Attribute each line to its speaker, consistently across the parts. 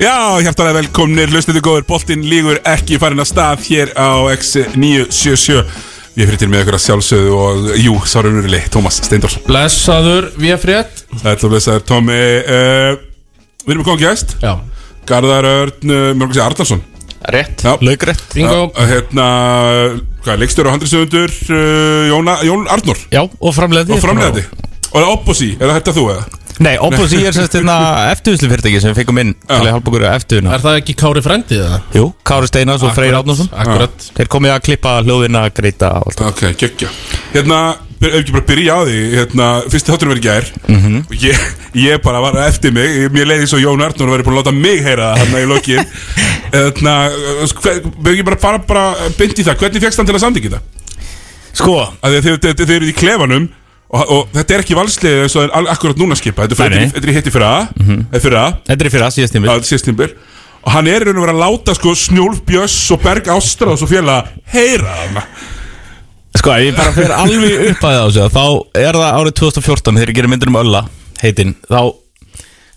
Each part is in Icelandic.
Speaker 1: Já, hjartalega velkomnir, hlustandi góður, boltinn lígur ekki farin að stað hér á X977 Ég fyrir til með ykkur að sjálfsögðu og jú, sárunurli, Tómas Steindors
Speaker 2: Blessaður Véfrétt
Speaker 1: Það er til að blessaður, Tómi uh, Við erum komið gæst,
Speaker 2: Já
Speaker 1: Garðar Örn, uh, mér langar að segja Arnarsson
Speaker 3: Rétt,
Speaker 1: Já.
Speaker 3: laugrætt
Speaker 2: Bingo
Speaker 1: Já, Hérna, hvað er, leikstjóri og handriðsöfundur, uh, Jóna- Jón Arnór
Speaker 3: Já, og framleiði
Speaker 1: Og framlegandi Og það er Opposi, er það þetta þú eða?
Speaker 3: Nei, Opus í er semst hérna eftirvislu fyrirtæki sem við fengum inn til að hjálpa okkur að eftirvinna
Speaker 2: Er það ekki Kári frændið það?
Speaker 3: Jú, Kári Steinas og Freyr Átnársson
Speaker 2: Akkurat
Speaker 3: Þeir komið að klippa hljóðina, greita og allt
Speaker 1: Ok, geggja Hérna, byr- ef ekki bara byrja á því hérna, Fyrsti þátturum verið gær
Speaker 3: Mhm.
Speaker 1: og ég, ég bara var eftir mig ég- Mér leiði svo Jón Arnur verið búin að láta mig heyra það Þannig í lokin Hérna, sko, hver- ef ekki bara fara bara Bind í það, hvernig fékkst hann til að samtíkja það?
Speaker 3: Sko,
Speaker 1: Af því að Þið þið- þið eruð í klefanum Og, og þetta er ekki valslið eins og það er al- akkurat núna skipa Þetta er fyrir-
Speaker 3: Nei, nei. Mhm.
Speaker 1: þetta er í hitti fyrra Eða fyrra,
Speaker 3: þetta er fyrir að síðast tími
Speaker 1: að síðstimbir Og hann er í raun og verið að láta sko Snjólf Bjöss og Berg Ástráðs og félaga heyra hana
Speaker 3: Sko, ef ég bara fyrir alveg upp að það á sig Þá er það árið 2014 þegar ég gerir myndir um Ölla Heitin, þá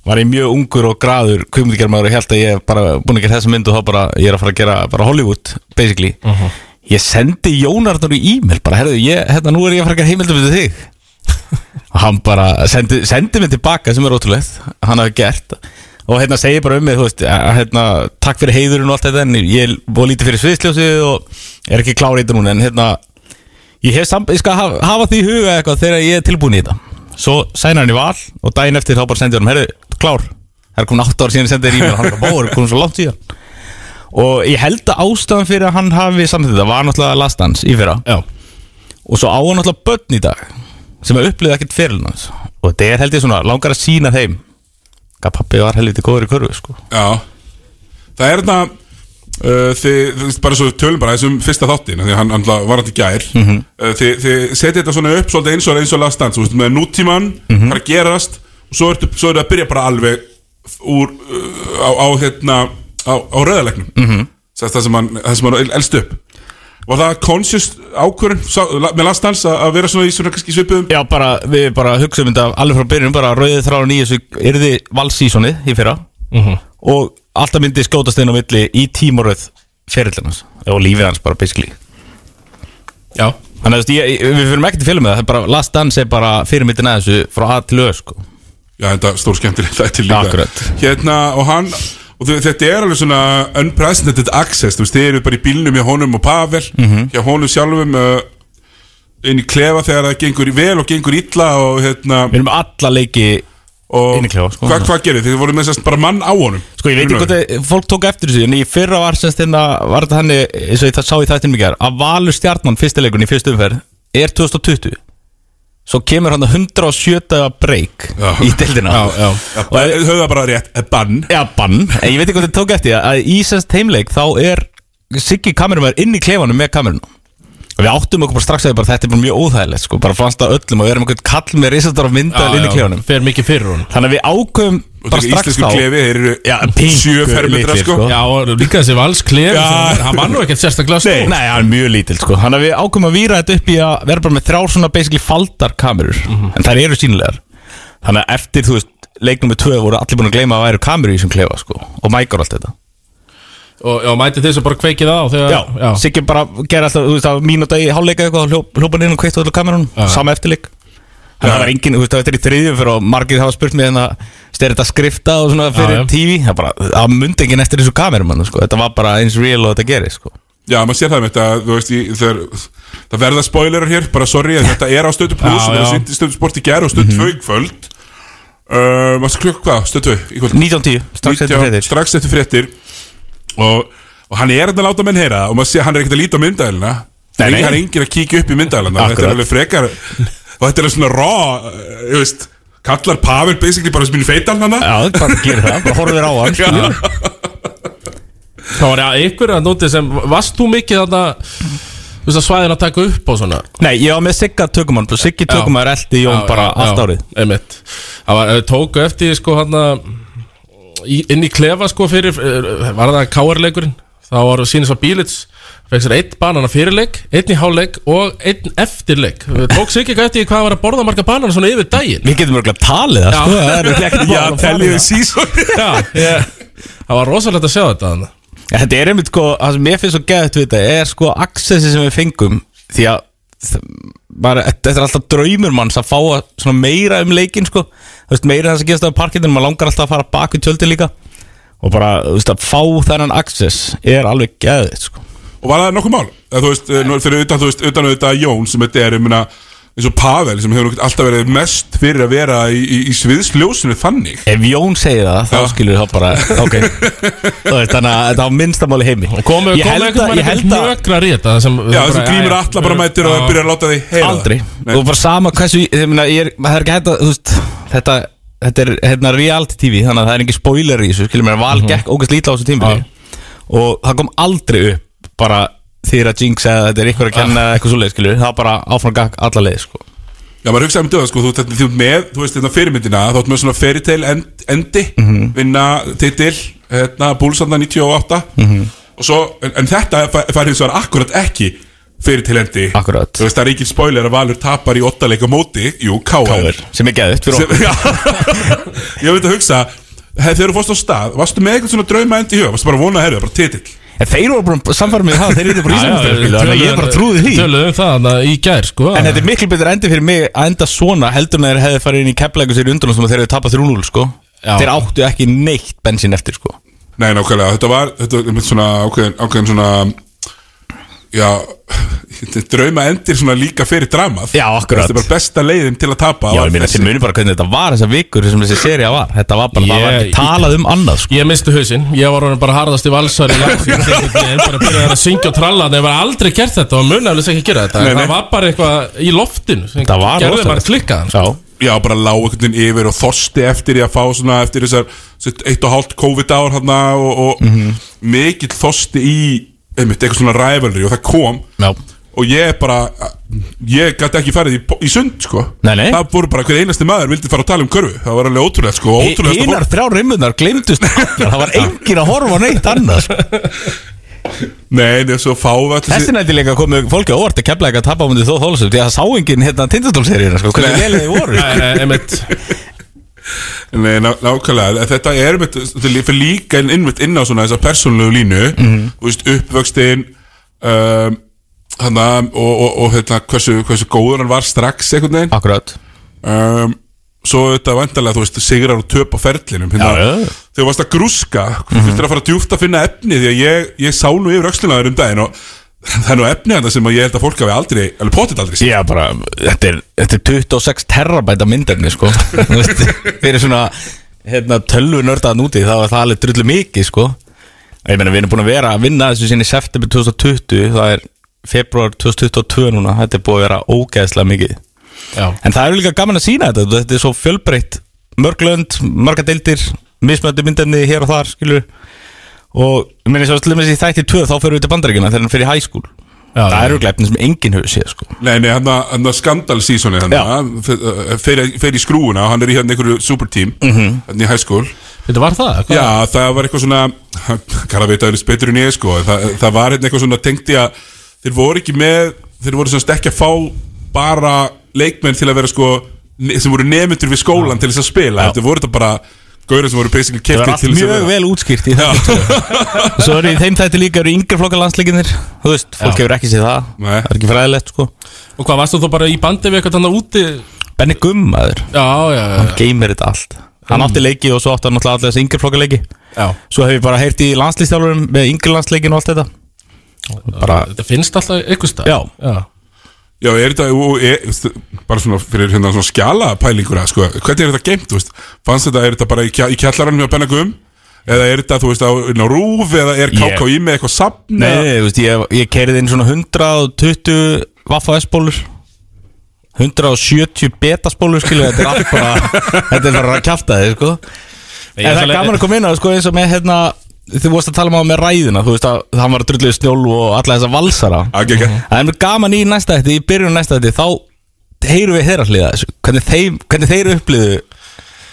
Speaker 3: var ég mjög ungur og graður kvimundgermaður og held að ég hef bara búin að gera þessa mynd og þá bara, ég er að fara að gera bara Hollywood basically,
Speaker 2: Mhm.
Speaker 3: ég sendi Jónardur í e-mail, bara herðu, ég, hérna nú er ég að fara að gera heimildum við þig og hann bara sendi, sendi mig tilbaka sem er ótrúlegt, hann hafi gert og hérna segi bara um mig, þú veist að, hérna, takk fyrir heiðurinn og allt þetta en ég var lítið fyrir sviðsljósið og er ekki klár í þetta núna en hérna ég, hef sam, ég skal hafa, hafa því í huga eitthvað þegar ég er tilbúin í þetta svo sæna hann í val og daginn eftir þá bara sendi ég hann, herru, klár það er komin 8 ár síðan ég sendi þér e-mail hann bara, bó, er komin svo langt síðan og ég held að ástæðan fyrir að hann hafi samt þetta var náttúrulega last hans í fyrra
Speaker 2: Já
Speaker 3: og svo á hann alltaf börn í dag sem að upplifa ekkert fyrir hans og þetta er held ég svona langar að sína þeim að pappi var helviti góður í körfu sko.
Speaker 1: Já Það er þarna uh, þið, þið, bara svo við tölum bara þessum fyrsta þáttin því hann, hann náttúrulega var hann í gær
Speaker 3: Mhm.
Speaker 1: uh, þið, þið setja þetta svona upp svolítið eins og eins og last dance, þú veist, með nútíman
Speaker 3: Mhm.
Speaker 1: mm hvað er að gerast og svo ertu, svo ertu að byrja bara alveg úr uh, á, á hérna á, á rauðalegnum
Speaker 3: Mhm.
Speaker 1: -hmm. það sem hann, það sem hann elst upp Var það conscious ákvörun með last dance að að vera svona í svona kannski svipuðum
Speaker 3: Já, bara, við bara hugsaum þetta alveg frá byrjun bara rauðið þráðan í þessu yrði valsísonið í fyrra
Speaker 2: Mhm.
Speaker 3: og alltaf myndi skjótast inn á milli í tímoröð fyrirlinans og lífið hans bara basically
Speaker 2: Já
Speaker 3: Þannig að þú veist, ég- ég- við fyrir ekki til félum með það, það er bara last dance er bara fyrirmyndin að þessu frá að til öð sko.
Speaker 1: Já, þetta er stór skemmtilegt þetta er líka
Speaker 3: Akkurat.
Speaker 1: Hérna, og hann Og þau- þetta er alveg svona unprecedented access Þú veist, þið eru bara í bílnum hjá honum og Pavel
Speaker 3: Mhm.
Speaker 1: Hjá honum sjálfum uh, Inn í klefa þegar það gengur í vel og gengur illa Og hérna
Speaker 3: Við erum alla leiki
Speaker 1: og
Speaker 3: inn í klefa, sko.
Speaker 1: Hvað hva gerir þið? Þið voru með sérst bara mann á honum
Speaker 3: Sko ég veit ekki hvað það, fólk tók eftir þessu En í fyrra var semst hérna Var þetta henni, eins og ég það sá í þættinum í gær Að Valur Stjarnan fyrstileikun í fyrstu umferð Er 2020 Svo kemur hann að 107 daga break
Speaker 1: Já.
Speaker 3: Í deildina
Speaker 2: Já, já.
Speaker 3: Og
Speaker 1: Þau
Speaker 3: ef-
Speaker 1: höfða bara rétt, eh, bann
Speaker 3: Já, bann En ég veit ekki hvað þið tók eftir því Að í semst heimleik þá er Siggi kamerumar inn í klefanum með kamerunum Og við áttum okkur bara strax að því bara, þetta er bara mjög óþægilegt sko, bara fannst það öllum að við erum einhvern kall með risastar á myndal inn í klefanum
Speaker 2: Fer mikið fyrir hún
Speaker 3: Þannig að við ákveðum
Speaker 1: Og
Speaker 3: bara
Speaker 1: þetta
Speaker 3: strax
Speaker 1: íslensku
Speaker 3: þá
Speaker 1: klefi Þeir eru
Speaker 3: Já, pinku
Speaker 1: sjö fermetra
Speaker 3: litlir,
Speaker 1: sko,
Speaker 3: sko.
Speaker 1: Já,
Speaker 2: Já, og líka þessi vals klef
Speaker 1: Já.
Speaker 2: Hann var nú ekkert sérstaklega stór
Speaker 3: Nei, hann er mjög lítill sko Þannig að við ákveðum að výra þetta upp í að vera bara með þrjár svona basically faldar kamerur
Speaker 2: Mhm.
Speaker 3: En þær eru sínilegar Þannig að eftir, þú veist, leiknum með tvö voru allir búin að gleyma að það væru kamerur í þessum klefa sko Og mækar og allt þetta
Speaker 2: Og, og mæti þess að bara kveikið á þegar, já.
Speaker 3: Siggi bara gera alltaf, þú veist, það var mínúta í hálfleika eitthvað þá hljó- Hljópa niður og kveitt á allir kamerunum, sama eftirleik Þannig að það var engin, þú veist, þetta er í þriðjum fyrir og margir hafa spurt mig hérna Styrir þetta skrifta og svona fyrir
Speaker 2: já.
Speaker 3: TV Það bara, það mundi enginn eftir þessu kamerumann, sko Þetta var bara eins real og þetta gerir, sko
Speaker 1: já maður sér það með þetta Þú veist, ég, þeir, það verða spoilerar hér Bara sorry, en þetta er á stötu plus
Speaker 2: Já,
Speaker 1: Það
Speaker 2: já.
Speaker 1: er sýnt í stötu sport í gær og stötu
Speaker 3: Mhm.
Speaker 1: 2 í kvöld Uh, Varstu klukk hvað? Stötu 2 í kvöld
Speaker 3: 19.10, strax eftir
Speaker 1: 19
Speaker 3: fyrir
Speaker 1: strax eftir fréttir og, og hann er að láta menn heyra það og maður sé að hann er ekkert að líta á myndælina
Speaker 3: Nei, nei.
Speaker 1: hann er engin að kíkja upp í myndælina þetta er
Speaker 3: Akkurat.
Speaker 1: alveg frekar og þetta er alveg svona raw, eh, ég veist kallar Pavel basically bara sem minn feitan hann
Speaker 3: Já, bara gera það, bara horfir á hann skilur.
Speaker 2: Það var já, ykkur að nóti sem Varst þú mikið þarna Þú veist að svæðin að taka upp og svona
Speaker 3: Nei, ég var með Sigga tökumann og Siggi tökumann er eldi Jón bara allt árið
Speaker 2: einmitt. Það var, eh, tóku eftir því, sko hann inn í klefa sko fyrir eh, var það KR leikurinn þá var sínis á bílits Fekk sér einn banana fyrirleik, einn í hálfleik og einn eftirleik Tók sig ekki eftir því hvað var að borða marga banana svona yfir daginn
Speaker 3: Við getum örgulega talið það,
Speaker 2: Já.
Speaker 3: sko, það er ekki
Speaker 2: Já,
Speaker 3: bara að fara
Speaker 1: Tellið
Speaker 3: í
Speaker 1: þið
Speaker 3: það.
Speaker 1: sísón
Speaker 2: Já, ég, það var rosalegt að sjá þetta þarna.
Speaker 3: En Þetta er einmitt, sko, það sem ég finnst svo geðvægt við þetta er sko accessi sem við fengum því að þ- bara, þetta er alltaf draumur manns að fá að- svona meira um leikin, sko Þú veist, meira það sem geðast af parkinu, maður langar alltaf að fara bak við tjöldin líka og bara, þú veist, að fá þennan access er alveg geðvægt, sko
Speaker 1: Og var það nokkuð mál? Eða, þú veist, eh, nú fyrir utan, þú veist, utan auðvitað Jón sem þetta er, ég meina, eins og Pavel sem hefur alltaf verið mest fyrir að vera í, í, í sviðsljósinu þannig
Speaker 3: Ef Jón segir það, þá sko. skilur þá bara, ok Þú veist, Þannig að þetta á minnstamáli heimi
Speaker 2: Komu,
Speaker 3: Ég
Speaker 2: komu
Speaker 3: held
Speaker 2: einhvern
Speaker 3: að-
Speaker 2: veginn
Speaker 3: ég held
Speaker 2: eitthvað
Speaker 3: að-
Speaker 2: nökrar í þetta sem,
Speaker 1: Já, þessum grímur alla bara mætir og byrjar að láta því heyra
Speaker 3: Aldrei
Speaker 1: Nei.
Speaker 3: Og bara sama hversu ég meina, ég er, Það er ekki hægt að þú veist, Þetta Þetta er hérna reality TV Þannig að það er engin spoiler í þessu Skiljum mér Val
Speaker 2: Mhm.
Speaker 3: gekk ógæst lítla á þessu tímabili Og það kom aldrei upp Bara þýra jinx eða þetta er ykkur að kenna eða Eitthvað svoleið skiljum Það var bara áfram gakk alla leið sko
Speaker 1: Já, maður hugsaði um döða, sko, þú ert þú ert með, þú veist, þetta fyrirmyndina, þá ert með svona fairytale end, endi,
Speaker 3: Mhm.
Speaker 1: vinna titil, hérna, búlsanda 98, og svo, en, en þetta fær fær hins vegar akkurat ekki fairytale endi.
Speaker 3: Akkurat.
Speaker 1: Þú veist, það er ekki spoiler að Valur tapar í ottaleika móti, jú, K.R.
Speaker 3: Káður Sem er geðut fyrir
Speaker 1: Sem-
Speaker 3: okkur
Speaker 1: Já, ég veit að hugsa, hef, þegar þú fórst á stað, varstu með eitthvað svona drauma endi í huga, varstu bara að vona að herðu, bara titill.
Speaker 3: En þeir voru bara samfærum með það Þeir eru bara ísumstöð Þannig að ég bara trúði því
Speaker 2: Töluðum um það þarna í gær sko
Speaker 3: En þetta er miklu betur endi fyrir mig að enda svona heldur en að þeir hefði farið inn í keflæku sér undan sem þeir hefði tapað 3-0 sko
Speaker 2: Já.
Speaker 3: Þeir áttu ekki neitt bensín eftir sko
Speaker 1: Nei, nákvæmlega, þetta var þetta var einmitt svona ákveðin, ákveðin svona já, drauma endir svona líka fyrir dramað
Speaker 3: Já, akkurat.
Speaker 1: Þetta er bara besta leiðin til að tapa
Speaker 3: Já,
Speaker 1: var
Speaker 3: ég meina,
Speaker 1: þessi.
Speaker 3: þið munir bara hvernig þetta var þessar vikur sem þessi seria var Þetta var bara, það var
Speaker 2: Ég-
Speaker 3: ekki talað um annað sko.
Speaker 2: Ég misti hausinn, ég var orðin bara harðast í valsar í langt Ég er bara byrjaði að syngja og tralla en ég var aldrei gert þetta og muni alveg ekki gera þetta
Speaker 1: Nei,
Speaker 2: En
Speaker 1: nei.
Speaker 2: Það var bara eitthvað í loftinu sem
Speaker 3: Það var
Speaker 2: Gerði
Speaker 3: rosalegt.
Speaker 2: bara klikkaðan sko.
Speaker 3: Já,
Speaker 1: Já, bara lág einhvern veginn yfir og þorsti eftir í að fá svona eftir þessar sitt eitt og hálft COVID-ár hann og, og
Speaker 3: Mhm.
Speaker 1: mikill þorsti í einmitt, eitthvað svona rivalry og það kom
Speaker 3: já
Speaker 1: og ég bara ég gæti ekki farið í, í sund sko
Speaker 3: Nei, nei.
Speaker 1: það voru bara hver einasti maður vildi fara að tala um körfu það var alveg ótrúlega sko og ótrúlegasta fólk-
Speaker 3: Einar þrjá rimmunar glimtust allar Það var engin að horfa á neitt annað sko.
Speaker 1: Nei, það er svo fávall
Speaker 3: Þessi nætti líka komu fólki á orð til keflæk að tapa á myndi þó þólasum Því að það sá engin hérna tindastólseríuna sko, Hvernig vel þið voru
Speaker 2: Nei, nei, einmitt.
Speaker 1: Nei, ná, nákvæmlega, en þetta er einmitt, þetta er líka inn- innmitt inn á svona þessa persónulegu línu,
Speaker 3: Mhm.
Speaker 1: þú veist, uppvöxtin um, hana, og, og, og hérna, hversu, hversu góður hann var strax einhvern veginn
Speaker 3: Akkurat
Speaker 1: um, svo þetta vantarlega, þú veist, sigrar og töp á ferlinum hérna.
Speaker 3: Já, já, Mhm. já.
Speaker 1: þegar varst að grúska þú þurftir að fara djúpt að finna efni því að ég, ég sá nú yfir öxlunaður um daginn og það er nú efni hann sem að ég held að fólk hafi aldrei, alveg potið aldrei séð.
Speaker 3: Já, bara, þetta er, þetta er 26 terabæta myndefni, sko Þú veist, Fyrir svona, hérna, tölvu nördaðan úti þá er það alveg drullu mikið, sko Ég meina, við erum búin að vera að vinna þessu sinni september 2020 Það er februar 2022 núna Þetta er búið að vera ógeðslega mikið
Speaker 2: Já,
Speaker 3: En það er líka gaman að sína þetta Þetta er svo fjölbreytt Mörg lönd, marga deildir Mismöndu myndefni hér og þar, skilur Og, ég meina, svo slemmis í þætti 2 Þá fyrir við til bandaríkina þegar hann fyrir high school
Speaker 2: Já,
Speaker 3: Það
Speaker 2: já.
Speaker 3: eru glæpni sem enginn hefur séð, sko
Speaker 1: Nei, nei, hann að skandal sísoni hann að eh, fer, fer í skrúuna og hann er í hérna einhverju superteam mm
Speaker 3: Mhm.
Speaker 1: -hmm. hann í high school
Speaker 2: þetta var það hvað?
Speaker 1: Já, það var eitthvað svona kann að veit að það er betur en ég sko en það, það var hérna eitthvað svona tengt í að þeir voru ekki með, þeir voru semst ekki að fá bara leikmenn til að vera sko ne- sem voru nefndur við skólan til þess að spila,
Speaker 3: Já.
Speaker 1: þetta voru þetta bara gaurin sem voru basically
Speaker 3: Það var
Speaker 1: keftir
Speaker 3: allt
Speaker 1: til þess að
Speaker 3: mjög vel útskýrt í
Speaker 1: Já.
Speaker 3: þetta Svo eru í þeim þætti líka eru yngri flokka landsleikinir Þú veist, fólk
Speaker 2: Já.
Speaker 3: hefur ekki séð það
Speaker 1: Nei.
Speaker 3: Það er ekki fræðilegt sko
Speaker 2: Og hvað varstu þú bara í bandi við eitthvað þannig úti
Speaker 3: Benny Gumm aður,
Speaker 2: Já, já, já,
Speaker 3: hann geymir þetta allt Hann átti leiki og svo átti hann náttúrulega allir þessi yngri flokka leiki
Speaker 2: já.
Speaker 3: Svo hef ég bara heyrt í landslýstjálfurum með yngri landsleikin og allt þetta Bara,
Speaker 2: Þetta finnst alltaf ykkur stað
Speaker 3: Já.
Speaker 1: Já, er þetta, og, er, st- bara svona fyrir hérna svona skjala pælingura, sko, hvernig er þetta geimt, þú veist, fannst þetta, er þetta bara í, kja- í kjallaranum hjá Bennagum, eða er þetta, þú veist, á, inn á rúf, eða er KKI með eitthvað sapn,
Speaker 3: nei,
Speaker 1: eða-
Speaker 3: þú veist, ég, ég keirið inn svona 120 vaffa S-bólur 170 betaspólur skilur, þetta er allt bara Þetta er bara að kjafta þið, sko En
Speaker 2: Ég
Speaker 3: það er
Speaker 2: ætla-
Speaker 3: gaman að koma inn á sko, eins og með hérna Þú vorst að tala um á með ræðina Þú veist að hann var drullið snjólu og alla þessa valsara Mhm.
Speaker 1: Á, gegg- gegg.
Speaker 3: Það er mjög gaman í næsta þetta Í byrjun næsta þetta Þá heyrum við þeirra hliða þessu Hvernig, þeim, hvernig þeir upplýðu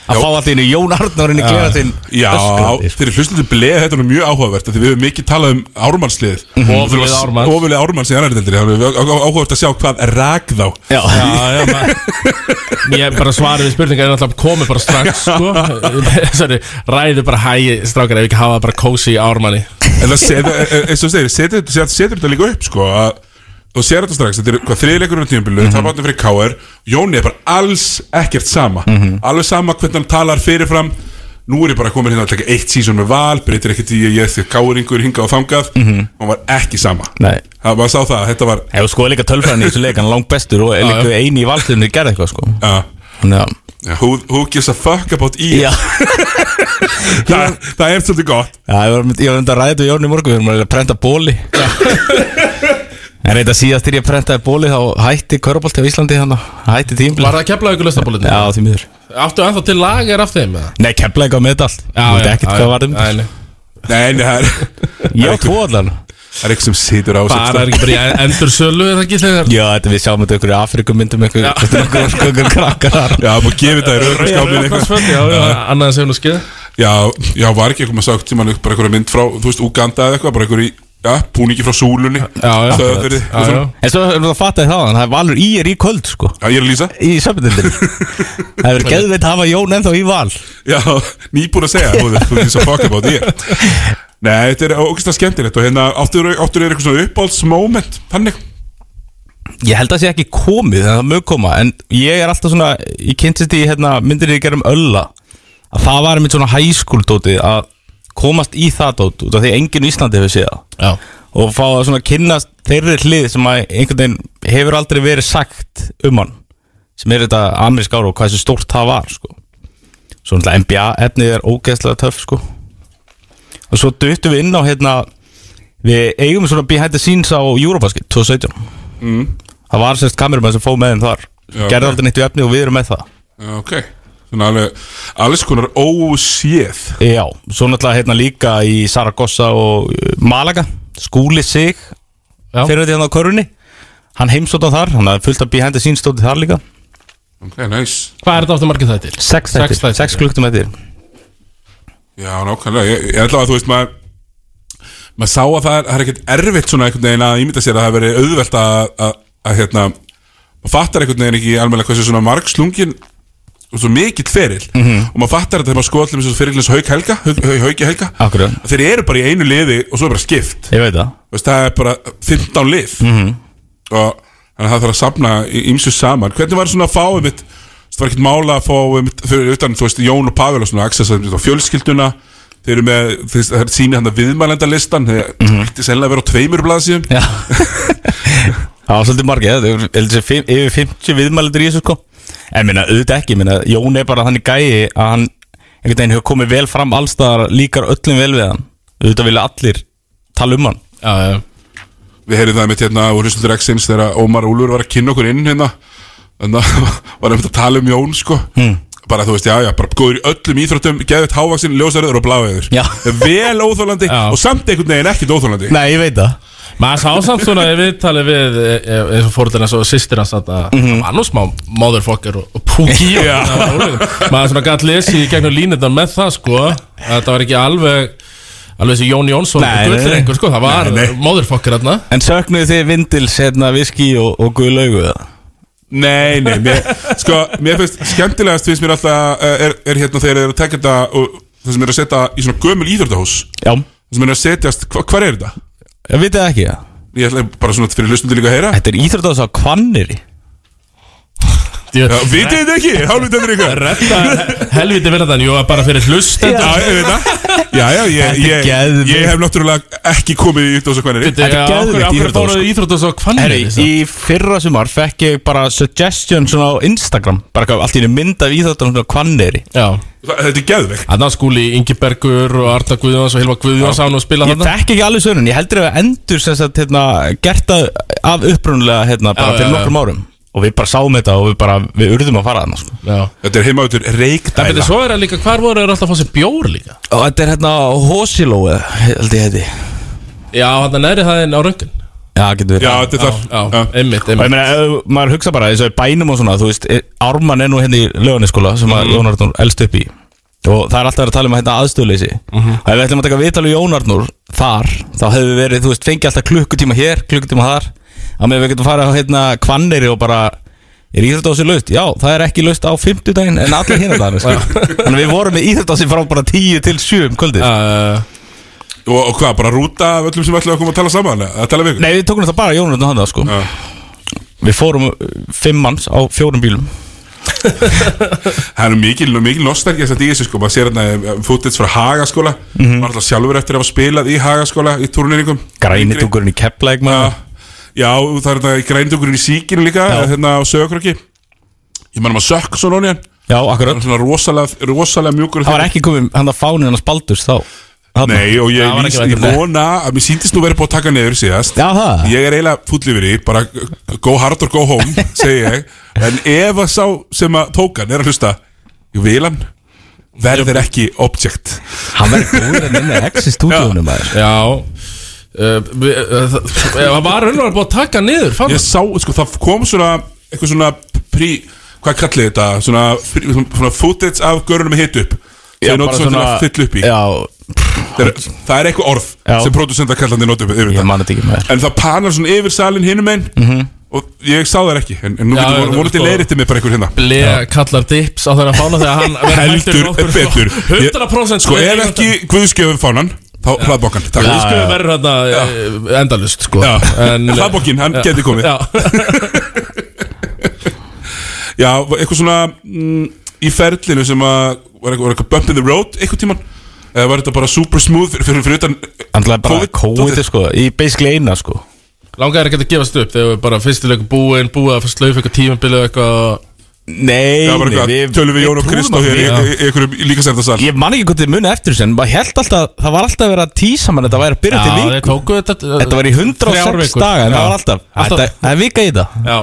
Speaker 3: Að fá alltaf einu Jón Arnórin í klefa sinn
Speaker 1: Já,
Speaker 3: öskrandi, sko.
Speaker 1: fyrir hlustundu bleið þetta er mjög áhugavert af því við höfum mikið talað um ármannslið
Speaker 2: Mhm. Ofurlið Ármanns.
Speaker 1: Ofurlið Ármanns í annardeldri Þannig við höfum áhugavert að sjá hvað rak þá
Speaker 3: Já,
Speaker 2: Já, já, maður Ég bara svarið við spurningar er náttúrulega komið bara strax sko. Sorry, ræðu bara hægi strákar ef ekki hafa bara kósi í ármanni
Speaker 1: En það setur, e- e- eins og þú segir, setur, setur, setur þetta líka upp sko að og sér þetta strax, þetta er hvað þriðleikur á tímabilinu,
Speaker 3: Mhm.
Speaker 1: mm -hmm. tapáttu fyrir KR Jóni er bara alls ekkert sama alveg sama hvernig hann talar fyrirfram nú er ég bara komin hérna að taka eitt sísón með val breytir ekkert í að ég eftir KR-ingur hingað og þangað, hann var ekki sama
Speaker 3: Mhm. Nei.
Speaker 1: það var sá það, þetta var
Speaker 3: Hefur sko líka tölfræðin í þessu leik hann er langt bestur og er líka eini í valsliðinu gerði eitthvað sko
Speaker 1: uh,
Speaker 3: Þannig að
Speaker 1: who, who gives a fuck about í
Speaker 3: Já,
Speaker 1: það, það er svolítið gott
Speaker 3: Já, ég var mynd- ég var enda að ræða þetta við Jón í morgun við erum að prenta bóli En reynda síðast til ég prentaði bóli þá hætti Körbólti á Íslandi þannig hætti tímbil
Speaker 2: Var það að kepla ykkur löstabólitni?
Speaker 3: Já, því miður
Speaker 2: Áttu ennþá til lager af þeim? eða?
Speaker 3: Nei, kepla eitthvað með þetta allt Ég veit ekkert hvað var um
Speaker 2: Æ,
Speaker 3: þetta
Speaker 2: nei.
Speaker 1: nei, nei, það er
Speaker 3: Ég á tvo allan
Speaker 1: það er eitthvað sem situr á sko. sér,
Speaker 2: Bara er ekki bara
Speaker 1: e-
Speaker 2: í en- endursölu eða ekki þegar
Speaker 3: Já, þetta við sjáum þetta ykkur í Afrikum myndum ykkur Þetta er okkur okkur krakkar þar
Speaker 1: já, maður gefið það í rauðskápin eitthvað
Speaker 2: Rauðakrossföt, Já, já, annað sem nú skeið
Speaker 1: Já, já, var ekki eitthvað maður sagt tíma bara eitthvað mynd frá, þú veist, Uganda eða eitthvað bara eitthvað í, já, púningi frá súlunni
Speaker 2: Já, já.
Speaker 1: Stöðafirði og
Speaker 2: Já,
Speaker 1: svona.
Speaker 2: já.
Speaker 3: En svo erum við að fatta það Það er valur í er í kvöld sko
Speaker 1: Já, ég er að lýsa
Speaker 3: Í söpindindin Það er geðveit að hafa Jón ennþá í val
Speaker 1: Já, nýbúin að segja, þú veist, þú veist að fuck about ég Nei, þetta er ógæslega skemmtilegt og hérna áttur, áttur er eitthvað svona uppáhaldsmoment Þannig,
Speaker 3: Ég held að það sé ekki komið en það mög koma En ég er alltaf svona Ég kynntist í hérna, myndir ég gerum ölla Að það var einmitt svona hæskúldóti Að komast í það dót Út af því enginn á Íslandi hefur séð það
Speaker 2: Já,
Speaker 3: Og fá að svona kynnast þeirri hlið Sem að einhvern veginn hefur aldrei verið sagt Um hann Sem er þetta amerísk ára og hvað þessu stórt það var sko. Svo náttúrulega NBA efnið er ógeðslega töff sko. Og svo duttum við inn á hérna Við eigum svona behind the scenes á Eurobasket 2017
Speaker 1: Mm.
Speaker 3: Það var sérst kamerumann sem fóð með þeim þar
Speaker 1: Já,
Speaker 3: Gerði
Speaker 1: ok.
Speaker 3: aldrei neitt í efni og við erum með það
Speaker 1: já, ok Svona alveg, alls konar óséð
Speaker 3: Já, svo náttúrulega hérna líka í Saragossa og uh, Malaga Skúli sig,
Speaker 2: já
Speaker 3: fyrir þetta hérna á körunni Hann heimsótt á þar, hann hafði fullt af behind the scenes stótið þar líka
Speaker 1: Ok, nice
Speaker 2: Hvað er þetta áttu margir þættir?
Speaker 3: Sex
Speaker 2: þættir.
Speaker 3: þættir, sex klukktum eftir
Speaker 1: Já, nákvæmlega, ég, ég ætla að þú veist maður maður sá að það er, það er ekkert erfitt svona einhvern veginn að ímynda sér að það hafi verið auðvelt að, að, að hérna maður fattar einhvern veginn ekki alveg hversu svona margslungin og svo mikill feril
Speaker 3: Mhm.
Speaker 1: og maður fattar þetta þegar maður skoðallum eins og ferilins Hauk Helga, Hauk, Hauk- Hauki Helga
Speaker 3: Akkurá,
Speaker 1: Að þeir eru bara í einu liði og svo er bara skipt
Speaker 3: ég veit það
Speaker 1: Þú veist, það er bara 15 lið og þannig að það þarf að safna ímsu saman hvernig var svona að fá einmitt það var ekkert mála að fá einmitt, fyrir utan þú veist Jón og Pavel og svona access einmitt á fjölskylduna þeir eru með þeir, það er síni hann að viðmælendalistan þeir mm -hmm. ætti sennilega að vera á tveimur blaðsíðum
Speaker 3: Já Það var svolítið margir, það er heldur sé fimm- yfir 50 viðmælendur í þessu sko En minna, auðvitað ekki, minna, Jón er bara þannig gæi að hann einhvern veginn hefur komið vel fram allstaðar líkar öllum vel við hann Auðvitað vilja allir tala um hann
Speaker 2: Já, já
Speaker 1: við heyrðum það einmitt hérna og hlustum til X-ins þegar Ómar Úlfur var að kynna okkur inn hérna þannig að var einmitt að tala um Jón sko
Speaker 3: Hmm.
Speaker 1: bara þú veist, já já, bara góður í öllum íþróttum geðið hávaksinn, ljósaröður og bláveður
Speaker 3: Já.
Speaker 1: vel óþólandi
Speaker 2: Já.
Speaker 1: og samt einhvern veginn ekkert óþólandi
Speaker 3: Nei, ég veit það
Speaker 2: Maður sá samt svona í viðtali við e, e, eins og fórhundin hans og sýstir hans að mm
Speaker 1: Mhm.
Speaker 2: -hmm. hann var nú smá motherfucker og, og púki og
Speaker 1: Já.
Speaker 2: það var ólíkt. maður svona gætt lesið í gegnum línundan með það sko að þetta var ekki alveg alveg þessi Jón Jónsson
Speaker 3: Nei, nei, nei.
Speaker 2: gullir einhver sko það var
Speaker 1: Nei, nei.
Speaker 2: motherfucker þarna
Speaker 3: En söknuðu þið vindils, hérna, viski og, og guðlaugu það?
Speaker 1: Nei, nei, mér, sko, mér finnst skemmtilegast finnst mér alltaf eh, er, er hérna þegar þeir eru að taka þetta og það sem er að setja í svona gömul íþjóttahús
Speaker 3: Já
Speaker 1: það sem er að setjast, hva, hvar er þetta?
Speaker 3: Ég veit það ekki, það
Speaker 1: Ég ætla bara svona fyrir hlustundi líka að heyra
Speaker 3: Þetta er íþróttáðs á Hvanniri
Speaker 2: Djöfull.
Speaker 1: Já, vitið þið þetta ekki, hálfvitað fyrir ykkur
Speaker 2: Þetta helviti verða þannig, jú að bara fyrir hlustendur
Speaker 1: Já, ég veit það Já, já, ég,
Speaker 3: Þetta er
Speaker 1: ég,
Speaker 3: geðveikt.
Speaker 1: ég hef náttúrulega ekki komið í íþjóttahús og hvernig
Speaker 2: Þetta
Speaker 3: Þetta er
Speaker 2: er
Speaker 3: geðveikt
Speaker 2: geðvikt
Speaker 3: íþróttahús, sko.
Speaker 2: íþróttahús Íþróttahús á
Speaker 1: sko.
Speaker 3: Herri,
Speaker 2: kvannir
Speaker 3: í fyrra sumar fekk ég bara suggestion svona á Instagram Bara eitthvað, allt í einu mynd af íþróttan svona Hvanniri
Speaker 2: Já
Speaker 1: Þetta er geðveikt
Speaker 2: Þannig að skúli Ingibergur og Arta Guðjóns og Hilma Guðjóns án og spila
Speaker 3: Ég
Speaker 2: þarna
Speaker 3: þekk ekki alveg sönun, ég heldur að endur sem sagt, hérna, gert það af upprunulega hérna, bara
Speaker 2: Já,
Speaker 3: fyrir
Speaker 2: já,
Speaker 3: nokkrum árum og við bara sáum þetta og við bara, við urðum að fara þarna sko.
Speaker 2: Já
Speaker 1: Þetta er heima út úr
Speaker 2: En betur
Speaker 1: reikdæla
Speaker 2: svo er það líka, hvar voru þeir alltaf að fá sér bjór líka?
Speaker 3: og þetta er hérna Hosiló held ég heiti
Speaker 2: Já, hann er neðri hæðin á röngin
Speaker 3: Já, getur verið
Speaker 1: Já, þetta er þar
Speaker 2: Já,
Speaker 1: Já.
Speaker 2: einmitt,
Speaker 3: Og
Speaker 2: einmitt
Speaker 3: ég meina, ef maður hugsa bara eins og í bænum og svona, þú veist, e, Ármann er nú hérna í löganiskóla sem að Jón Arnur elst upp í og það er alltaf verið að tala um að hérna aðstöðleysi og ef við ætlum að taka viðtal við Jón Arnur þar, þá hefur við verið, þú veist, fengið alltaf klukkutíma hér, klukkutíma þar á meðan við getum farið á hérna kvanneri og bara er íþjóttási laust? Já, það er ekki laust á 50 daginn en allir hérna daginn, sko þannig að við vorum með íþjóttási frá bara 10 til 7 um kvöldið
Speaker 2: Uh,
Speaker 1: Og, og hvað, bara rúta af öllum sem ætlaðu að koma að tala saman eða Að tala við ykkur
Speaker 3: Nei, við tókum þetta bara Jón Arnur hann sko
Speaker 1: Já.
Speaker 3: Við fórum uh, fimm manns á fjórum bílum
Speaker 1: Það er nú mikil, nú mikil nostalgja þetta í þessu sko Maður sér hérna footage frá Hagaskóla mm
Speaker 3: Mhm.
Speaker 1: -hmm. Var alltaf sjálfur eftir að hafa spilað í Hagaskóla Í túrniringum
Speaker 3: Grænitungurinn í Keflæk maður
Speaker 1: Já, það er þetta grændugurinn í síkinu líka Hérna á sögurkröki Ég mann um að sökk svona honið hann
Speaker 3: Já, akkurat
Speaker 1: Hann er Svona rosalega, rosalega mjúkur og
Speaker 3: Það var
Speaker 1: þykkur.
Speaker 3: ekki komið hann að fáni hann að spaldus þá þarna.
Speaker 1: Nei, og ég,
Speaker 2: Það var
Speaker 1: víst,
Speaker 2: ekki
Speaker 1: ég
Speaker 2: væntanlegt.
Speaker 1: vona að mér síndist nú verið búið að taka niður síðast
Speaker 3: um Já, það
Speaker 1: Ég er eiginlega full yfir í, bara go hard or go home, segi ég En ef að sá sem að tókan er að hlusta Ég vil hann Verður ekki object
Speaker 3: Hann verður góður en minna X í stúdíunum maður
Speaker 2: já Uh, við- uh, það- það var raunlega búið að taka hann niður fann
Speaker 1: Ég sá, sko, það kom svona Eitthvað svona prí, hvað kallið þetta? Svona, prí- svona footage af görunum með hit upp Já,
Speaker 3: bara
Speaker 1: svona, svona fyll upp í
Speaker 3: Já,
Speaker 1: það, er, það er eitthvað orð
Speaker 3: Já.
Speaker 1: sem producenta kallandi notu yfir
Speaker 3: ég
Speaker 1: þetta
Speaker 3: man þetta ekki maður Mhm.
Speaker 1: En það panar svona yfir salin hinum einn Og ég sá það ekki En, en nú
Speaker 2: Já,
Speaker 1: getur
Speaker 2: já,
Speaker 1: vonandi sko,
Speaker 2: sko.
Speaker 1: leirítið mig bara einhver hérna
Speaker 2: Blea kallar dips á þeirra fána þegar hann verður
Speaker 1: Heldur
Speaker 2: hættur nokkur- sko.
Speaker 1: betur
Speaker 2: 100%
Speaker 1: Sko ef ekki guðskjöfum fánan Þá hlaðbokkan Takk
Speaker 2: Við skulum verður þetta endalust sko
Speaker 1: Já.
Speaker 2: En, eh,
Speaker 1: Hlaðbokkinn, hann
Speaker 2: já.
Speaker 1: gæti komið.
Speaker 2: Já.
Speaker 1: Já, eitthvað svona mm, Í ferlinu sem að Var eitthvað, var eitthvað bump in the road Eitthvað tíman Eða var þetta bara super smooth Fyrir, fyrir, fyrir utan
Speaker 3: Andlega bara
Speaker 1: COVID-
Speaker 3: kóið sko Í basically eina sko
Speaker 2: Langaði ekki að gefast upp þegar við bara fyrstileikum búin Búið að slaufa eitthvað tímabilið og eitthvað
Speaker 3: Nei,
Speaker 1: Það var
Speaker 3: nei,
Speaker 1: eitthvað Tölum við Jón og
Speaker 3: trúðum
Speaker 1: Kristó
Speaker 3: á
Speaker 1: Hér í
Speaker 3: því.
Speaker 1: í- í einhverjum líkasendasal
Speaker 3: Ég man ekki hvað þið muni eftir þessu En maður held alltaf Það var alltaf verið að tísa mann Þetta væri að byrja til
Speaker 2: þeir
Speaker 3: viku
Speaker 2: tóku þetta
Speaker 3: Þetta var í 106 daga En það var alltaf
Speaker 2: Alltaf.
Speaker 3: Þetta það er vika í það
Speaker 2: Já,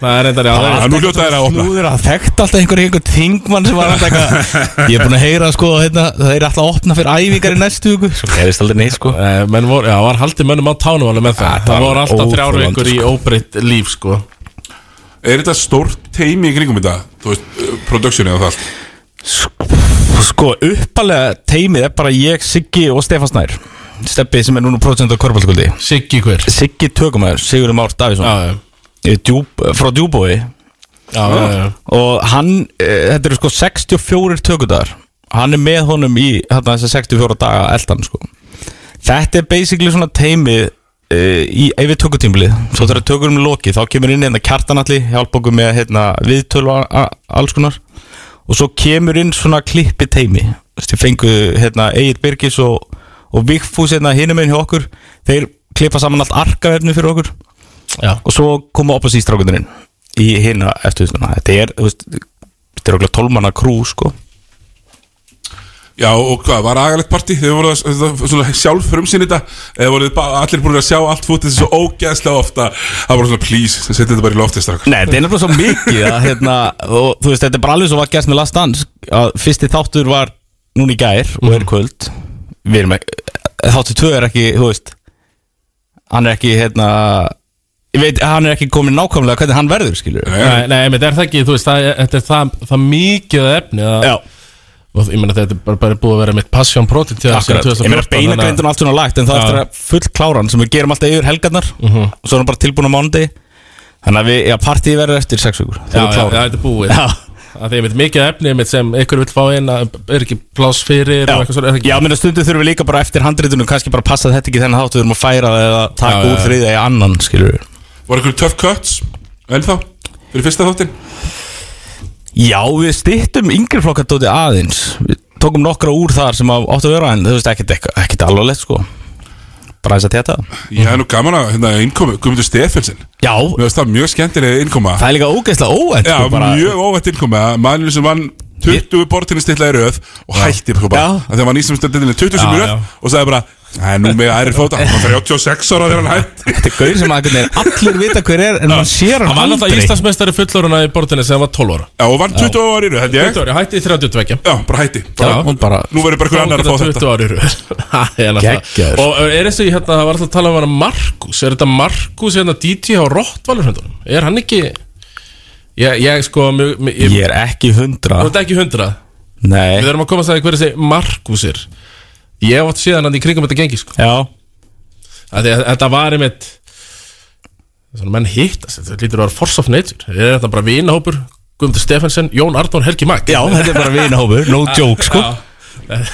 Speaker 2: það er reyndar já það
Speaker 1: Já,
Speaker 2: er-
Speaker 1: Nú hljóta þær að opna
Speaker 3: Slúður að þekkt alltaf einhver einhver þingmann sem var alltaf eitthvað Ég er búin að heyra sko hérna, það er alltaf að opna fyrir æfingar í næstu viku Svo gerist aldrei neitt sko
Speaker 2: Eh, Menn voru, já, var haldið mönnum á tánum alveg með það
Speaker 3: það
Speaker 2: Það
Speaker 3: var
Speaker 2: voru alltaf þrjár
Speaker 3: óþolandi,
Speaker 2: vikur í óbreytt líf sko
Speaker 1: Er þetta stórt teimi í kringum þetta? Þú veist, eh, production eða það allt
Speaker 3: Sko uppalega teimið er bara ég, Siggi og Stefán Snær Steppi sem er núna prósent á korfbaldskvöldi
Speaker 2: Siggi hver Já,
Speaker 3: Siggi tökumæður, Sigurður Már Davíðsson
Speaker 2: já,
Speaker 3: eh, djúp, frá Djúbói
Speaker 2: já, já, já.
Speaker 3: og hann, e, þetta eru sko 64 tökudagar hann er með honum í þarna þessa 64 daga eldan sko þetta er basically svona teimi e, í yfir tökutímlið svo þegar tökurum er lokið þá kemur inn hérna kjartanalli hjálp okkur með hérna, viðtölu og a- alls konar og svo kemur inn svona klippi teimi Þú veist, ég fengu hérna Egil Birgis og, og Vigfús hérna hinum einn hjá okkur þeir klippa saman allt arkavefni fyrir okkur
Speaker 2: já.
Speaker 3: og svo koma opa sístrákundurinn í hérna eftir svona þetta er, þú veist, þetta er okkur tólmanna krú sko
Speaker 1: Já, og hvað, var agalegt partí? Þið voru að, það- svona sjálf frumsýn þetta eða voru þið bara- allir búin að sjá allt fútið svo ógeðslega ofta það voru svona, please, setja þetta bara í loftið strax
Speaker 3: Nei, þetta er nefnilega svo mikið að, hérna, og, þú veist, þetta er bara alveg svo var gæst með last dance að fyrsti þáttur var núna í gær og
Speaker 2: Mhm.
Speaker 3: er í kvöld við erum ekki, þáttur tvö er ekki þú veist, hann er ekki hérna, ég veit hann er ekki komin nákvæmlega hvernig hann verður skilur
Speaker 1: Nei,
Speaker 2: Nei, nei, menn er það ekki, þú veist, það, er- þetta er það, það mikið af efni að,
Speaker 3: Já,
Speaker 2: og ég meina þetta er bara, bara búið að vera mitt passion project til
Speaker 3: akkurat, ég meina beinagrindin og allt svona lagt en það
Speaker 2: Já. Mhm.
Speaker 3: er eftir að full kláran sem við gerum alltaf yfir helgarnar og svo er hann bara tilbúin á mánuði þannig að við, já, partíi verður eftir sex vikur
Speaker 2: Já,
Speaker 3: þegar við
Speaker 2: já, já,
Speaker 3: klárum.
Speaker 2: þetta er búið
Speaker 3: Já.
Speaker 2: Það er mitt mikið af efni mitt sem ykkur vil fá inn að er ekki pláss fyrir og eitthvað svona er ekki
Speaker 3: Já, menn að stundu þurfum við líka bara eftir handritunum kannski bara passa þetta ekki þennan þátt við þurfum að færa það eða taka
Speaker 2: Já, já,
Speaker 3: úr
Speaker 2: já.
Speaker 3: þriðja í annan, skilur við
Speaker 1: Var einhverjum tough cuts ennþá fyrir fyrsta þáttin?
Speaker 3: Já, við stýttum yngri flokkardóti aðeins við tókum nokkra úr þar sem að- áttu að vera en þú veist, ekkert, ekkert, ekkert alvarlegt sko bara eins að þetta
Speaker 1: Ég hef nú gaman að hérna, innkomi, Guðmundur Stefensen
Speaker 3: Já,
Speaker 1: Mér finnst það mjög skemmtilega innkoma
Speaker 3: það er líka ógeðslega óvænt
Speaker 1: Já,
Speaker 3: sko, bara,
Speaker 1: mjög óvænt innkoma Mannur sem vann 20 bortinni stilla í röð og hætti sko bara
Speaker 3: Já.
Speaker 1: Af því að Þegar var nýstum stendinni 20 sem
Speaker 2: Já,
Speaker 1: í röð
Speaker 2: já.
Speaker 1: og sagði bara Það er nú með ærir fóta Hann var 36 ára þegar hann hætti
Speaker 3: Þetta er gaur sem að einhvern veginn allir vita hver er En hann sér
Speaker 2: Hann
Speaker 3: hann
Speaker 2: var alltaf
Speaker 3: aldrei
Speaker 2: Íslandsmeistari fulloruna í bortinni sem var 12 ára
Speaker 1: Já, og vann 20 ára í röð, held ég
Speaker 2: 20 ára, hætti í 32
Speaker 1: Já, bara hætti
Speaker 2: Já,
Speaker 1: bara,
Speaker 3: hún bara-
Speaker 1: Nú verður bara hver annar að fá þetta
Speaker 2: 20 ára í röð Það er náttúrulega-
Speaker 3: Geggjaður.
Speaker 2: Og er þessi, hérna, það var alltaf að tala um hann Markus Er þetta Markus, hérna, DT á Rottvalurhundunum? Er hann ekki Ég, ég sko, mjög, mjög, ég,
Speaker 3: Ég er ekki hundra
Speaker 2: þú ert ekki hundrað
Speaker 3: Nei
Speaker 2: Við erum að komast að því hver þessi Markus er Ég átt síðan hann í kringum þetta gengi, sko
Speaker 3: Já
Speaker 2: Af því að Þetta var einmitt Svona menn hittast, þetta lítur að vera force of nature Er þetta bara vinahópur Guðmundur Stefansson, Jón Arnón, Helgi Mag
Speaker 3: Já, þetta er bara vinahópur No joke, sko
Speaker 2: Já.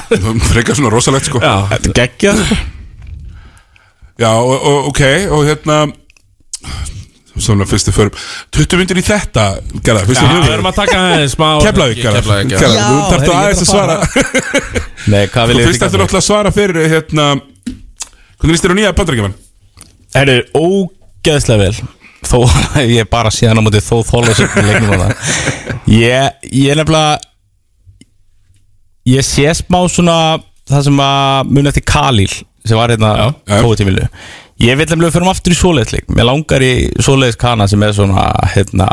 Speaker 1: Frekar svona rosalegt sko
Speaker 2: Já.
Speaker 3: Þetta er geggjað
Speaker 1: Já, og, og, ok, og hérna Svona fyrstu förum 20 myndir í þetta, gerða Fyrstu
Speaker 2: Já, við
Speaker 1: höfum
Speaker 2: erum að taka aðeins smá
Speaker 1: Keflavík, gerða
Speaker 2: Keflavík,
Speaker 1: Gerða,
Speaker 2: já.
Speaker 3: Já,
Speaker 1: Þú
Speaker 3: herri,
Speaker 1: þarftu
Speaker 3: ég ætla
Speaker 1: aðeins að
Speaker 3: að
Speaker 1: svara
Speaker 3: fara. Nei, hvað vil
Speaker 1: Þú
Speaker 3: ég
Speaker 1: fyrst eftir náttúrulega að svara fyrir hérna Hvernig líst þér á nýja bandarækjumann?
Speaker 3: Það er ógeðslega vel Þó ég er bara síðan á móti þó þóla sem leiknum á það Ég, ég er nefnilega Ég sé smá svona Það sem að muni eftir Kalil sem var hérna
Speaker 1: já.
Speaker 3: kóðutímilu Ég vil nefnilega fyrir aftur í svoleiðsleik Mér langar í svoleiðs kana sem er svona hérna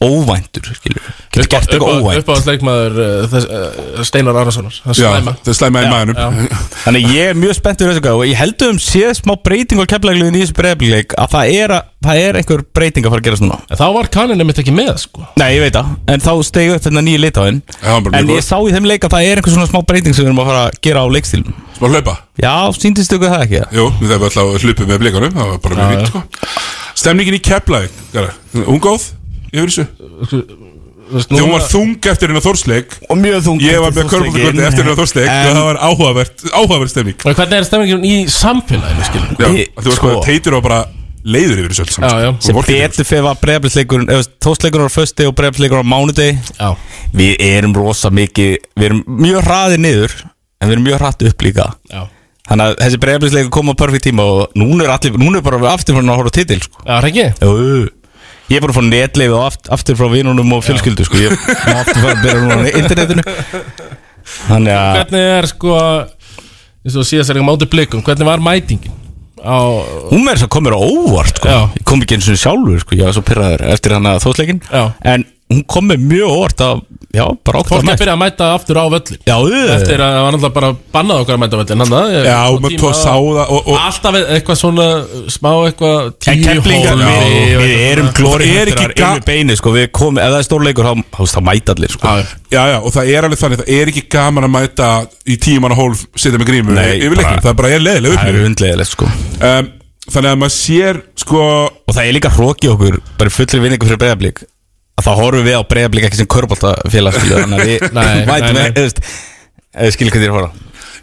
Speaker 3: óvæntur skilur Getur gert eitthvað óvænt
Speaker 2: Uppáðsleikmaður uh, Steinar Arasonar
Speaker 1: Já,
Speaker 2: Slæma
Speaker 1: það er slæma í maðurum
Speaker 3: Þannig að ég er mjög spenntur fyrir þessu gæðu og ég held um séð smá breyting á keflagliðin í þessu breyfleik að það er, að, það er einhver breyting að fara að gerast núna
Speaker 2: En Þá var kannin einmitt ekki með sko
Speaker 3: Nei, ég veit það, en þá stegu upp þetta nýja litáinn
Speaker 1: Já, hann bara mjög
Speaker 3: En
Speaker 1: góður.
Speaker 3: ég sá í þeim leik að það er einhver svona smá breyting sem við erum að fara að gera á leikstílum
Speaker 1: Smá hlaupa
Speaker 3: Já, síndist ykkur það ekki það?
Speaker 1: Jú, við þarfum alltaf að hlupa með blikunum Það var bara mjög fínt sko Stemningin í Keflavík, Garðar, hún góð yfir þessu Þegar hún var þung eftir hennar þórsleik
Speaker 3: Og mjög þungt
Speaker 1: Ég var með körbúndagöldi eftir hennar þórsleik og það var áhugavert, áhugavert stemning
Speaker 2: En hvernig er stemmingin í samfélaginu skilur
Speaker 1: Já,
Speaker 3: Ég-
Speaker 1: þú var sko
Speaker 3: sko.
Speaker 1: teitur og bara leiður yfir þessu öll saman,
Speaker 2: Já, já.
Speaker 1: sko.
Speaker 3: Sem
Speaker 1: Og vorkendur.
Speaker 3: betur fyrir var breyflisleikurinn Tóstleikurinn á fösti og breyflisleikurinn á mánudegi
Speaker 2: Já
Speaker 3: Við erum rosa mikið Við erum mjög hraðir niður En við erum mjög hratt upp líka
Speaker 2: Já
Speaker 3: Þannig að þessi breyflisleikur kom á perfekt tíma Og núna er, allir, núna er bara við aftur að horfa á titil sko.
Speaker 2: Já, Regi
Speaker 3: Jú. Ég er bara að fá netleif og aft, aftur frá vinunum og fjölskyldu sko. Ég má aftur fara að byrja núna á internetinu Þannig
Speaker 1: Ah.
Speaker 3: að
Speaker 2: Hvernig er sko eins og síðast er ekki mátu blikum Hvernig var mætingin á
Speaker 3: hún verður svo komur á óvart sko.
Speaker 2: Já.
Speaker 3: Ég kom ekki eins og sjálfur sko. Ég var svo pyrraður eftir hann að þóðsleikin
Speaker 2: Já.
Speaker 3: En hún kom með mjög óvart að, Já, bara okkur
Speaker 2: Fólk að byrja að mæta aftur á völlin
Speaker 3: Já, auðvitað.
Speaker 2: Eftir að það var náttúrulega bara bannað okkar að mæta á völlin hann að-
Speaker 1: Eh.
Speaker 2: eh,
Speaker 1: Já,
Speaker 2: á
Speaker 1: maður
Speaker 2: tíma-
Speaker 1: tóð sá það og, og,
Speaker 2: Alltaf eitthvað svona smá eitthvað
Speaker 3: En keflingar,
Speaker 2: hólfi
Speaker 3: við,
Speaker 2: og
Speaker 3: við
Speaker 2: eitthvað
Speaker 3: erum
Speaker 2: svona.
Speaker 3: glóri
Speaker 1: Það er ekki
Speaker 3: hundrar
Speaker 1: ga-
Speaker 3: yfir beinu sko. Við komum, ef það er stórleikur þá, þá, þá mæta allir sko.
Speaker 2: Já, já.
Speaker 1: Já, já, og það er alveg þannig, það er ekki gaman að mæta í tíman og hólf, setja með grímu
Speaker 3: Nei,
Speaker 1: yfir
Speaker 3: bara-
Speaker 1: leiknum, það bara er leiðilega
Speaker 3: Það er
Speaker 1: upplýð
Speaker 3: hundlegilegt sko.
Speaker 1: um, Þannig að maður sér, sko,
Speaker 3: Og það er líka hróki okkur Bara í fullri vinningu fyrir breyðablík Að þá horfum við á breyðablík ekki sem körbóltafélag Þannig að við
Speaker 2: Nei,
Speaker 3: mætum
Speaker 2: nei, nei.
Speaker 3: við Þú veist, eða skilur hvað þér horfa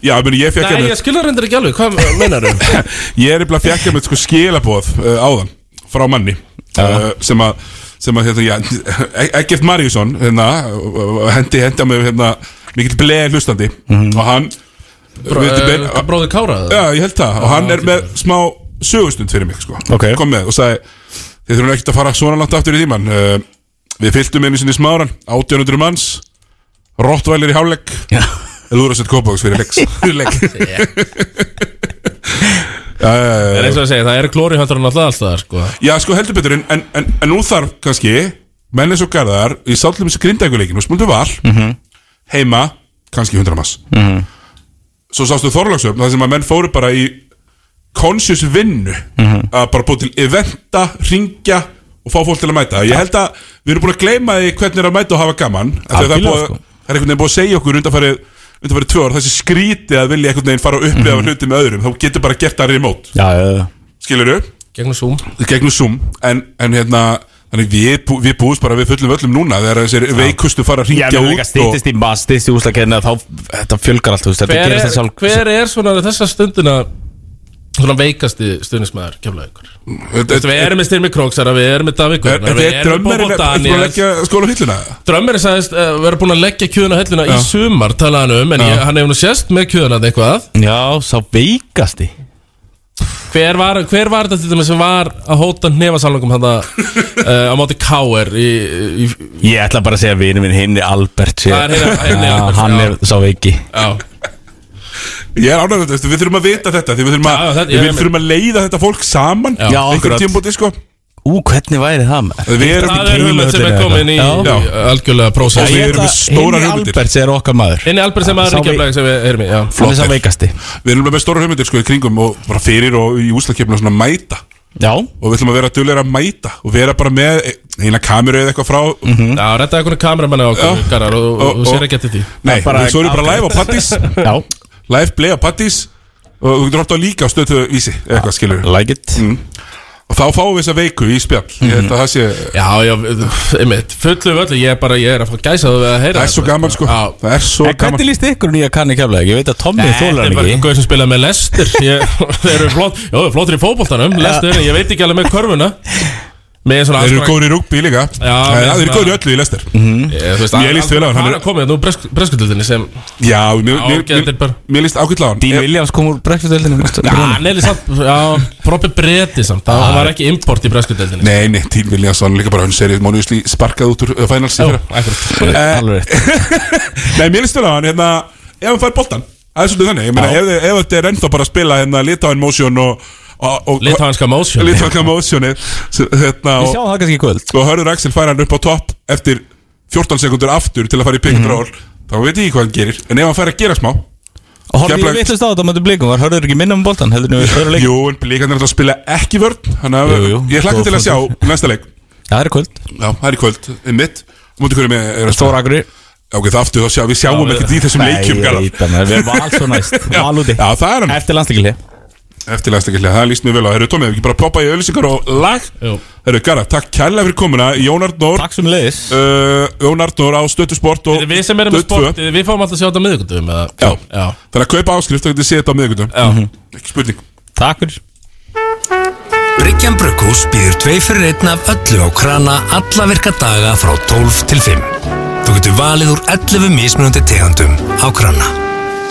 Speaker 1: já, ég meni, ég fekk hérna-
Speaker 2: Nei,
Speaker 1: einmitt-
Speaker 2: ég skilur reyndar ekki alveg, hvað meinar þau?
Speaker 1: Ég er eitthvað fjekkað með sko skilabóð uh, áðan frá manni uh, sem að sem að hérna, já, E- Eggert Maríusson hérna, uh, hendi hendi að mig hérna, mikill bleið hlustandi og hann við þetta bein-
Speaker 2: Bróður bróði Kára eða?
Speaker 1: Já, ég held það og hann er með smá sögustund fyrir mig sko.
Speaker 3: Ok.
Speaker 1: kom með og sagði þið þurfum ekkert að fara svona langt aftur í tíman uh, við fylgdum einu sinni smáran 1800 manns Rottvælir í hálfleik Lúður að setja kópáks fyrir leik sko. fyrir leik Já, já, já,
Speaker 2: Það
Speaker 1: já.
Speaker 2: er eins og að segja, það eru glóri höndur hann alltaf alltaf sko.
Speaker 1: Já, sko heldur betur en, en, en, en nú þarf kannski menn eins og garðar í sállum þessu grindækuleikin og smultu val
Speaker 2: Mhm.
Speaker 1: heima, kannski 100 mass
Speaker 3: Mhm.
Speaker 1: Svo sástu Þorlagsöfn þar sem að menn fóru bara í conscious vinnu að bara búið til eventa, ringja og fá fólk til að mæta Ég held að við erum búin að gleyma því hvernig er að mæta og hafa gaman Af því að það, er
Speaker 3: Algjörlega,
Speaker 1: búið,
Speaker 3: sko.
Speaker 1: það er einhvern veginn búið að segja okkur undanfarið undanfarið tvö ár þessi skríti að vilja einhvern veginn fara að upplifa
Speaker 3: Mhm.
Speaker 1: hluti með öðrum þá getur bara gert það remote
Speaker 3: Já, já, já
Speaker 1: skilur
Speaker 2: Gegnum Zoom
Speaker 1: gegnum Zoom en, en hérna þannig við, bú- við búist bara við fullum öllum núna þegar þessir veikustu fara að
Speaker 3: Já,
Speaker 1: ringja
Speaker 3: við
Speaker 1: út
Speaker 3: líka stýttist í maður, stýttist í úslakenni Þá, þetta fjölgar allt, þú veist, þetta
Speaker 2: hver
Speaker 3: gerist
Speaker 2: er,
Speaker 3: þess sjálf
Speaker 2: hver er svona þessa stundina svona veikasti stuðnismæður kemlaði ykkur?
Speaker 1: Þetta
Speaker 2: Við erum með Styrmi Króksara, við erum með Davík
Speaker 1: Er
Speaker 2: Guðnar, við
Speaker 1: þetta
Speaker 2: erum með
Speaker 1: drömmerinn
Speaker 2: Bobo
Speaker 1: að
Speaker 2: Daniels
Speaker 1: leggja skóla á hilluna?
Speaker 2: Drömmerinn sagðist, uh, við erum búin að leggja kjöðuna helluna í
Speaker 1: Já.
Speaker 2: sumar, talaði hann um en ég, hann hefur nú sést með kjöðuna eitthvað
Speaker 3: Já, sá veikasti
Speaker 2: Hver var, hver var þetta til dæmis sem var að hóta nefasalungum hann uh, á móti K.R. í, í,
Speaker 3: Ég ætla bara að segja
Speaker 2: hérna-
Speaker 3: vinu minn, hinn er Albert sé-
Speaker 2: Það er Hinni- Hinni
Speaker 3: Já,
Speaker 2: Albert,
Speaker 3: Hann
Speaker 2: já.
Speaker 3: er sá veiki
Speaker 2: Já,
Speaker 1: Ég er ánægður, veistu, við þurfum að vita þetta því Við þurfum að,
Speaker 2: Já, já, þetta- ég
Speaker 1: við
Speaker 2: er með.
Speaker 1: þurfum að leiða þetta fólk saman
Speaker 2: Já,
Speaker 1: Einhver
Speaker 3: akkurat.
Speaker 1: tímpúti, sko
Speaker 3: Ú, hvernig væri það með?
Speaker 1: Við erum
Speaker 2: Það er hugmynd sem er komin í
Speaker 3: Já.
Speaker 2: í algjörlega
Speaker 1: Og
Speaker 2: prósess
Speaker 1: við erum með stórar
Speaker 3: Hinn
Speaker 1: hugmyndir.
Speaker 3: Alberts er okkar maður
Speaker 2: Inni Albert sem að
Speaker 3: Sá við-
Speaker 2: Ríkjaflæg sem við erum í já.
Speaker 3: Hann er sá
Speaker 1: Flott er.
Speaker 3: veikasti
Speaker 1: Við erum með stóra hugmyndir sko í kringum og bara fyrir og í úslakefnum svona mæta
Speaker 3: Já
Speaker 1: og við ætlum að vera duglegar að mæta og vera bara með eina kameru eða eitthvað frá
Speaker 3: Mhm.
Speaker 2: Já, rettaði einhvern kameramenn á okkur
Speaker 1: Já.
Speaker 2: Garðar, og, og,
Speaker 1: Og-
Speaker 2: og sér
Speaker 1: og-
Speaker 2: ekki eftir því
Speaker 1: Nei,
Speaker 3: bara-
Speaker 1: við svo erum bara live á Pattis
Speaker 3: Já
Speaker 1: live play á Pattis og þú getur hótt á líka á stöðu vísi eða eitthvað skilur
Speaker 3: Like it
Speaker 1: og þá fáum við þessa veiku í spjall ég held að það sé
Speaker 2: Já, já, einmitt, fullu völlu Ég er bara, ég er að fá gæsa þú við að heyra
Speaker 1: það er svo
Speaker 2: þetta.
Speaker 1: gaman sko
Speaker 2: Já.
Speaker 1: það er svo
Speaker 3: En hvernig
Speaker 1: gaman
Speaker 3: líst ykkur nýja kanni keflaði? Ég veit að Tommy
Speaker 2: Þetta
Speaker 3: þólar
Speaker 2: er bara
Speaker 3: hann ekki
Speaker 2: einhver sem spilaði með lestir ég, Þeir eru flott, já, flottir í fótboltanum Lestir, ég veit ekki alveg með körfuna Með svona
Speaker 1: þeir eru
Speaker 2: alls konar-
Speaker 1: góður í rúgbi líka Nei,
Speaker 2: Já, mér
Speaker 1: þeir eru
Speaker 2: svona-
Speaker 1: góður í öllu í lester
Speaker 2: Ég þú veist,
Speaker 1: Ég líst vel á hann, hann
Speaker 2: Hann
Speaker 1: er-
Speaker 2: er komið, hérna nú breskutildinni sem
Speaker 1: já mér- mér-
Speaker 2: Ágætir bara.
Speaker 1: mér- mér líst ágætla á hann
Speaker 3: Dín
Speaker 1: Ég-
Speaker 3: Williams kom úr brekkfjöldöldinu
Speaker 2: Hann er líka samt, já, propi breti samt Það hann var ekki import í breskutildinni
Speaker 1: Nei, nei, Tín Viljansson líka bara hann serið Mónusli sparkað út úr uh, finals í
Speaker 2: Já,
Speaker 1: fyrra.
Speaker 2: akkurat
Speaker 3: Alveg rétt.
Speaker 1: Nei, mér líst vel á hann hérna, ef hann fær boltan Það er svolítið þannig, ég meina,
Speaker 3: Já.
Speaker 1: ef, ef þetta er ennþá bara að spila hérna Litáin Motion og, og, og
Speaker 2: Litvanska motion
Speaker 1: Litáin Motionið sem- hérna,
Speaker 3: Við
Speaker 1: og,
Speaker 3: sjáum það kannski í kvöld
Speaker 1: og hörður Axel fær hann upp á topp eftir 14 sekundur aftur til að fara í pick and
Speaker 3: Mhm.
Speaker 1: roll þá veit ég ekki hvað hann gerir, en ef hann fær að gera smá
Speaker 3: Og horfðu
Speaker 1: Keflavík-
Speaker 3: ég vittlust á þetta á mætu blikum Var hörður ekki minna um boltan? Heldur nú öðru leik
Speaker 1: Jú, en blíkandir er alltaf að spila ekki vörn þannig að
Speaker 3: Jú, jú.
Speaker 1: ég hlakka til að sjá næsta leik
Speaker 3: Það er í kvöld
Speaker 1: Já, það er í kvöld, einmitt Mútið hverju með er að
Speaker 3: Stóra agri
Speaker 1: Já, ok, það aftur, þá sjá, við sjáum
Speaker 2: Já,
Speaker 1: ekkert í þessum leikjum
Speaker 3: Nei, ég
Speaker 1: Garðar.
Speaker 3: veit það maður, Við erum alls svo næst
Speaker 1: Já,
Speaker 3: Alúti
Speaker 1: já, það er hann
Speaker 3: Eftir landsleikilið
Speaker 1: Eftirlæst ekki hljá, það líst mér vel á Herru Tómi, ef ekki bara poppa í öllisingar og lag
Speaker 2: Jú.
Speaker 1: Herru, Garra, takk kærlega fyrir komuna Jón Arnór
Speaker 3: Takk sem leiðis
Speaker 1: uh, Jón Arnór á Stöttu Sport og
Speaker 2: Við við sem erum með
Speaker 1: Stöð 2.
Speaker 2: sport, við fáum alltaf að sjá þetta á miðvikudöfum
Speaker 1: Já.
Speaker 2: já,
Speaker 1: Þannig að kaupa áskrift, það getið séð þetta á miðvikundum
Speaker 2: já
Speaker 1: Ekki spurning
Speaker 3: Takk fyrir
Speaker 4: Bryggjan Bruggús býður tvei fyrir einn af öllu á krana alla virka daga frá 12 til 5. Þú getur valið úr 11 mismunandi tegandum á krana.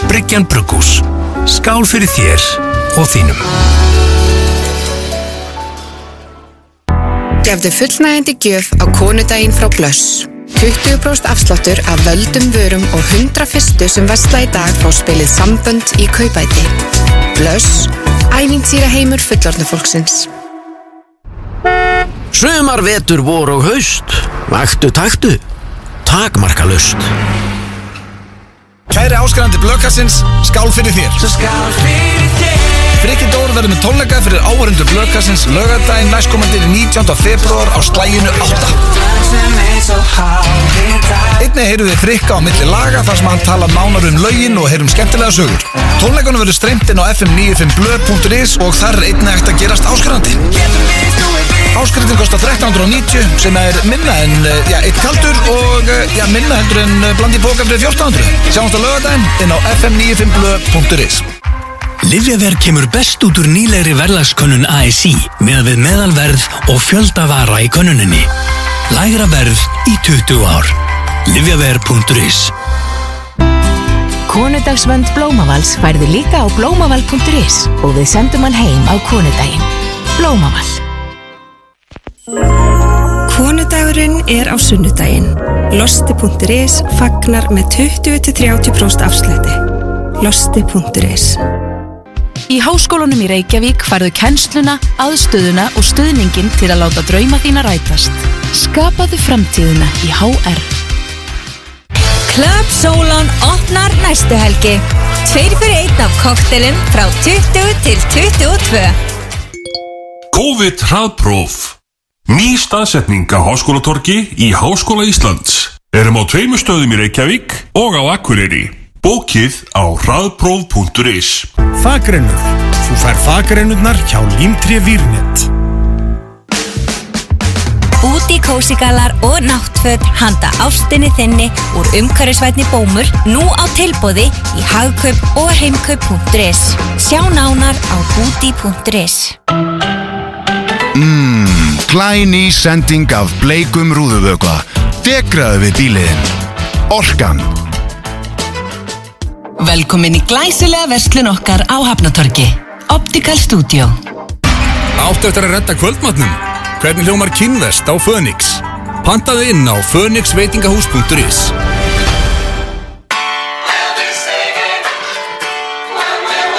Speaker 4: Bryggjan Bruggús. Skál fyrir þér og þínum.
Speaker 5: Gefðu fullnægandi gjöf á konudaginn frá Blöss. 20% afsláttur af völdum vörum og 100 fyrstu sem vestla í dag frá spilið sambönd í kaupæti. Blöss, ævintýra heimur fullorðnu fólksins.
Speaker 6: Sumar, vetur, vor og haust Vaktu taktu Takmarkalust
Speaker 7: Kæri áskrandi Blökkarsins, skál fyrir þér
Speaker 6: Skál fyrir þér
Speaker 7: Frikki Dór verður með tónleika fyrir áhörundur Blökkarsins lögadaginn næstkomandi 19. februar á slæginu 8
Speaker 6: Sem eins og hálfir dag
Speaker 7: Einnig heyrðu við Frikka á milli laga þar sem hann talar nánar um lögin og heyrum skemmtilega sögur Tónleikunum verður streymt inn á fm95blö.is og þar er einnig hægt að gerast áskrandi Áskriftin kostar 1390 sem er minna en, eh, já, eitt kaldur og eh, já, minna heldur en eh, bland í bóka fyrir 1400 Sjáumst á lögadaginn inn á fm95blö.is
Speaker 6: Livjaverð kemur best út úr nýlegri verðlagskönnun ASI meðan við meðalverð og fjöldavara í könnuninni Lægra verð í 20 ár Livjaverð.is
Speaker 8: Konudagsvönd Blómavals færðu líka á blómaval.is og við sendum hann heim á konudaginn. Blómaval.
Speaker 9: Konudagurinn er á sunnudaginn. Losti.is fagnar með 20-30% afslætti. Losti.is
Speaker 8: Í háskólanum í Reykjavík færðu kennsluna, aðstöðuna og stuðningin til að láta drauma þína rætast. Skapaðu framtíðina í HR.
Speaker 10: Club Solon opnar næstu helgi. Tveir fyrir einn af koktelum frá 20 til 22.
Speaker 11: COVID hraðpróf Ný staðsetning á Háskólatorgi í Háskóla Íslands Erum á tveimur stöðum í Reykjavík og á Akureyri Bókið á hraðpróf.is
Speaker 7: Þakrennur. Þú fær þakrennurnar hjá Límtré Vírnet.
Speaker 10: Úti kósigalar og náttföt handa ástinni þinni úr umhverfisvætni bómur nú á tilbóði í hagkaup og heimkaup.is. Sjá nánar á búti.is.
Speaker 12: Glæný sending Mm, af bleikum rúðuvökva. Degraðu við bíliðin. Orkan.
Speaker 8: Velkomin í glæsilega verslun okkar á Hafnatorgi. Optical Studio.
Speaker 7: Áttu eftir að redda kvöldmatnum? Hvernig hljómar kynvest á Fönix? Pantaðu inn á fönixveitingahús.is
Speaker 6: We'll be singing when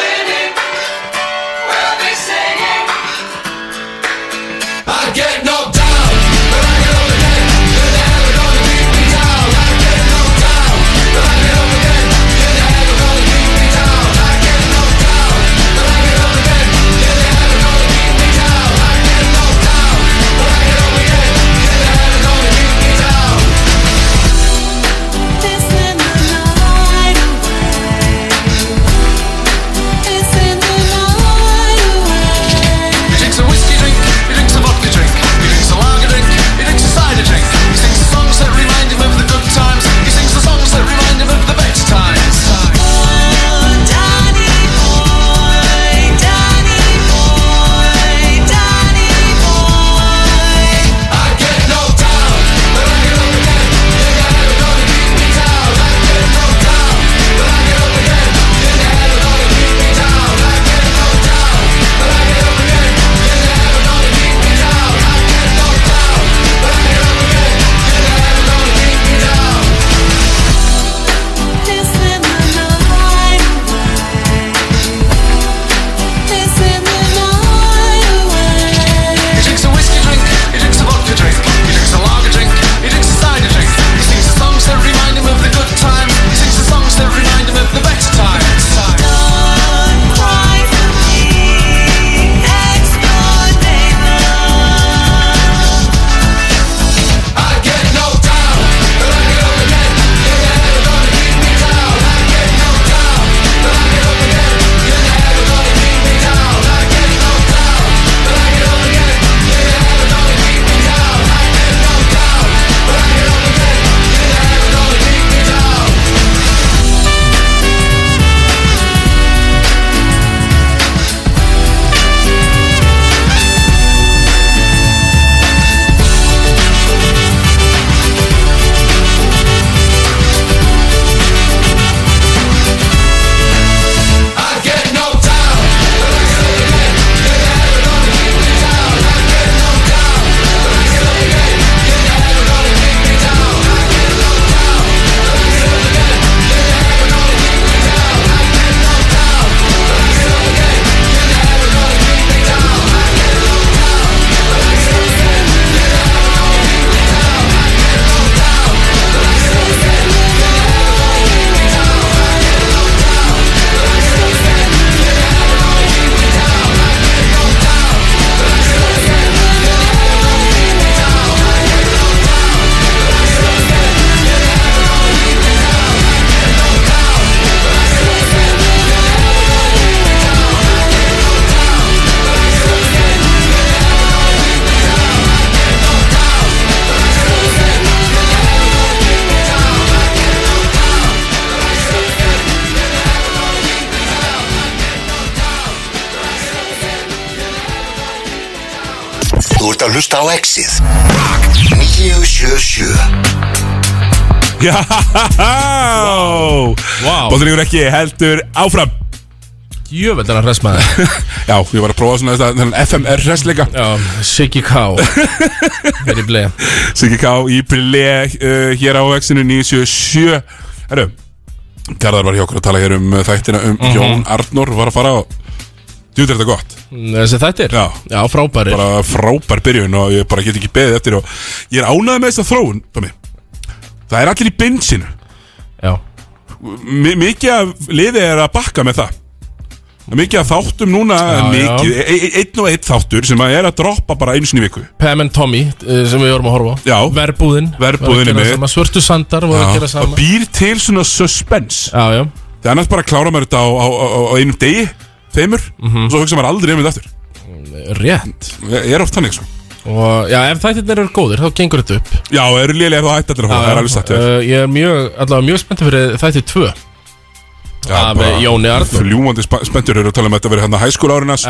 Speaker 13: ert að hlusta á Exið Rock 977
Speaker 1: Já wow. Bóttilegur ekki heldur áfram
Speaker 2: Jöfell er hann hressmaður
Speaker 1: Já, ég var að prófa svona þetta þennan FMR hressleika
Speaker 2: Já, Siggi K Er í bleið
Speaker 1: Siggi K í bleið uh, hér á vexinu 977 Herru, Garðar var hjá okkur að tala hér um uh, þættina um
Speaker 2: Mhm.
Speaker 1: Jón Arnór var að fara á Djúð er þetta gott
Speaker 2: Þessi þættir?
Speaker 1: Já,
Speaker 2: Já frábæri
Speaker 1: Bara frábær byrjun og ég bara get ekki beðið eftir og ég er ánægð með þess að þróun Tommy. Það er allir í binsinu
Speaker 2: Já
Speaker 1: Mi Mikið af liðið er að bakka með það Mikið af þáttum núna
Speaker 2: Já,
Speaker 1: mikið,
Speaker 2: já.
Speaker 1: e e- einn og einn þáttur sem að er að droppa bara einu sinni í viku
Speaker 2: Pam and Tommy eh, sem við vorum að horfa á
Speaker 1: Já
Speaker 2: Verbúðin
Speaker 1: Verbúðin er
Speaker 2: Voru að
Speaker 1: með.
Speaker 2: gera sama. Svörtu sandar voru að
Speaker 1: Já,
Speaker 2: gera
Speaker 1: Það
Speaker 2: sama
Speaker 1: býr til svona suspense
Speaker 2: Já, já
Speaker 1: Það er annars bara að klára maður þetta á, á, á, á einum degi Þeimur Og svo hugsa maður aldrei um þetta aftur
Speaker 2: Mhm. Rétt
Speaker 1: Ég er oft þannig sko
Speaker 2: Og já, ef þættirnir eru góðir þá gengur þetta upp
Speaker 1: Já, og eru lélega þá hætti allir að fá Það er alveg satt
Speaker 2: uh, Ég er mjög, allavega mjög spennt fyrir þætti 2
Speaker 1: Já,
Speaker 2: Af Jóni Arnór
Speaker 1: Fljúmandi sp spenntur eru að tala um að þetta verið hann að hæskóla árinas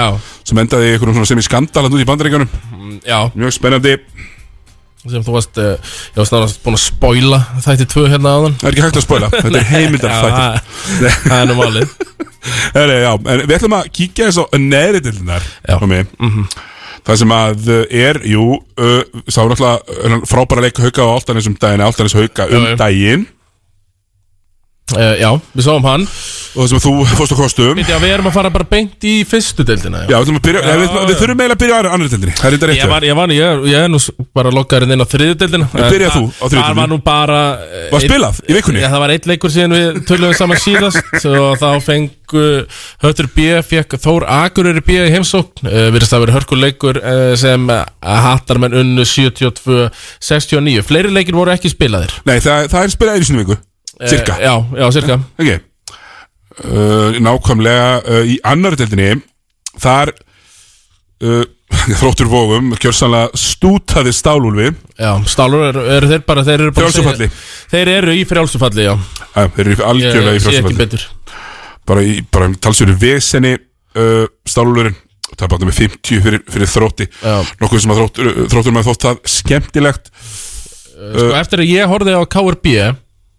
Speaker 1: Sem endaði í einhverjum svona sem í skandal hann út í bandaríkjunum
Speaker 2: Mm, Já
Speaker 1: Mjög spennandi
Speaker 2: sem þú varst, uh, ég varst náttúrulega búin að spoila þætti 2 hérna áðan
Speaker 1: Það er ekki hægt að spoila, þetta er heimildar
Speaker 2: Já, það- Það er nú málið
Speaker 1: Heri, já, en Við ætlum að kíkja eins og neðri dildinar mm
Speaker 2: Mhm.
Speaker 1: -hmm. Það sem að uh, er, jú, uh, sá náttúrulega uh, frábæra leik hauka á Altanis um daginn Altanis hauka um
Speaker 2: Já, já.
Speaker 1: daginn
Speaker 2: uh, Já, við sáum hann
Speaker 1: Og það sem þú fórst á kostum
Speaker 2: Veit ég að við erum að fara bara beint í fyrstu deildina
Speaker 1: Já, við ætlum að byrja, já, við, við þurfum eiginlega að byrja á annarri- annarri dildinni Það er þetta rétt
Speaker 2: Ég
Speaker 1: hjá
Speaker 2: var, ég var, ég er, ég er nú s- bara lokkarinn inn á þriðudeldina
Speaker 1: En byrjaði þú á þriðju
Speaker 2: Það
Speaker 1: deildinni?
Speaker 2: var nú bara eh,
Speaker 1: Var spilað í vikunni?
Speaker 2: Já, það var eitt leikur síðan við töluðum saman síðast og þá fengu Höttur B, fekk Þór Akureyri B í heimsókn uh, Virðist það verið hörkuleikur uh, sem uh, hattar menn unnu 72-69 Fleiri leikir voru ekki spilaðir
Speaker 1: Nei, það, það er spilað einu sinni í viku Cirka
Speaker 2: Eh, Já, já, cirka
Speaker 1: Ok uh, Nákvæmlega uh, í annari deildinni Þar uh, Þróttur vógum Kjörsanlega stútaði stálúlfi
Speaker 2: Já, stálur eru, eru þeir bara Þeir eru bara
Speaker 1: Frjálsufalli.
Speaker 2: Þeir eru í frjálsufalli, já
Speaker 1: Æ, Eh, Þeir eru í- algjörlega
Speaker 2: Ég
Speaker 1: í
Speaker 2: sé ekki
Speaker 1: frjálsum
Speaker 2: betur.
Speaker 1: Bara í bara talsjöru vesenni uh, Stálúlurinn Það bátum með 50 fyrir, fyrir þrótti Já. Nokkuð sem að þróttur, þróttur með þótt það skemmtilegt
Speaker 2: Sko, eftir að ég horfði á KRB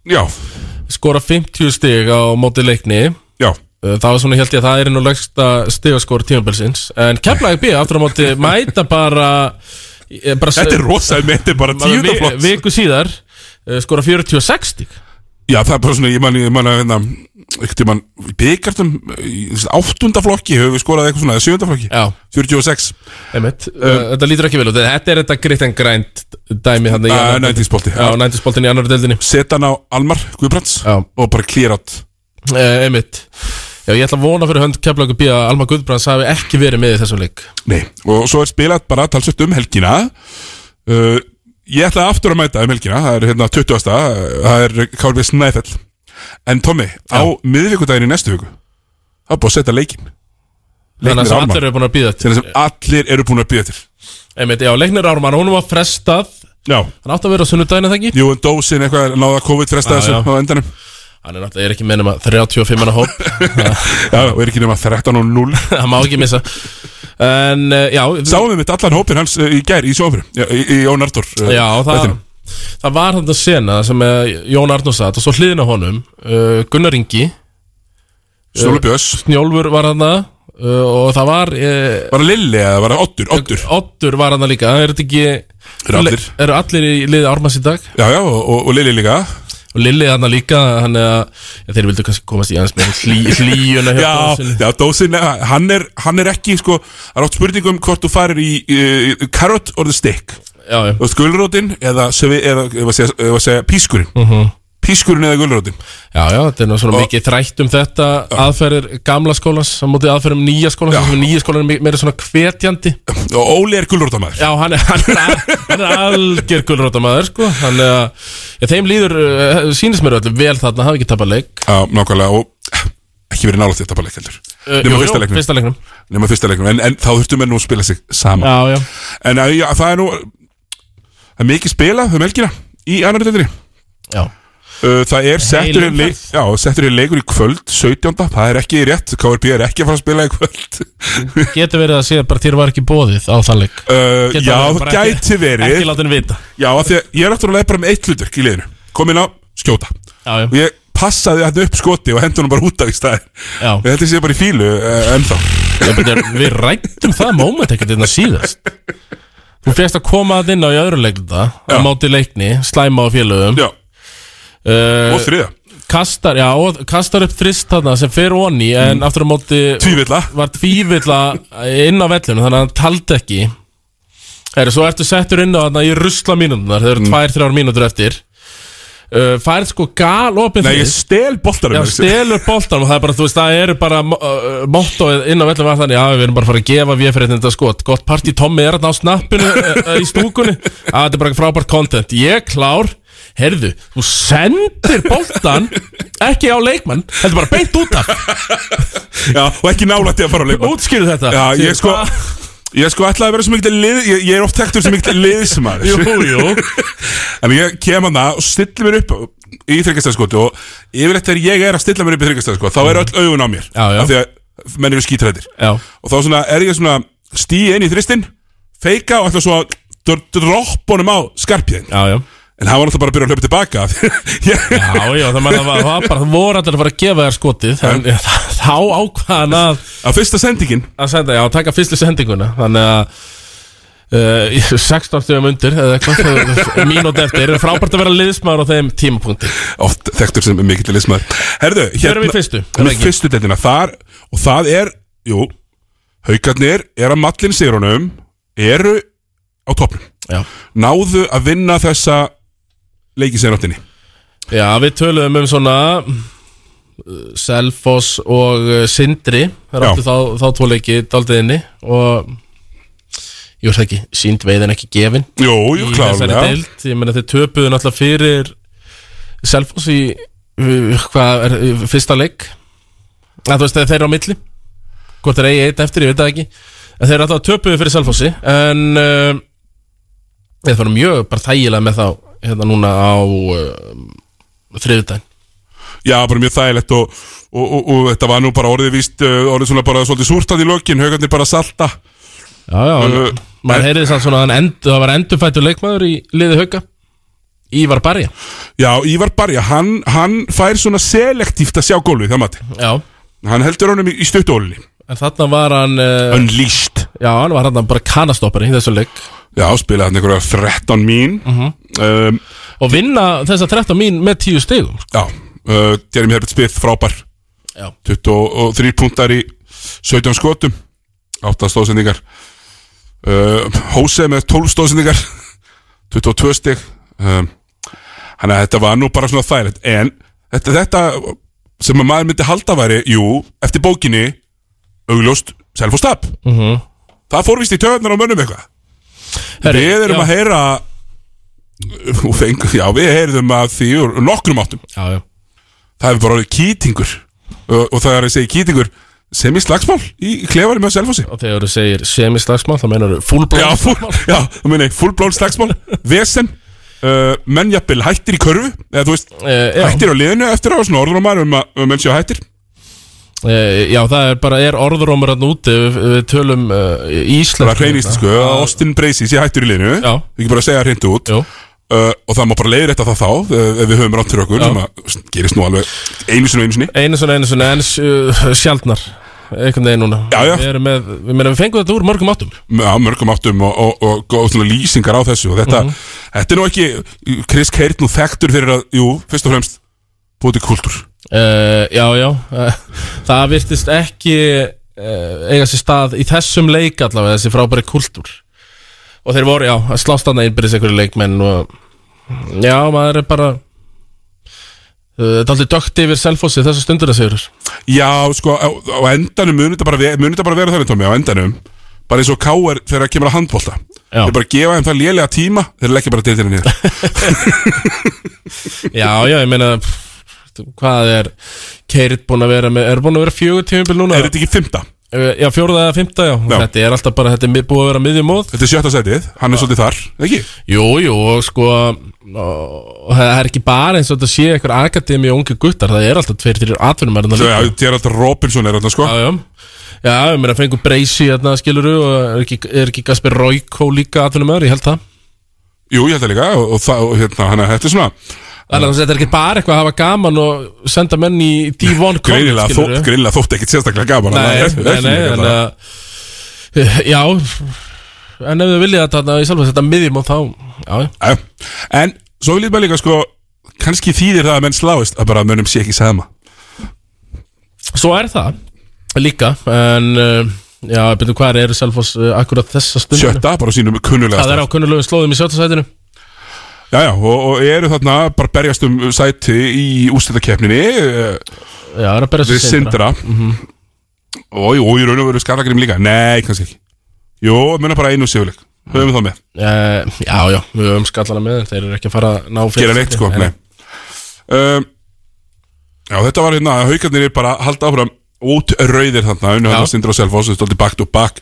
Speaker 1: Uh, Já
Speaker 2: Skora 50 stig á móti leikni Uh,
Speaker 1: Já
Speaker 2: Það var svona, held ég að það er nú legsta stigaskor tímabilsins En Keflæk B, aftur á móti, mæta bara, eh, bara
Speaker 1: Þetta er rosa, þetta er bara tíunda
Speaker 2: vi-
Speaker 1: flott.
Speaker 2: Viku síðar, eh, skora 46 stig
Speaker 1: Já, það er bara svona, ég man, ég man að hérna, einhvern tímann í byggartum, í þessi áttunda flokki höfum við skorað eitthvað svona, eða sjöunda flokki,
Speaker 2: Já
Speaker 1: 46.
Speaker 2: Einmitt,
Speaker 1: Um,
Speaker 2: uh, þetta lítur ekki vel út Þetta er þetta gritt en grænt dæmi hann
Speaker 1: Uh, 90s bolti.
Speaker 2: Já, 90s boltin í annar deildinni
Speaker 1: Setan á Almar Guðbrands
Speaker 2: Já.
Speaker 1: og bara klírat
Speaker 2: uh, Einmitt Já, ég ætla að vona fyrir hönd Keflæk B að Alma Guðbrands hafi ekki verið með í þessum leik
Speaker 1: Nei, og svo er spilað bara talsvöld um helgina. Uh, ég ætla aftur að mæta um helgina, það er hérna 20. það er Kálfið Snæfell. En Tommy, á miðvikudaginn í næstu viku, það er búið að setja leikinn.
Speaker 2: Þannig að
Speaker 1: Leiknir
Speaker 2: sem
Speaker 1: Almar.
Speaker 2: allir eru búin að býða til
Speaker 1: Þannig sem allir eru búin að býða til.
Speaker 2: Einmitt, já, leiknir Ármann, hún var frestað
Speaker 1: Já
Speaker 2: Hann átti að vera á sunnudaginu þegar ekki?
Speaker 1: Jú, en dósin eitthvað náða COVID fresta
Speaker 2: Já,
Speaker 1: þessu
Speaker 2: já.
Speaker 1: á endanum
Speaker 2: Hann er náttúrulega er ekki með nema 35 manna hóp
Speaker 1: Já, og er ekki nema 13 og 0
Speaker 2: Það má ekki missa En, eh, já
Speaker 1: Sáum við mitt allan hópin hans eh, í gær í sjófri Í, í Jón eh, Artur
Speaker 2: Já, það, það var þetta sena sem eh, Jón Arnór satt og svo hliðin á honum uh, Gunnar Ingi Eh,
Speaker 1: Snjólu Björns
Speaker 2: Snjólfur var hann uh, og það var uh,
Speaker 1: Var það Lilli eða var það Oddur? Oddur,
Speaker 2: Oddur var hann líka, er þetta ekki
Speaker 1: Eru allir.
Speaker 2: Le- Eru allir í liði Ármanns í dag
Speaker 1: Já, já, og, og Lilli líka
Speaker 2: Og Lilli hann líka, hann er að ja, Þeir vildu kannski komast í hans með hlý, hlýjuna hjá
Speaker 1: Já,
Speaker 2: Dósinni.
Speaker 1: já dósin, eh, hann er, hann er ekki sko, Það er átt spurningum hvort þú farir í, í, í Carrot or the stick
Speaker 2: Já, já
Speaker 1: Þú veist, gulrótin eða, svi- eða, eða, eða, eða segja pískurinn
Speaker 2: Mhm.
Speaker 1: Pískurinn eða gulrótin
Speaker 2: Já, já, þetta er nú svona mikið þrætt um þetta aðferðir gamla skólans á móti aðferðum nýja skólans þar sem nýja skólan er mi- meira svona hvetjandi
Speaker 1: Og Óli er gulrótamæður
Speaker 2: Já, hann er, hann er, al- hann er algjör gulrótamæður sko. hann er að já, þeim líður, uh, sýnist mér öllum vel þarna hafi ekki tapað leik
Speaker 1: Já, nákvæmlega og eh, ekki verið nálægt þetta bara leik heldur
Speaker 2: Eh,
Speaker 1: Nema
Speaker 2: jú, jú,
Speaker 1: fyrsta leiknum.
Speaker 2: fyrsta leiknum.
Speaker 1: Nema fyrsta leiknum, en, en þá þurftum við nú að spila sig saman
Speaker 2: Já, já
Speaker 1: En að, já, það er nú það er mikið spila um helgina í annar deildinni
Speaker 2: Já
Speaker 1: Uh, Það er settur í,
Speaker 2: Heil
Speaker 1: leik, já, settur í leikur í kvöld 17. Það er ekki rétt, KRB er ekki að fara að spila í kvöld
Speaker 2: Mm. Getur verið að sé að bara þér var ekki bóðið á það leik
Speaker 1: uh,
Speaker 2: Getur
Speaker 1: Já,
Speaker 2: verið
Speaker 1: það
Speaker 2: bara
Speaker 1: gæti
Speaker 2: ekki-
Speaker 1: verið
Speaker 2: ekki láta hann vita.
Speaker 1: Já, af því að ég er náttúrulega bara með eitt hlutverk í liðinu Kom inn á, skjóta
Speaker 2: já, já.
Speaker 1: Og ég passaði hann upp skoti og hendur hann bara út af í staði
Speaker 2: Já.
Speaker 1: Ég held ég sé bara í fílu uh, ennþá
Speaker 2: Já, betur, Við rættum það moment ekkert innan síðast Þú fegst að koma að inn á í öðru leikluta á
Speaker 1: Já.
Speaker 2: móti leikni, slæma á félögum
Speaker 1: Já
Speaker 2: uh,
Speaker 1: Og þriða
Speaker 2: Kastar, já, og kastar upp þrist þarna sem fer onni en aftur á móti
Speaker 1: Mm. Tvívilla
Speaker 2: Var tvívilla inn á vellunum þannig að hann taldi ekki Heri, Svo ertu settur inn á þarna í rusla mínútunar
Speaker 1: Mm.
Speaker 2: þeir eru tvær, þrjár mínútur eftir uh, Færð sko gal opið
Speaker 1: Nei, ég stel boltarum
Speaker 2: Já, stelur boltanum og það er bara, þú veist, það eru bara uh, mottóið inn á vellum var þannig, já, við erum bara að fara að gefa VF-réttin þetta skot, gott partí Tommi er þarna á snappinu uh, uh, í stúkunni að þetta er bara frábært content, ég klár heyrðu, þú sendir boltan ekki á leikmann heldur bara beint út af
Speaker 1: Já, og ekki nálætti að fara á leikmann
Speaker 2: Útskýrðu þetta
Speaker 1: Já, ég sko Ég sko ætlaði að vera sem mikil lið Ég, ég er oft þekktur sem mikil liðsmaður
Speaker 2: Jú, jú.
Speaker 1: En ég kem hann það og stilli mér upp í þryggastæðskoti Og yfirleitt þegar ég er að stilla mér upp í þryggastæðskoti Þá er öll augun á mér
Speaker 2: Já, já.
Speaker 1: Af Því að menn eru skítrættir
Speaker 2: Já,
Speaker 1: Og þá svona er ég svona stí inn í þristin Feika og ætla svo að dr- droppa honum á skarpiðin
Speaker 2: já, já
Speaker 1: En hann var náttúrulega bara að byrja að hlaupa tilbaka af því- Ég-
Speaker 2: Já, já, það maður- það var, það var bara, það voru allir að fara að gefa þér skotið en eh, þá ákvaðan að
Speaker 1: Á fyrsta sendingin
Speaker 2: að senda, já, taka fyrstu sendinguna þannig að Uh, 16 stöðum undir eða eitthvað mínúti eftir, frábært að vera liðsmaður á þeim tímapunkti
Speaker 1: oft þekktur sem mikill lismar Herðu,
Speaker 2: erum í fyrstu, er
Speaker 1: Við erum
Speaker 2: það
Speaker 1: í
Speaker 2: ekki?
Speaker 1: fyrstu deildina Þar, og það er, jú Haukarnir er að mallin sigrunum Eru á topnum
Speaker 2: Já.
Speaker 1: Náðu að vinna þessa Leiki sér áttinni
Speaker 2: Já, við töluðum um svona uh, Selfoss og uh, Sindri
Speaker 1: Já.
Speaker 2: þar áttu þá, þá tóleiki daldiðinni og jú, er það ekki, sínd veiðin ekki gefin
Speaker 1: Jú, jú,
Speaker 2: í þessari
Speaker 1: klárlega
Speaker 2: deild ég meina þeir töpuðu náttúrulega fyrir Selfoss í uh, hvað er í fyrsta leik að þú veist þeir eru á milli hvort þeir eigi eitt eftir, ég veit það ekki en þeir eru alltaf töpuðu fyrir Selfossi en uh, þeir fara mjög bara þægilega með þá hérna núna á uh, þriðudaginn
Speaker 1: Já, bara mjög þægilegt og, og, og, og þetta var nú bara orðið víst uh, Orðið svona bara svolítið súrtað í lökin Haukarnir bara salta
Speaker 2: já, já,
Speaker 1: Uh,
Speaker 2: maður
Speaker 1: en-
Speaker 2: heyrði þess að svona að hann end, það var endurfættur leikmaður í liði hauka Ívar Barja
Speaker 1: Já, Ívar Barja, hann, hann fær svona selektíft að sjá gólfið, það mati
Speaker 2: já,
Speaker 1: Hann heldur honum í, í stuttólinni
Speaker 2: en þarna var hann uh,
Speaker 1: Unleashed
Speaker 2: já, hann var hann bara kanastoppari í þessu leik Mhm.
Speaker 1: Já, spilaði hann einhverja 13 mín um,
Speaker 2: og vinna þessa 13 mín með 10 stigum sko.
Speaker 1: Já, uh, Jeremy Herbert Smith frábær
Speaker 2: Já.
Speaker 1: 23 púntar í 17 skotum 8 stóðsendingar uh, Hose með 12 stóðsendingar 22 stig um, Þannig að þetta var nú bara svona þægilegt En þetta, þetta sem að maður myndi halda væri Jú, eftir bókinni augljóst self og stab -hmm. Það fór víst í töðunar á mönnum eitthvað
Speaker 2: Herri,
Speaker 1: Við erum
Speaker 2: já.
Speaker 1: að heyra og feng, Já, við heyrðum að því úr nokkrum áttum
Speaker 2: já, já.
Speaker 1: Það hefur bara orðið kýtingur og, og það er að segja kýtingur sem í slagsmál í klefari með selfósi
Speaker 2: og þegar þú segir semislagsmál þá meinar þú
Speaker 1: Já,
Speaker 2: fullblóð
Speaker 1: full, já, þú meina, fullblón slagsmál Vesen, uh, mennjapil hættir í körfu eða þú veist,
Speaker 2: Eh, já.
Speaker 1: hættir á liðinu eftir að svona orður á maður um að um menn séu hættir
Speaker 2: Eh, já, það er bara er orðrómur hann úti við, við tölum uh,
Speaker 1: Það
Speaker 2: íslensku
Speaker 1: er reynist, sko, að Austin Bracey sé hættur í liðinu
Speaker 2: Já.
Speaker 1: Við ekki bara að segja hreint út
Speaker 2: Jú.
Speaker 1: Uh, og það má bara leiðir þetta þá þá uh, ef við höfum rátt fyrir okkur
Speaker 2: Já.
Speaker 1: sem að gerist nú alveg einu sinni og einu sinni
Speaker 2: einu svona, einu svona, en uh, sjaldnar einhvern veginn núna
Speaker 1: Já, já.
Speaker 2: Við, erum með, við, meina, við fengum þetta úr mörgum áttum
Speaker 1: Já, mörgum áttum og, og, og, og, svona lýsingar á þessu og þetta,
Speaker 2: Mhm.
Speaker 1: þetta er nú ekki Chris Keirt nú þekktur fyrir að, jú, fyrst og fremst búið til kultúr
Speaker 2: uh, Já, já, uh, það virtist ekki uh, eiga sér stað í þessum leik allavega þessi frábæri kultúr og þeir voru, já, að slást annað innbyrðis einhverju leikmenn og já, maður er bara uh, þetta er aldrei dögt yfir selfossi þessu stunduna sigur
Speaker 1: Já, sko, á, á endanum muni þetta bara, ve- mun þetta bara vera þannig, Tómi, á endanum bara eins og K.R. þegar það kemur að handbólta
Speaker 2: Já.
Speaker 1: þeir bara gefa þeim það lélega tíma þeir leggja bara deildina niður
Speaker 2: Já, já, ég meina pff, hvað er Keirit búin að vera með, er búin að vera fjögur tímabil núna
Speaker 1: Er þetta ekki fymta?
Speaker 2: Uh, Já, fjórða eða fymta, já. Þetta er alltaf bara, þetta er mið- búið að vera miðjumóð
Speaker 1: Þetta er sjötta setið, hann er svolítið þar, ekki?
Speaker 2: Jú, jú, og sko og það er ekki bara eins og þetta sé eitthvað akademi og ungi guttar, það er alltaf tveir til atvinnum er
Speaker 1: Svo, já, Gerald Robinson er þarna sko
Speaker 2: Já, já, já, ég meina fengur Breysi hérna skiluru og er ekki, er ekki Gasper Royko líka atvinnum ég held það
Speaker 1: Jú, ég held það líka og, og, það- og hérna, hann er þetta er svona
Speaker 2: Þannig að þetta er ekki bara eitthvað að hafa gaman og senda menn í D1
Speaker 1: Greinilega þótt, greinilega þótt ekkit sérstaklega gaman
Speaker 2: Nei,
Speaker 1: hann
Speaker 2: nei,
Speaker 1: er-
Speaker 2: nei,
Speaker 1: er-
Speaker 2: en eh, uh, Já En ef þið viljið að þarna í sjálf þetta miðjum og þá Já,
Speaker 1: já En svo vil ég bara líka sko kannski þýðir það að menn sláist að bara mönnum sé ekki sama
Speaker 2: Svo er það líka En uh, já, betur hvað er Selfoss uh, akkurat þessa stund
Speaker 1: Sjötta, bara á sínum kunnulega
Speaker 2: Það er á kunnulegum slóðum í sjötta sætinu
Speaker 1: Já, já, og, og eru þarna bara berjast um sæti í ústættakefninni
Speaker 2: Já, er að berjast um
Speaker 1: við Sindra
Speaker 2: Sindra.
Speaker 1: Og jú, og í raun og veru skarðagrým líka Nei, kannski ekki Jú, menna bara einu sigurleik Höfum það með
Speaker 2: uh, Já, já, við höfum skallana með en Þeir eru ekki að fara að ná
Speaker 1: Gera neitt, sko, nei. um, Já, þetta var hérna Haukarnir er bara að halda áfram út rauðir þarna Unni hann að Sindra og Selfoss Þetta er alltaf back to back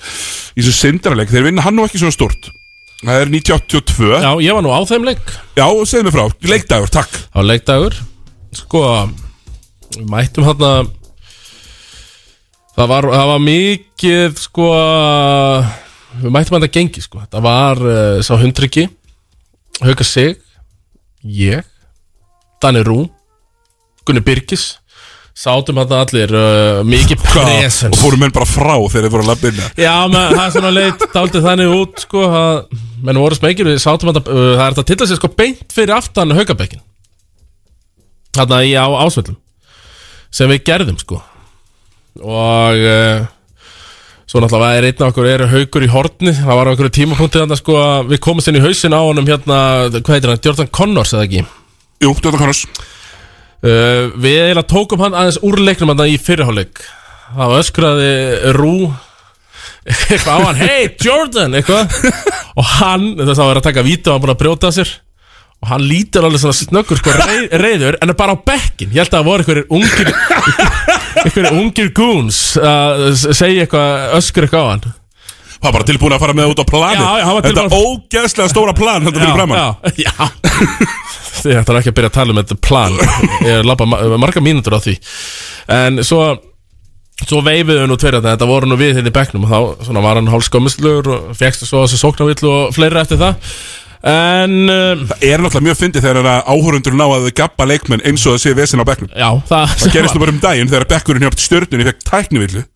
Speaker 1: Í þessu Sindraleik Þeir vinna hann nú ekki svona stort Það er 1982
Speaker 2: Já, ég var nú á þeim leik
Speaker 1: Já, segðu mig frá Leikdagur, takk
Speaker 2: á leikdagur sko við mættum hérna það var, það var mikið sko við mættum hérna gengi sko það var uh, sá hundryggi Hauka Sig ég Danni Rú Gunni Birgis sátum hérna allir uh, mikið presens
Speaker 1: Og fórum menn bara frá þegar þeir voru að labba inn
Speaker 2: Já, menn, það er svona leitt daldið þannig út sko, að, menn voru smekir við sátum að það er þetta að tilla sér sko beint fyrir aftan haugabekkin þarna í á ásvöllum sem við gerðum sko og uh, svo náttúrulega er einn af okkur er haugur í horni, það var á okkur tímapunktið þarna sko að við komumst inn í hausin á honum hérna, hvað heitir hann, Jordan Connors eða ekki
Speaker 1: Jú, Jordan Connors
Speaker 2: Uh, við eiginlega tókum hann aðeins úr leiknum hann í fyrirháleik Það öskraði Rú Eitthvað á hann, hey Jordan Eitthvað Og hann, þess að hann var að taka víta og hann búin að brjóta af sér Og hann lítur alveg svona snöggur sko rey, reyður En er bara á bekkin Ég held að það voru einhverjir ungir Einhverjir ungir goons Að s- segja eitthvað, öskur eitthvað á hann
Speaker 1: Hann var bara tilbúin að fara með út á planið
Speaker 2: Já, já, hann var
Speaker 1: Þetta
Speaker 2: tilbúinn að-
Speaker 1: ógeðslega stóra plan Þetta
Speaker 2: Já,
Speaker 1: fyrir framann
Speaker 2: já, já. Þið ætlar ekki að byrja að tala um þetta plan Ég er labba ma- marga mínútur á því En svo Svo veifuðu nú tveir þetta, þetta voru nú við hérna í bekknum og þá svona var hann hálskömmuslur og fegstu svo þessu sóknarvillu og fleira eftir það En um,
Speaker 1: Það er náttúrulega mjög fyndið þegar áhórundur ná að gabba leikmenn eins og það sé vesinn á bekknum
Speaker 2: Já, það
Speaker 1: Það gerist nú bara um daginn þegar bekkurinn hjá stjörnunni fekk tæknivillu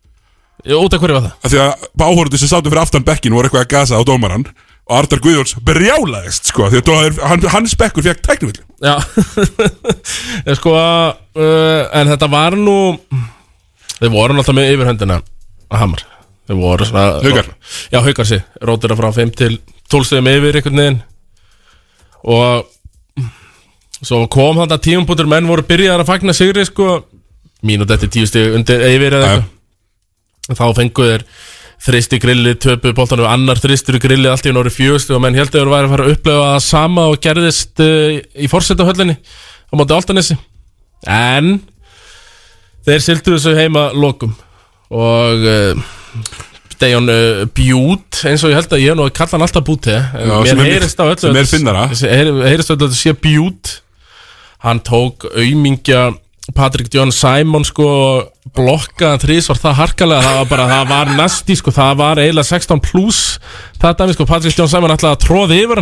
Speaker 2: Jú, út af hverju var það?
Speaker 1: Af því að áhórundur sem sátu fyrir aftan bekkin voru eitthvað að gasa á dómaran og Arnar Guðjóns brjálaðist sko því að það er- hann, hans bekkur fekk tæknivillu
Speaker 2: Já Ég sko uh, En þetta var nú Þeir voru náttúrulega með yfirhöndina að Hamar Þeir voru svona
Speaker 1: Haukar.
Speaker 2: Já, haukar sig Rótur frá 5 til 12 stegum yfir einhvern veginn Og Svo kom þannig að tíumbútur menn voru byrjaðar að fagna sigri sko Mínútt eftir tíu stig undir yfir eða eitthvað Þá fengu þeir þristi grilli, töpu bóltanum, annar þristur í grilli, allt í hún árið fjögustu og menn held að þeir væri að fara að upplefa það sama og gerðist uh, í forsetahöllinni á móti Altanesi En þeir sildu þessu heima lokum og uh, Dejan uh, Bjút eins og ég held að ég hef nú að kalla hann alltaf Bjúti
Speaker 1: Já, sem
Speaker 2: Mér
Speaker 1: er-
Speaker 2: heyrist á öllu
Speaker 1: sem er finnara.
Speaker 2: Þessi- heyri- heyrist á öllu að þetta sé Bjút hann tók aumingja Patrick John Simon sko blokkaðan þrís var það harkalega það var bara, það var næsti sko það var eiginlega 16 plus það dæmi sko Patrick John Simon ætlaði að tróði yfir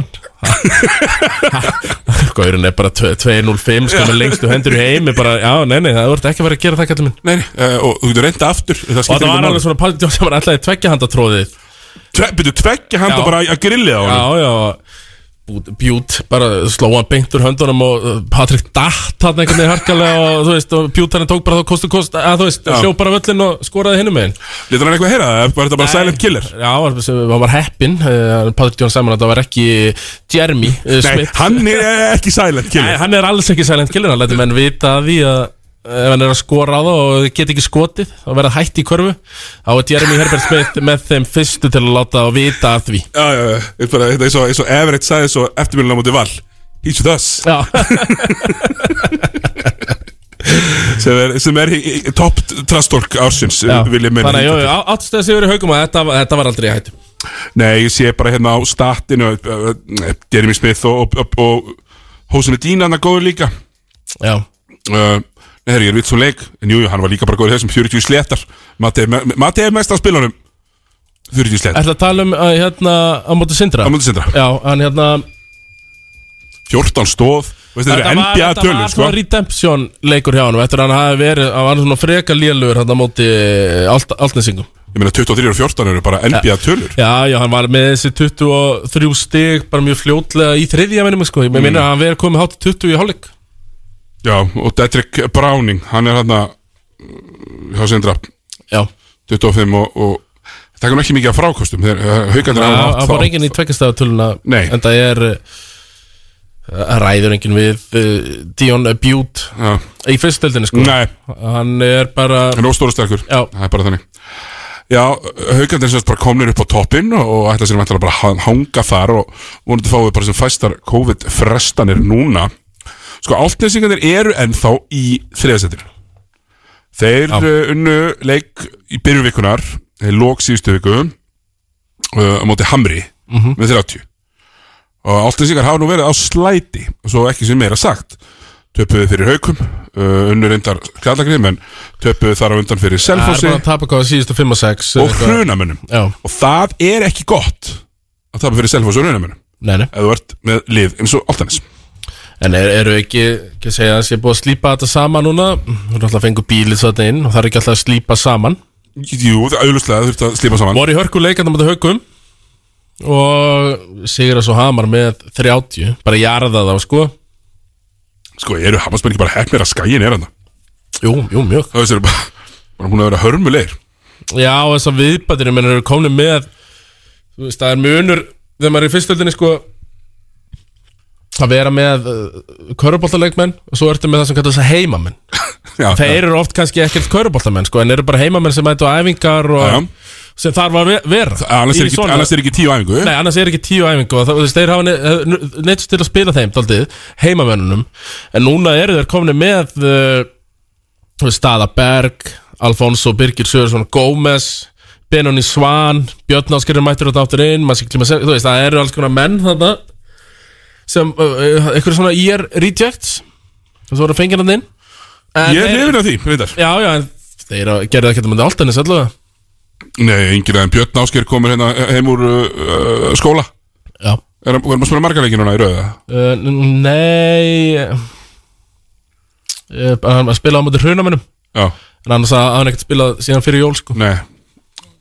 Speaker 2: hann Gaurin er bara 2- 2.05 sko með lengstu hendur í heimi bara, já, nei, nei, það voru ekki verið að gera það kallið minn
Speaker 1: Nei, nei, uh, og þú getur reynda aftur Það skiptir
Speaker 2: og það
Speaker 1: engu
Speaker 2: var
Speaker 1: máli.
Speaker 2: alveg svona Patrick John Simon ætlaði tveggja handa tróðið
Speaker 1: Tve- Byrju, tveggja handa
Speaker 2: Já.
Speaker 1: bara að grillið á hann
Speaker 2: Já, já Bút- Bjút, bara sló hann beint úr höndunum og uh, Patrik datt hann einhvern veginn harkalega og þú veist, og Bjút hann tók bara þá kostu kost, að þú veist,
Speaker 1: Já.
Speaker 2: sjó bara völlin og skoraði hinnum meginn
Speaker 1: Lítur hann eitthvað að heyra það? Var þetta bara silent killer?
Speaker 2: Já, hann hann var heppin uh, Patrik Jón Sæman, þetta var ekki Jeremy uh,
Speaker 1: Nei,
Speaker 2: Smith
Speaker 1: hann er ekki silent killer
Speaker 2: Nei, hann er alls ekki silent killer, hann lætur menn vita að því að eh, ef hann er að skora á það og get ekki skotið þá verða hætt í korfu þá er Jeremy Herbert Smith með þeim fyrstu til að láta og vita að því
Speaker 1: Já, já, já, þetta er bara, þetta er svo, eins og Everett sagði svo eftirmjölun á móti val He's with us
Speaker 2: Já
Speaker 1: sem er, sem er í- í- topp trastork ársins
Speaker 2: Já.
Speaker 1: vil ég meina
Speaker 2: Þannig að jú, jú, áttstæða sigur í haugum að þetta, þetta var aldrei í hættu
Speaker 1: Nei, ég sé bara hérna á statinu uh, uh, Jeremy Smith og, og, og, og Hósinu Dína hann er góður líka
Speaker 2: Já
Speaker 1: uh, Nei, herri, ég er vitt svo leik En jú, jú, hann var líka bara góður í þessum 40 sléttar Mati er me- Matti er mest á spilunum 40 sléttar
Speaker 2: Ertu að tala um uh, hérna á móti Sindra?
Speaker 1: Á móti Sindra.
Speaker 2: Já, hann hérna
Speaker 1: 14 stóð Veistu, þetta eru
Speaker 2: var-
Speaker 1: NBA
Speaker 2: Þetta
Speaker 1: tölur,
Speaker 2: var
Speaker 1: sko
Speaker 2: svona redemption leikur hjá hann Eftir að hann hafi verið, hann var svona freka lélugur hérna á móti eh, Alt- Altnesingum
Speaker 1: Ég meina 23 og 14 eru bara NBA tölur
Speaker 2: Já, já, hann var með þessi 23 stig Bara mjög fljótlega í þriðja minnum sko
Speaker 1: Mm.
Speaker 2: Ég meina að hann verið komið hátt í 20 í hálfleik
Speaker 1: Já, og Dedrick Browning Hann er hann Hjá Sindra
Speaker 2: Já
Speaker 1: 25 og, og Það er nú ekki mikið af frákostum eh, Haukandir
Speaker 2: Já, Það fór enginn í tveggjastæðatöluna
Speaker 1: Nei.
Speaker 2: En það er eh, uh, Ræður enginn við uh, Dion Bute
Speaker 1: Já.
Speaker 2: Í fyrstöldinni sko
Speaker 1: Nei.
Speaker 2: Hann er bara
Speaker 1: Hann er óstóra sterkur
Speaker 2: Já.
Speaker 1: Það er bara þannig Já, haugandir sérst bara komnir upp á toppinn og og ætla sér vantilega bara að hanga þar og vonandi fáum við bara sem fæstar COVID-frestanir núna Sko, áltnesingarnir eru ennþá í þriðasettir Þeir uh, unnu leik í byrjun vikunar þeir lók síðustu viku uh, á móti Hamri
Speaker 2: Mhm.
Speaker 1: með 30 og áltnesingar hafa nú verið á slæti svo ekki sem meira sagt töpuðu fyrir haukum uh, unnu reyndar kjallagrið menn töpuðu þar á undan fyrir
Speaker 2: Það er
Speaker 1: Selfossi
Speaker 2: bara að tapa hvað síðustu 5 og 6
Speaker 1: og hrunamönnum
Speaker 2: Já,
Speaker 1: og það er ekki gott að tapa fyrir Selfoss og hrunamönnum
Speaker 2: nei, nei
Speaker 1: ef þú ert með lið eins og Altanis
Speaker 2: En er, eru ekki, ekki að segja að sé búið að slípa þetta saman núna Þú er alltaf að fengu bílið þetta inn og það er ekki alltaf að slípa saman
Speaker 1: Jú, það er auðvitað þurft að slípa saman
Speaker 2: Voru í hörku leikandum að haugum og Sigurðar svo Hamar með 30 bara jarða þá sko
Speaker 1: Sko, eru Hammarsmenn ekki bara hefnir að skæin er hann
Speaker 2: Jú, jú, mjög
Speaker 1: Það veist, eru bara, bara búin að vera hörmulegir
Speaker 2: Já, og þessar viðbætir, ég menn, eru komin með Þú veist, það er munur Þegar maður er í fyrstöldinni, sko Að vera með uh, Köruboltaleikmenn Og svo ertu með það sem kallar þess að heimamenn
Speaker 1: Já,
Speaker 2: Þeir eru oft kannski ekkert köruboltamenn, sko En eru bara heimamenn sem mæta á æfingar og
Speaker 1: Já.
Speaker 2: Sem þarf að ve- vera
Speaker 1: Annars
Speaker 2: í
Speaker 1: er, ekki,
Speaker 2: svona-
Speaker 1: annars er ekki tíu æfingu
Speaker 2: Nei, annars er ekki tíu æfingu og það, þú veist, þeir hafa ne- neitt til að spila þeim daldið, heimamönnunum en núna eru þeir komin með uh, þú veist, Staða Berg Alfonso Birgir Sjöðursson Gómez Benoni Svan Björn Ásker er mættur og dáttur inn maður sé klíma sem- þú veist, það eru alls konar menn þarna sem uh, einhverjum svona IR rejects og svo eru fengir hann inn En
Speaker 1: Ég er
Speaker 2: þeir-
Speaker 1: hrifin af því, reyndar
Speaker 2: Já, já, en þeir gerðu ekkert um þetta áltanis allavega
Speaker 1: Nei, enginn aðeins Björn Ásker komur hérna heim úr uh, uh, skóla
Speaker 2: Já
Speaker 1: Er hann að spila margarleikin núna í rauða?
Speaker 2: Uh, n- nei uh, Hann var að spila á móti hrunamennum
Speaker 1: Já,
Speaker 2: En annars að hann ekkert spilað síðan fyrir jól sko
Speaker 1: nei,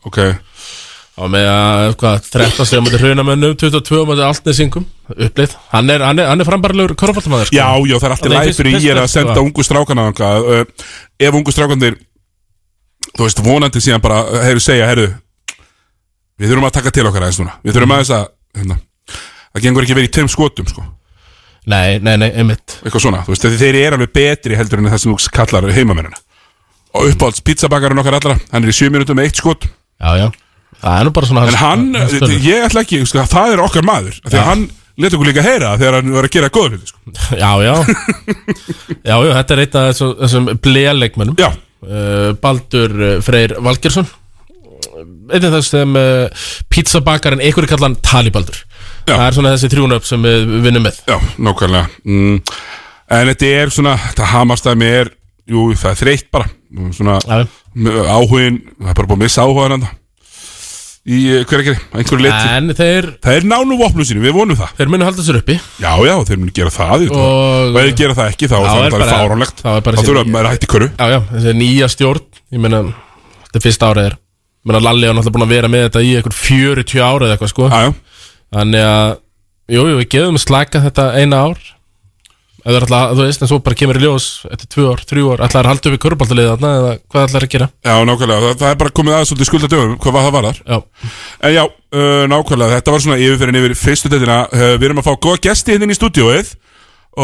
Speaker 1: ok
Speaker 2: Á með að hvað, 13 stegum móti hrunamennum 22 móti altnesingum Upplið, hann er, hann er, hann er frambarlegur korfaldamæður sko.
Speaker 1: Já, já, það er alltaf
Speaker 2: Nei,
Speaker 1: læg
Speaker 2: fyrst-
Speaker 1: fyrir
Speaker 2: fyrst-
Speaker 1: ég er að
Speaker 2: fyrst-
Speaker 1: senda
Speaker 2: það.
Speaker 1: ungu strákana þangað uh, Ef ungu strákanir Þú veist, vonandi síðan bara uh, Heyrðu, segja, heyrðu Við þurfum að taka til okkar aðeins núna Við
Speaker 2: Mhm.
Speaker 1: þurfum aðeins að hérna, Það gengur ekki verið í tveim skotum, sko
Speaker 2: Nei, nei, nei, einmitt
Speaker 1: Eitthvað svona, þú veist, þegar þeir eru alveg betri heldur en það sem þú kallar heimamennina Og uppáhalds pizzabakarinn okkar allra Hann er í 7 minútum með eitt skot
Speaker 2: Já, já, það er nú bara svona
Speaker 1: En
Speaker 2: hans-
Speaker 1: hann,
Speaker 2: hans tölur.
Speaker 1: ég ætla ekki, sko, það er okkar maður Þegar hann let okkur líka heyra það þegar hann var að gera góða hluti, sko
Speaker 2: Já, já Já, já, þetta er eitt af þessum, þessum blealeikmennum
Speaker 1: Já,
Speaker 2: uh, Baldur uh, Freyr Valgersson einn af þess sem uh, pizzabakarinn, einhverju kallan Talibaldur
Speaker 1: Já.
Speaker 2: það er svona þessi þrjúnöf sem við við vinnum með
Speaker 1: Já, nákvæmlega mm. En þetta er svona, þetta hamastæmi er Jú, það er þreytt bara Svona
Speaker 2: Já.
Speaker 1: áhugin Það er bara búið að missa áhugan hann Í eh, hver ekkert, einhverju liti
Speaker 2: en þeir,
Speaker 1: Það er nánu vopnum sínu, við vonum það
Speaker 2: þeir munu halda sér uppi
Speaker 1: Já, já, þeir munu gera það Og,
Speaker 2: Og-
Speaker 1: og ef þeir gera það ekki, þá
Speaker 2: Já,
Speaker 1: það
Speaker 2: er
Speaker 1: er það
Speaker 2: bara-
Speaker 1: fáránlegt
Speaker 2: þá er bara
Speaker 1: Þá
Speaker 2: sín-
Speaker 1: þurfa maður að hætti körfu
Speaker 2: já, já, þessi nýja stjórn ég meina, þetta er fyrsta árið er ég meina, Lalli er náttúrulega búin að vera með þetta í einhver 40 ára eða eitthvað sko
Speaker 1: Já, já,
Speaker 2: þannig að, jú, jú, við gefum slaka þetta eina ár eða er alltaf, þú veist, en svo bara kemur í ljós eftir tvö ár, þrjú ár, alltaf er að halda upp í körbáltaliði þarna eða hvað alltaf er að gera
Speaker 1: já, nákvæmlega Það, það er bara komið aðeins svolítið skuldadöfum Hvað var það var þar?
Speaker 2: já.
Speaker 1: En já, uh, nákvæmlega, þetta var svona yfirferðin yfir fyrstu dætina uh, Við erum að fá góða gesti hérna inn í stúdíóið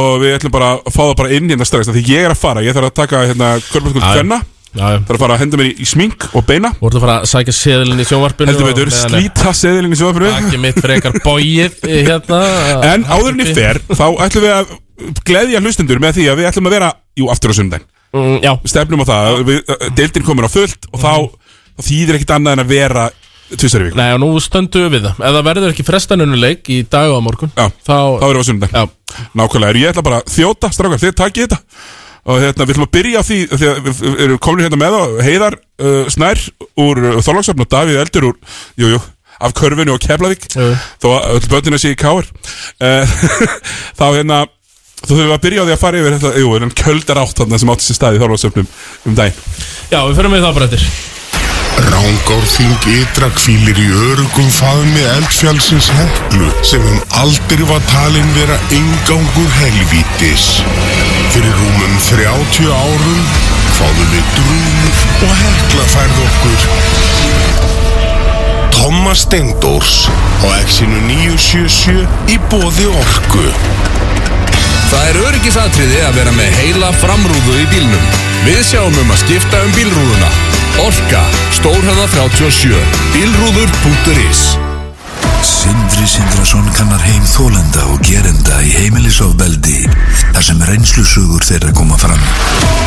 Speaker 1: Og við ætlum bara að fá það bara inn hérna strax af Því ég er að fara, ég þarf að taka hérna Körbjörnskjöld hvenna,
Speaker 2: Já, já.
Speaker 1: þarf að fara að henda mér í, í smink og beina
Speaker 2: Þú ert að fara að sækja seðilinn í sjónvarpinu
Speaker 1: Heldur
Speaker 2: og
Speaker 1: veitur,
Speaker 2: meðan er
Speaker 1: slíta seðilinn í sjóðafröðu
Speaker 2: Takk mitt frekar bóið hérna
Speaker 1: En áður en ég fer, þá ætlum við að gleðja hlustendur með því að við ætlum að vera Jú, aftur á sundaginn
Speaker 2: mm, já. Mhm.
Speaker 1: stefnum á það við, eh, deildin komin á fullt og þá, þá þýðir ekkit annað en að vera tvisari viku
Speaker 2: Nei, og nú stöndum við við það. Ef það verður ekki frestanunuleik í dag og á morgun,
Speaker 1: Já,
Speaker 2: þá...
Speaker 1: þá erum við á sundag Nákvæmlega, er ég ætla bara að þjóta, strákar, þið takið þetta og hérna, við ætlum að byrja á því því að við erum komin hérna með á Heiðar uh, Snær úr uh, Þorlagsöfn og Davíð Eldur úr, jú, jú, af Körfinu og Keflavík
Speaker 2: Jú.
Speaker 1: þó að öll bönnina sé í káir uh, þá hérna þú þurfum við að byrja á því að fara yfir þetta, jú, en köldar átt þarna sem átti sér staði í Þorlagsöfnum um daginn
Speaker 2: Já, við förum við það bara eftir.
Speaker 14: Rángárþing ytra kvílir í örugum faðmi eldfjálsins heflu sem um aldrei var talin vera ingangur helvítis. Fyrir rúmum 30 árum fáðum við drúm og hekla færð okkur. Thomas Steindors á exinu 977 í bóði orku.
Speaker 15: Það er öryggisatriði að vera með heila framrúðu í bílnum. Við sjáum um að skipta um bílrúðuna. Orka, Stórhöða 37, bílrúður.is
Speaker 13: Sindri Sindrason kannar heim þólenda og gerenda í heimilisofbeldi þar sem reynslusugur þeirra koma fram.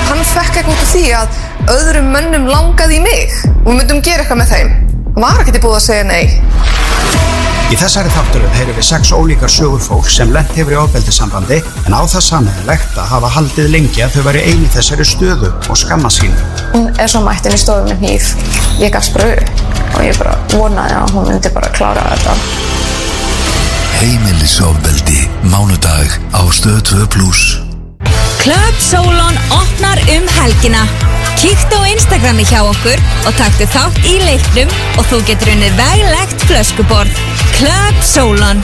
Speaker 16: Hann fekk eitthvað út af því að öðrum mönnum langaði í mig og við myndum gera eitthvað með þeim. Hann var ekkert í búið að segja nei.
Speaker 17: Í þessari þátturum heyrum við sex ólíkar sögur fólk sem lent hefur í ofbeldissambandi en á það sammeðilegt að hafa haldið lengi að þau væri einu þessari stöðu og skamma sín.
Speaker 16: Hún er svo mættin í stofu með hníf. Ég gafst bara upp og ég bara vonaði að hún myndi bara klára þetta.
Speaker 13: Heimilisofbeldi, mánudag á stöð 2 pluss.
Speaker 10: Club Solon opnar um helgina. Kíktu á Instagrami hjá okkur og taktu þátt í leiknum og þú getur unnið veglegt flöskuborð. Club Solon.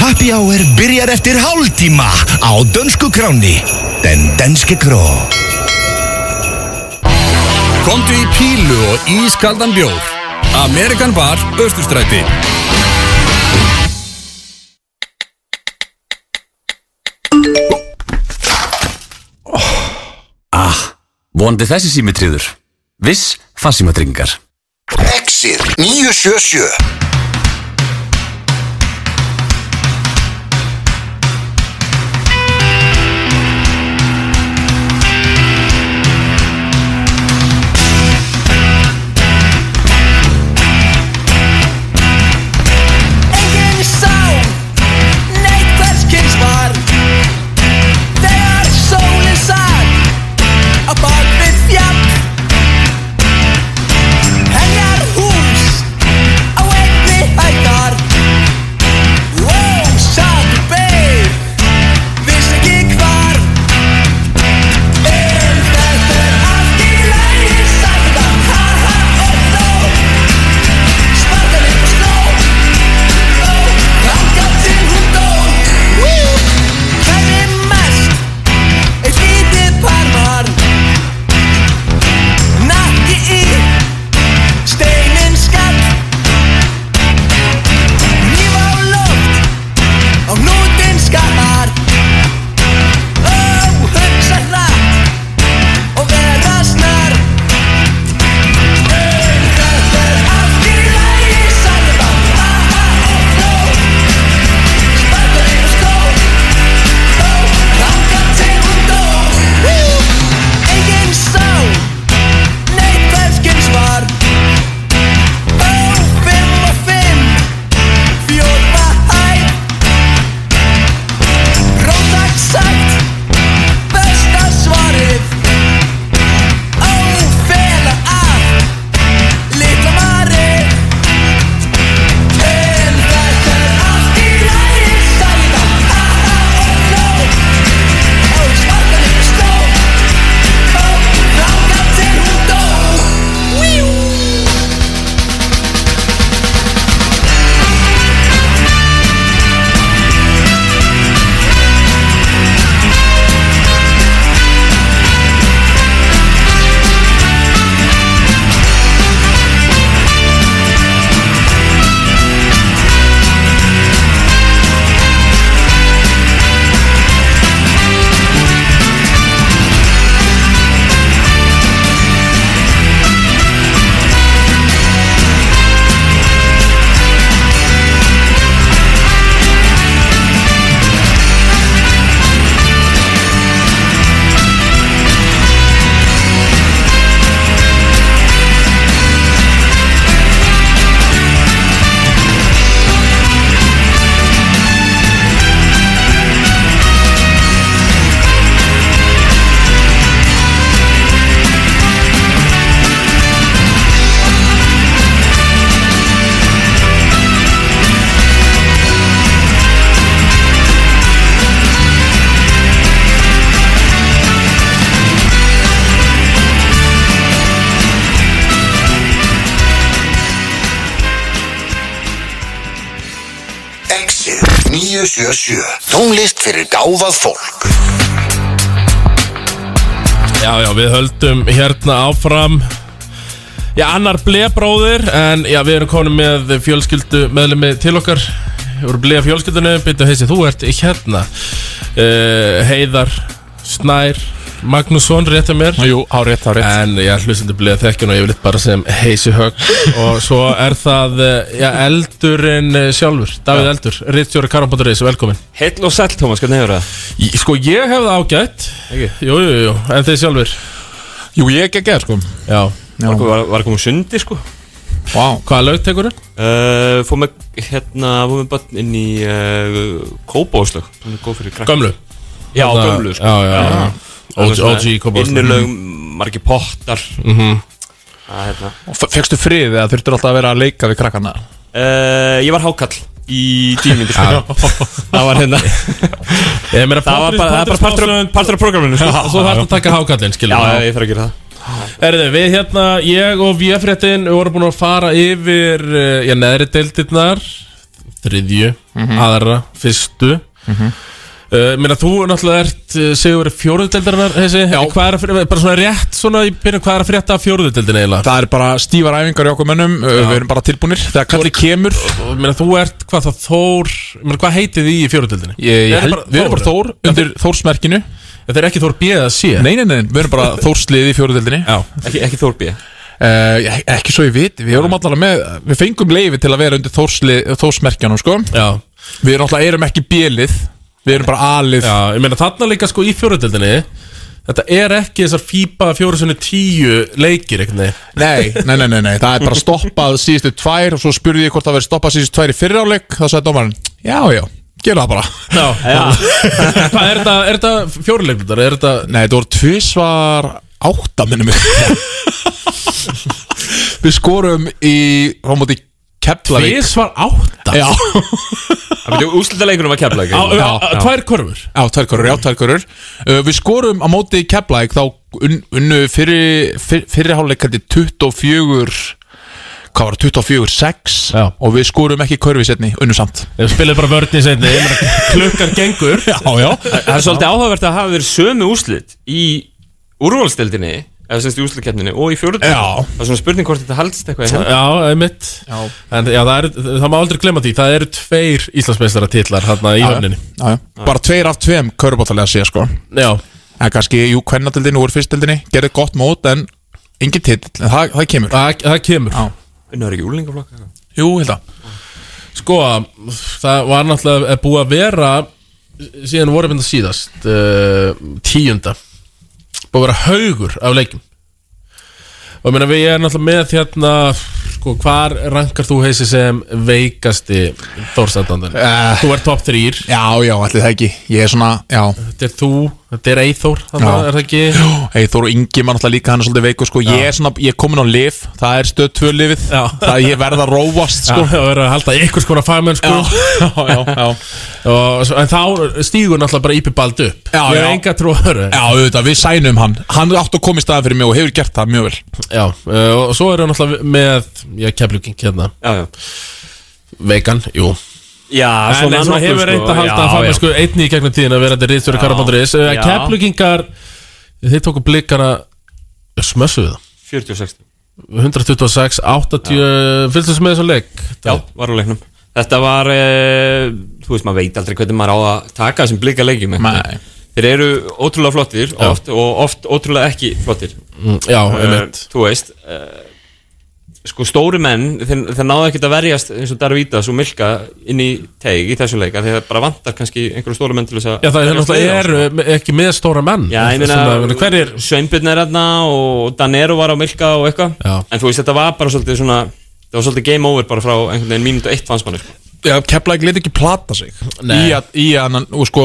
Speaker 18: Happy Hour byrjar eftir hálftíma á dönsku kráni. Den danske gró.
Speaker 15: Komdu í pílu og ískaldan bjór. Amerikan Bar, Östustræti.
Speaker 19: Ah, vonandi þessi símitriður. Viss farsímatryggingar.
Speaker 13: Exir 977
Speaker 20: Engin sál, neitt hvers kyns var Þegar sólinn satt á bak við fjall Henjar hús á einni
Speaker 18: 977 Tónlist fyrir gáfað fólk
Speaker 2: Já, já, við höldum hérna áfram Já, annar blebróðir En já, við erum konum með fjölskyldu meðlemi til okkar Við erum bleið fjölskyldunni Býttu heisi, þú ert hérna uh, Heiðar Snær Magnússon, rétt að mér Jú, á rétt, á rétt En já, hlustandi bleið þekkjun og yfirleitt bara sem heisi högg Og svo er það, eh, já, Eldurinn eh, sjálfur Davíð Eldur, Ritstjóri Karan.is, velkomin
Speaker 21: Heill og sæll, Tómas, hvernig hefur það?
Speaker 2: Sko, ég hef það ágætt Ekki? Jú, jú, jú, en þið sjálfur Jú, ég ekki að sko Já
Speaker 21: Var, var, var að koma um sundi, sko
Speaker 2: Vá Hvaða lög tekur þau?
Speaker 21: Uh, fór með, hérna, fór með bann inn í uh, Kópáðslag Hún er góð fyrir krakk
Speaker 2: Gömlu?
Speaker 21: Já,
Speaker 2: Þarna-
Speaker 21: gömlu, sko Hérna,
Speaker 2: já, já, já. OG Kópavogslag.
Speaker 21: Innilög,
Speaker 2: Mhm.
Speaker 21: margir pottar
Speaker 2: Mhm.
Speaker 21: Það, hérna
Speaker 22: Fegstu frið eða þurftur alltaf að vera að leika við krakkana
Speaker 2: Eh.
Speaker 21: uh, Ég var hákall í tíu myndir,
Speaker 22: Já.
Speaker 21: sko Það var hérna
Speaker 2: Ég meina,
Speaker 21: Það var bara, það var bara partur, af- partur af prógraminu, sko
Speaker 2: Svo þarf að taka hákallinn, skilur
Speaker 21: Já, já, ég þarf að gera það
Speaker 2: Erðu, við hérna, ég og VF-réttin vorum búin að fara yfir eh, já, neðri deildirnar þriðju,
Speaker 22: Mhm.
Speaker 2: aðra, fyrstu mm
Speaker 22: Mhm.
Speaker 2: Meina, þú náttúrulega ert eh, sigur fjóruðu deildirnar, þessi Já Hvað er að frétta, bara svona rétt, svona í byrjun, hvað er að frétta af fjóruðu deildin eiginlega?
Speaker 22: Það er bara stífar æfingar í okkur mönnum uh, Við erum bara tilbúnir Þegar kallið kemur
Speaker 2: Meina, þú ert hvað það Þór meina, Hvað heitið þið í fjóruðdeldinni?
Speaker 22: Ég- ég held- við erum bara Þór, undir Þórsmerkinu
Speaker 2: Þetta er ekki Þór B eða C
Speaker 22: Nei, nei, nei, við erum bara Þórsliði í fjóruðildinni
Speaker 21: Ekki, ekki Þór B
Speaker 22: Uh, ekki svo ég viti, við erum allavega með Við fengum leifi til að vera undir Þórsli, Þórsmerkjanum sko.
Speaker 2: Já.
Speaker 22: Við erum alltaf erum ekki bjelið Við erum bara alið
Speaker 2: Já, ég meina þarna líka sko í fjóruðdeldinni Þetta er ekki þessar FIBA fjóru sinni tíu leikir einhvern veginn
Speaker 22: Nei, nei, nei, nei, nei, það er bara stoppað síðustu tvær og svo spurði ég hvort það verið stoppað síðustu tvær í fyrráleik þá sagði dómarinn, já, já, gera það bara
Speaker 2: Já, Hvað er þetta, er þetta fjóruleikmyndar? Er þetta...
Speaker 22: Nei, þetta voru tvisvar átta minnum mig Við skorum í, þá múti Keflavík
Speaker 2: Tvisvar átta?
Speaker 22: Já
Speaker 21: Það byrju úslita leikunum að kefla
Speaker 22: Já, já, já.
Speaker 2: korfur
Speaker 22: Já, tvær korur, já, tvær korur uh, Við skorum á móti Keflæk þá un, unnu fyrir, fyrir, fyrirháleik hætti 24 hvað var það, 24, 6 já. og við skorum ekki körfi setni, unnu samt
Speaker 2: Við spilum bara vörni setni Klukkar gengur
Speaker 22: Já, já
Speaker 21: Það er svolítið áhugavert að hafa verið sömu úslit í úrvalstildinni eða semst í úslitkeppninni og í fjóruðdeldinni
Speaker 2: Já.
Speaker 21: Það er svona spurning hvort þetta haldst eitthvað í hendur.
Speaker 2: Já, einmitt
Speaker 22: já.
Speaker 2: En já, það, er, það má aldrei glemma því Það eru tveir Íslandsmeistara titlar Þarna í
Speaker 22: Já, já.
Speaker 2: höfninni
Speaker 22: já, já. bara tveir af tveim körubáttalega sé sko
Speaker 2: Já
Speaker 22: en kannski, jú, kvennatildinni úr fyrstildinni gerði gott mót en engin titill, en það, það kemur
Speaker 2: það, það kemur
Speaker 22: já.
Speaker 21: Unnur er ekki úlingaflokka
Speaker 22: Jú, held að
Speaker 2: Sko, það var náttúrulega búið að vera Síðan voru mynda síðast uh, Tíunda Búið að vera haugur af leikjum Og ég meina, við erum náttúrulega með hérna Sko, hvar rankar þú heisi sem veikasti Þórstandandan?
Speaker 22: Eh.
Speaker 2: Þú ert top 3
Speaker 22: Já, já, allir það ekki, ég er svona, já
Speaker 2: Þetta er þú, þetta er Eithór Þannig
Speaker 22: Já.
Speaker 2: er það ekki
Speaker 22: Eithor og Ingi mann alltaf líka hann er svolítið veikur sko.
Speaker 2: Já.
Speaker 22: ég er svona, ég er komin á lif það er stöð tvö lifið það ég verð að róast sko.
Speaker 2: Já, það verður að halda í einhvers konar fagmenn sko.
Speaker 22: já, já, já.
Speaker 2: Og, svo- En þá stígur náttúrulega bara Ípi Bald upp
Speaker 22: Já,
Speaker 2: Ég
Speaker 22: já.
Speaker 2: er enga trú að höra
Speaker 22: já, auðvitað, við sænum hann hann átt að koma í staðan fyrir mig og hefur gert það mjög vel
Speaker 2: já uh, Og svo eru náttúrulega með Já, keflugin hérna
Speaker 21: já, já.
Speaker 2: Vegan, jú
Speaker 21: Já,
Speaker 2: En
Speaker 21: svona
Speaker 2: eins og
Speaker 21: nokkuð,
Speaker 2: hefur reynd að
Speaker 21: sko.
Speaker 2: halda
Speaker 21: Já,
Speaker 2: fagmenn
Speaker 21: já.
Speaker 2: sko Einni í gegnum tíðin að vera þetta
Speaker 21: Já.
Speaker 2: rýðstjóri Karabandurins
Speaker 21: Já.
Speaker 2: Keflugingar Þeir tóku blikana eh, Smössuðu það
Speaker 21: 46
Speaker 2: 126, 80 Fylgstu þessu með þessum leik?
Speaker 21: Já, var á leiknum Þetta var, e, þú veist, maður veit aldrei hvernig maður á að taka þessum blika leikjum einhvern veginn. Þeir eru ótrúlega flottir
Speaker 2: Já.
Speaker 21: oft, og oft ótrúlega ekki flottir
Speaker 2: Mm, já,
Speaker 21: Eh,
Speaker 2: einmitt.
Speaker 21: Þú veist e, Sko, stóri menn, þeir, þeir náðu ekkert að verjast eins og Darvítas og Milka inn í teig í þessum leika Þeir bara vantar kannski einhverju stóri menn til þess að
Speaker 2: Já, það er
Speaker 21: verjast við
Speaker 2: náttúrulega
Speaker 21: þá, sko.
Speaker 2: eru ekki með stóra menn
Speaker 21: Já, ég
Speaker 2: Svona,
Speaker 21: meina, hver er Sveinbjörn er hérna og Danero var á Milka og
Speaker 2: Já.
Speaker 21: eitthvað En þú veist, þetta var bara svolítið svona Það var svolítið game over bara frá einhvern veginn mínútu eitt fannst manni sko.
Speaker 22: Já, Keflæk leti ekki plata sig
Speaker 21: Nei.
Speaker 22: í að, í að hann, og sko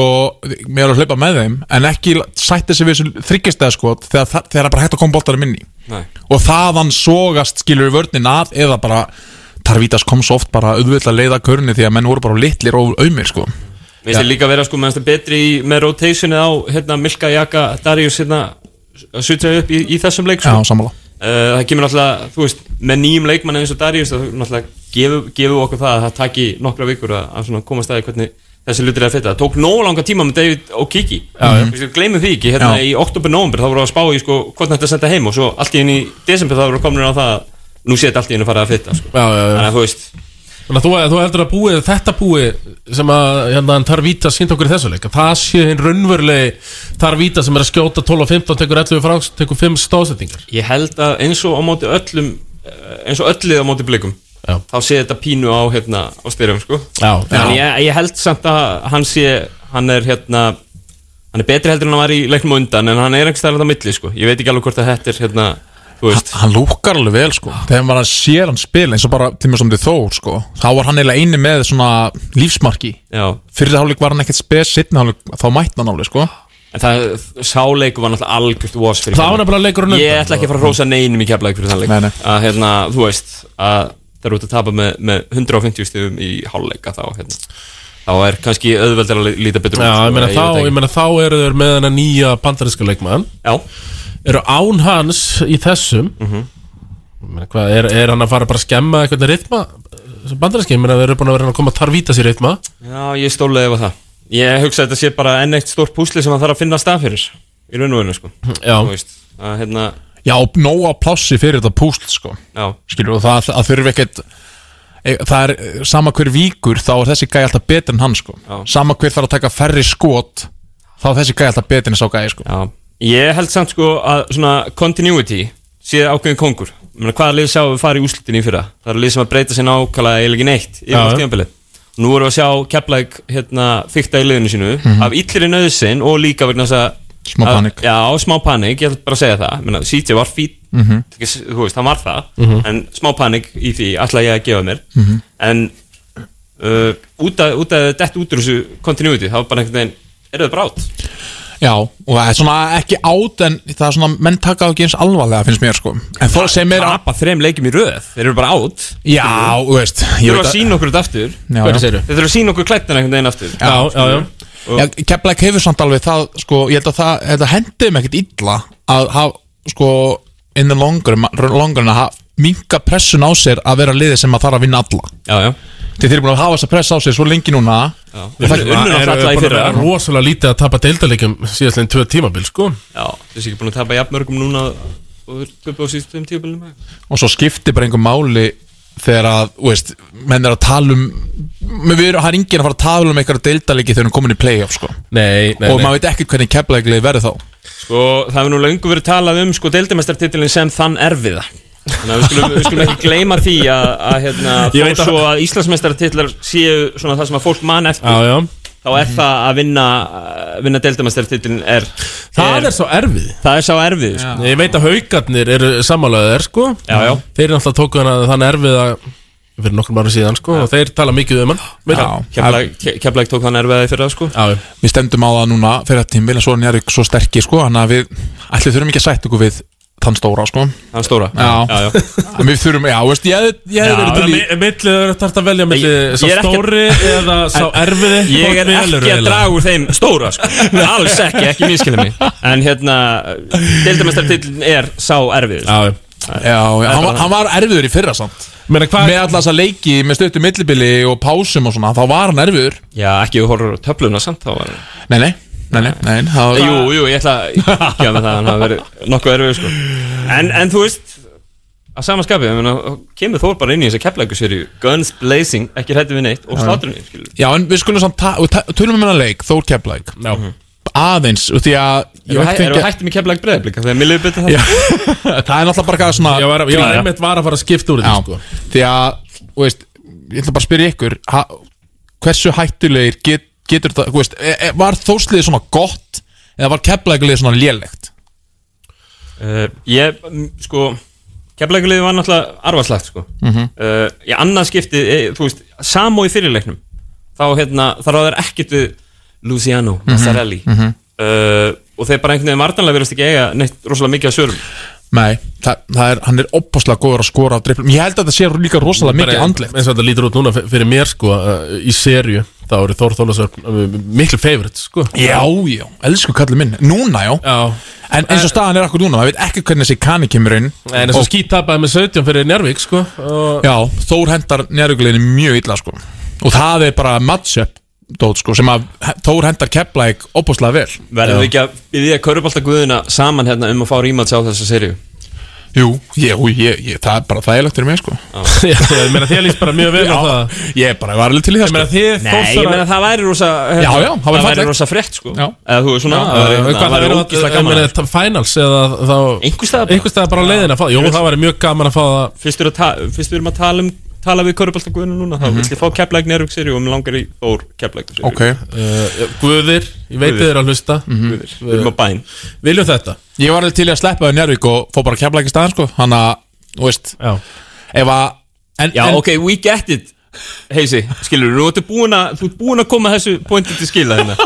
Speaker 22: mér er að hlaupa með þeim, en ekki sætti sig við þessu þryggjastæða sko þegar það þegar það er bara hægt að koma boltarum inn í
Speaker 21: Nei.
Speaker 22: og þaðan sogast skilur í vörnin að eða bara Tarvítas kom svo oft bara auðvitað að leiða körni því að menn voru bara litlir og auðmir sko
Speaker 21: Mér finnst þið líka að vera sko meðan það betri í, með rotationið á hérna, Milka Jaka Darius hérna að sutja upp í, í þessum leik sko.
Speaker 22: Já, sammála.
Speaker 21: Eh, það kemur náttúrulega, þú veist, með nýjum leikmann eins og Darius, það náttúrulega gefur, gefur okkur það að það taki nokkra vikur að, að svona komast aðeins hvernig þessi hlutir að fitta tók nóg langa tíma með David og Kiki
Speaker 22: Já, já.
Speaker 21: gleymum því ekki, hérna
Speaker 22: Já.
Speaker 21: í oktober-november þá voru að spá í sko, hvort þetta senda heim og svo allt í einu í desember þá voru komin á það að nú sé þetta allt í einu farið að fitta sko.
Speaker 2: já, já, já.
Speaker 21: þannig að þú veist
Speaker 2: Þannig að þú, þú heldur að búið, þetta búið sem að hérna, Tarvíta sínt okkur í þessu leik að það sé hinn raunverulegi Tarvíta sem er að skjóta 12 og 15 tekur 11 frangs, tekur 5 stóðsettingar
Speaker 21: ég held að eins og á móti öllum eh, eins og öllið á móti blikum
Speaker 2: Já.
Speaker 21: þá sé þetta pínu á, hérna, á styrum sko.
Speaker 2: Já,
Speaker 21: en ég, ég held samt að hann sé hann er hérna hann er betri heldur en hann var í leiknum á undan en hann er einhvers staðar þarna á milli sko. ég veit ekki alveg hvort að þetta er hérna, þú veist
Speaker 22: hann lúkar alveg vel sko þegar maður sér hann spila eins og bara tíma sem þið þór sko þá var hann eiginlega eini með svona lífsmarki
Speaker 21: Já.
Speaker 22: fyrir hálfleik var hann ekkert spes sitna hálfleik þá mætti hann alveg
Speaker 21: Ah.
Speaker 22: sko
Speaker 21: en það sáleiku var náttúrulega algjört vos fyrir
Speaker 22: Það var
Speaker 21: Keflavík.
Speaker 22: nefnilega leikurinn
Speaker 21: ég
Speaker 22: undan.
Speaker 21: ætla ekki að fara að rósa neinum í keflæk fyrir þann leik
Speaker 22: Nei, nei.
Speaker 21: að hérna, þú veist að það eru út að tapa með, með 150 stigum í hálfleika þá hérna þá er kannski auðveldar að lí- líta betur
Speaker 2: Já,
Speaker 21: sko,
Speaker 2: ég meina,
Speaker 21: veit
Speaker 2: þá,
Speaker 21: ekki.
Speaker 2: ég meina þá eru þeir með hennar nýja bandarinska leikmann
Speaker 21: Já Mhm.
Speaker 2: Eru án hans í þessum Ég meina, hvað, er, er hann að fara bara að skemma eitthvað rithma bandarinski, ég meina þeir eru búin að vera að koma að Tarvíta sér rithma
Speaker 21: Já, ég stólaði yfir það Ég hugsa að þetta sé bara enn eitt stórt púsli sem hann þarf að finna stað fyrir Í raun og rauninu sko
Speaker 2: Já.
Speaker 21: Þú veist, að, hérna,
Speaker 22: já, nóa plássi fyrir þetta púsl sko
Speaker 21: Já.
Speaker 22: skilur og það, það þurfi ekkert e, það er e, sama hver víkur þá er þessi gæi alltaf betur en hann sko
Speaker 21: Já.
Speaker 22: sama hver þarf að taka færri skot þá er þessi gæi alltaf betur en sá gæi sko
Speaker 21: já. Ég held samt sko að svona continuity sé ákveðin kongur Ég meina, Hvaða lið sjáum við fara í úslitinni í fyrra? Það eru lið sem að breyta sér nákvæmlega eiginlega ekki neitt Yfir
Speaker 22: Já.
Speaker 21: allt tímabilið Nú erum við að sjá Keflæk hérna, fykta í liðinu sínu
Speaker 22: Mhm.
Speaker 21: Af illri nöðsinn og líka vegna þess að
Speaker 22: Smá
Speaker 21: að-
Speaker 22: panikk.
Speaker 21: Já, smá panik, ég ætla bara að segja það Ég meina, CJ var fít,
Speaker 22: Mhm.
Speaker 21: þú veist, hann var það
Speaker 22: Mhm.
Speaker 21: En smá panik í því ætla ég að gefa mér
Speaker 22: Mhm.
Speaker 21: en uh, út að út að dett út úr þessu continuity þá var bara einhvern veginn, eru þau brátt
Speaker 22: Já, og það er svona ekki át en það er svona, menn taka það ekki eins alvarlega finnst mér sko En þó sem er
Speaker 21: Tapa þreim leikjum í röð, þeir eru bara át
Speaker 22: Já, þú veist
Speaker 21: Þeir
Speaker 22: ég
Speaker 21: eru
Speaker 22: veit
Speaker 21: að
Speaker 22: að-
Speaker 21: sína okkur þetta aftur
Speaker 22: Já, já.
Speaker 21: Þeir eru að sína okkur klættan einhvern veginn aftur
Speaker 22: Já, já, já Já, Keflæk hefur samt alveg það, sko, ég held að það, þetta hendi um ekkert illa að hafa, sko, in the longer, longer að hafa minka pressun á sér að vera liðið sem að þarf að vinna alla
Speaker 21: Já, já
Speaker 22: Þið þeir eru búin að hafa þessa press á sér svo lengi núna
Speaker 21: Já.
Speaker 22: Og það-
Speaker 2: Eru búin að vera rosalega lítið að tapa deildalegjum síðastlegin tvö tímabil, sko
Speaker 21: Já, þessi ekki búin að tapa jafnmörgum núna og þeir töpu á sístum tíubilum
Speaker 22: og svo skiptir bara einhver máli þegar að, þú veist, menn er að tala um menn við erum, það er enginn að fara að tala um einhverja deildalegi þegar við erum komin í playoff sko.
Speaker 2: nei,
Speaker 21: nei,
Speaker 22: og
Speaker 21: nei.
Speaker 22: maður veit ekkert hvernig keflaglegi verður þá
Speaker 21: Sko, það hefur nú löngu verið talað um sko deildamestartitilin sem þann erfiða Þannig að við skulum, við skulum ekki gleyma því að, að hérna,
Speaker 2: Ég
Speaker 21: þó
Speaker 2: veit að-
Speaker 21: svo að Íslandsmestartitlar séu svona það sem að fólk man eftir
Speaker 2: Já, já.
Speaker 21: þá er það að vinna að vinna deildamestartitilin er
Speaker 2: Það er svo erfið
Speaker 21: Það er svo erfið sko.
Speaker 2: Ég veit að haugarnir eru samanlegaðir sko
Speaker 21: Já, já.
Speaker 2: Þeir eru alltaf tókuð hana þann erfiða fyrir nokkrum ára síðan sko og þeir tala mikið um hann Veit það.
Speaker 21: Keflæk tók þann erfiða fyrir það sko
Speaker 2: Já,
Speaker 22: Við stemdum á það núna fyrir þetta tímbil en svo er Njarvík svo sterkir sko þannig að við ætli þurfum ekki að sætt okkur við þann stóra sko
Speaker 21: Þann stóra
Speaker 22: Já,
Speaker 21: Já, já.
Speaker 22: En Við þurfum, já, veist, ég hefði ég
Speaker 2: Já,
Speaker 22: hefði verið til í
Speaker 2: mi- millið er þetta að velja millið sá
Speaker 21: Ég er ekki-
Speaker 2: stóri eða sá
Speaker 21: En
Speaker 2: erfiði
Speaker 21: Ég er
Speaker 2: Hvort velurðu
Speaker 21: ekki að
Speaker 2: eiginlega?
Speaker 21: draga úr þeim stóra sko. Alls ekki, ekki miskilið mig En hérna, deildamestartitlin er sá erfið sko.
Speaker 2: Já,
Speaker 22: Já, já, hann, var- hann var erfiður í fyrra samt
Speaker 2: Meina,
Speaker 22: Með alla þessa leiki, með stöttu millibili og pásum og svona, þá var hann erfiður
Speaker 21: Já, ekki við horfum á töfluna samt þá var hann
Speaker 22: Nei, nei, nei, nei, nei það,
Speaker 21: Jú, jú, ég ætla að gefa með það að hann hafa verið nokkuð erfið sko. en, en þú veist að sama skapi, ég meina, kemur Þór bara inn í þessa kepplækuserju, guns blazing ekki hrætti við neitt og
Speaker 22: Já.
Speaker 21: slátrunni skilur.
Speaker 22: Já, en við skulum samt, ta- og ta- tölum um hennar leik, Þór Keflæk
Speaker 2: Já
Speaker 22: Aðeins, og því að ég
Speaker 21: Erum
Speaker 22: veit
Speaker 21: við- erum við
Speaker 22: ekki-
Speaker 21: hættum í kepplæk breyðablika þegar mér liður betur það
Speaker 22: Já. Það er náttúrulega bara eitthvað svona
Speaker 2: Ég var, ég var
Speaker 22: Já.
Speaker 2: einmitt var að fara að skipta úr því sko
Speaker 22: því að, þú veist, ég ætla bara að spyrja ykkur ha, hversu hættulegir get, getur það, þú veist, e, e, var þórsliðið svona gott eða var keflagliðið svona lélegt?
Speaker 21: Uh, ég, mm, sko Keflækulegði var náttúrulega arfarslagt sko.
Speaker 22: Mhm.
Speaker 21: uh, Í annað skipti e, Þú veist, samó í fyrirleiknum Þá hérna, þar á þær ekkert við Luciano,
Speaker 22: Mhm,
Speaker 21: Mazzarelli
Speaker 22: mhm.
Speaker 21: uh, Og þeir bara einhvern veginn Vartanlega verðast ekki eiga neitt rosalega mikið að sörum
Speaker 22: Nei, það, það er, hann er opaslega góður að skora á driplum, ég held að það sé líka rosalega mikið andlegt
Speaker 2: eins og þetta lítur út núna f- fyrir mér sko uh, í serju þá eru Þór Þólasöfn miklu favorite sko
Speaker 22: Já, já, elsku kallið minn, núna já,
Speaker 2: já.
Speaker 22: en eins og staðan er akkur núna, maður veit ekki hvernig þessi kani kemur inn
Speaker 2: En eins og skýt tapaði með 17 fyrir Njárvík sko og
Speaker 22: Já, Þór hendar njárugleginni mjög illa sko. og það er bara matchup dót sko, sem að Þór hendar Keflæk opaslega vel
Speaker 21: Verðum við ekki að byggja köruboltaguðina saman hérna um að fá rímats á þessa serju?
Speaker 22: Jú, ég, og ég, ég, það er bara þægilegt fyrir mig sko
Speaker 21: Já,
Speaker 22: ég
Speaker 21: meina, þér líst bara mjög vel á það.
Speaker 22: Ég er bara var alveg til í það
Speaker 21: Ég
Speaker 22: sko.
Speaker 21: meina, þið Nei, ég Þórsarar- meina, það væri rosa hérna,
Speaker 22: Já, já, það væri
Speaker 21: það væri
Speaker 22: fallegt.
Speaker 21: rosa frétt, sko.
Speaker 22: Já.
Speaker 21: Eða þú veist svona, það væri- það væri ógeðslega gaman.
Speaker 2: það finals eða þá einhvers staðar bara á leiðin að fá Jú, það væri mjög gaman að fá það
Speaker 21: Fyrst við erum að ta- fyrst við erum að tala um tala við köruboltaguðina núna, þá
Speaker 2: Mhm.
Speaker 21: vil ég fá Keflæk Nerug serju og mér langar í Þór Keflæk serju
Speaker 2: uh, Guðir, ég veit
Speaker 21: Guðir.
Speaker 2: þið er að hlusta
Speaker 22: Guðir.
Speaker 21: Við erum á bæn
Speaker 2: Viljum þetta
Speaker 22: Ég var alveg til í að sleppa við Njárvík og fó bara Keflæk í staðan sko Þannig að, þú veist
Speaker 2: Já
Speaker 22: Ef að en,
Speaker 21: Já,
Speaker 22: en,
Speaker 21: ok, we get it Heisi, skilur, þú ert búin að þú ert búin að koma þessu pointi til skila hérna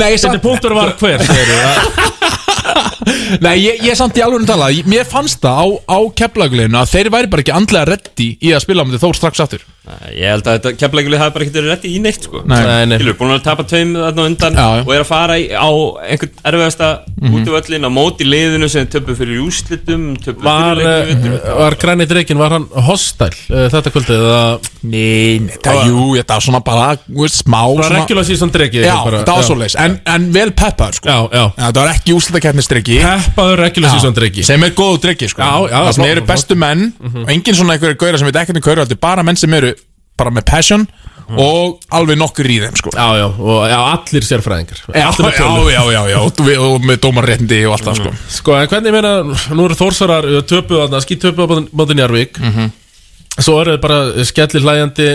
Speaker 22: Nei,
Speaker 2: Þetta punktur var hver, segir
Speaker 22: Nei, ég, ég samt í alveg tala ég- Mér fannst það á, á Keflækuleginu að þeir væri bara ekki andlega reddi í að spila á myndi Þór strax aftur
Speaker 21: Ég held að þetta keflækuleg hafi bara ekkert verið rétti í neitt sko
Speaker 22: Nei. Nei, nei.
Speaker 21: Skilur, búin að tapa tveim þarna á undan
Speaker 22: Já, já.
Speaker 21: og er að fara í, á einhvern erfiðasta mm
Speaker 2: Mhm.
Speaker 21: útvöllin á móti liðinu sem töpu fyrir úslitum töpu
Speaker 2: Var, uh, var græni dreikin, var hann hostæl uh, þetta kvöldið? Eða...
Speaker 22: Nei, þetta, jú, þetta var svona bara þú veist, smá
Speaker 2: Svona regular season dreki,
Speaker 22: Já,
Speaker 2: bara-
Speaker 22: þetta var
Speaker 2: já.
Speaker 22: svoleiðis en, en vel peppaður sko
Speaker 2: Já, já
Speaker 22: Þetta var ekki úsletakefnisdreki
Speaker 2: Peppaður regular season dreki
Speaker 22: Sem er góðu dreki sko
Speaker 2: Já, já,
Speaker 22: Það sem
Speaker 2: flott,
Speaker 22: eru
Speaker 2: flott. Mhm.
Speaker 22: bestu menn Og engin svona einhverju gauðra sem veit ekkert um gauðra Þetta er bara menn sem eru bara með passion Og alveg nokkur í þeim sko
Speaker 2: Mhm. Já, já, og já, allir sérfræðingar
Speaker 22: Já,
Speaker 2: Allt um að
Speaker 22: já,
Speaker 2: tölu.
Speaker 22: já, já, já, og, við- og með dómarréttindi og allt það sko
Speaker 2: Sko, en hvernig ég meina, nú eru Þórsarar töpuð þarna, skýt töpuð á móti Njarvík
Speaker 22: Mhm.
Speaker 2: Svo eru þeir bara eh, skellir hlæjandi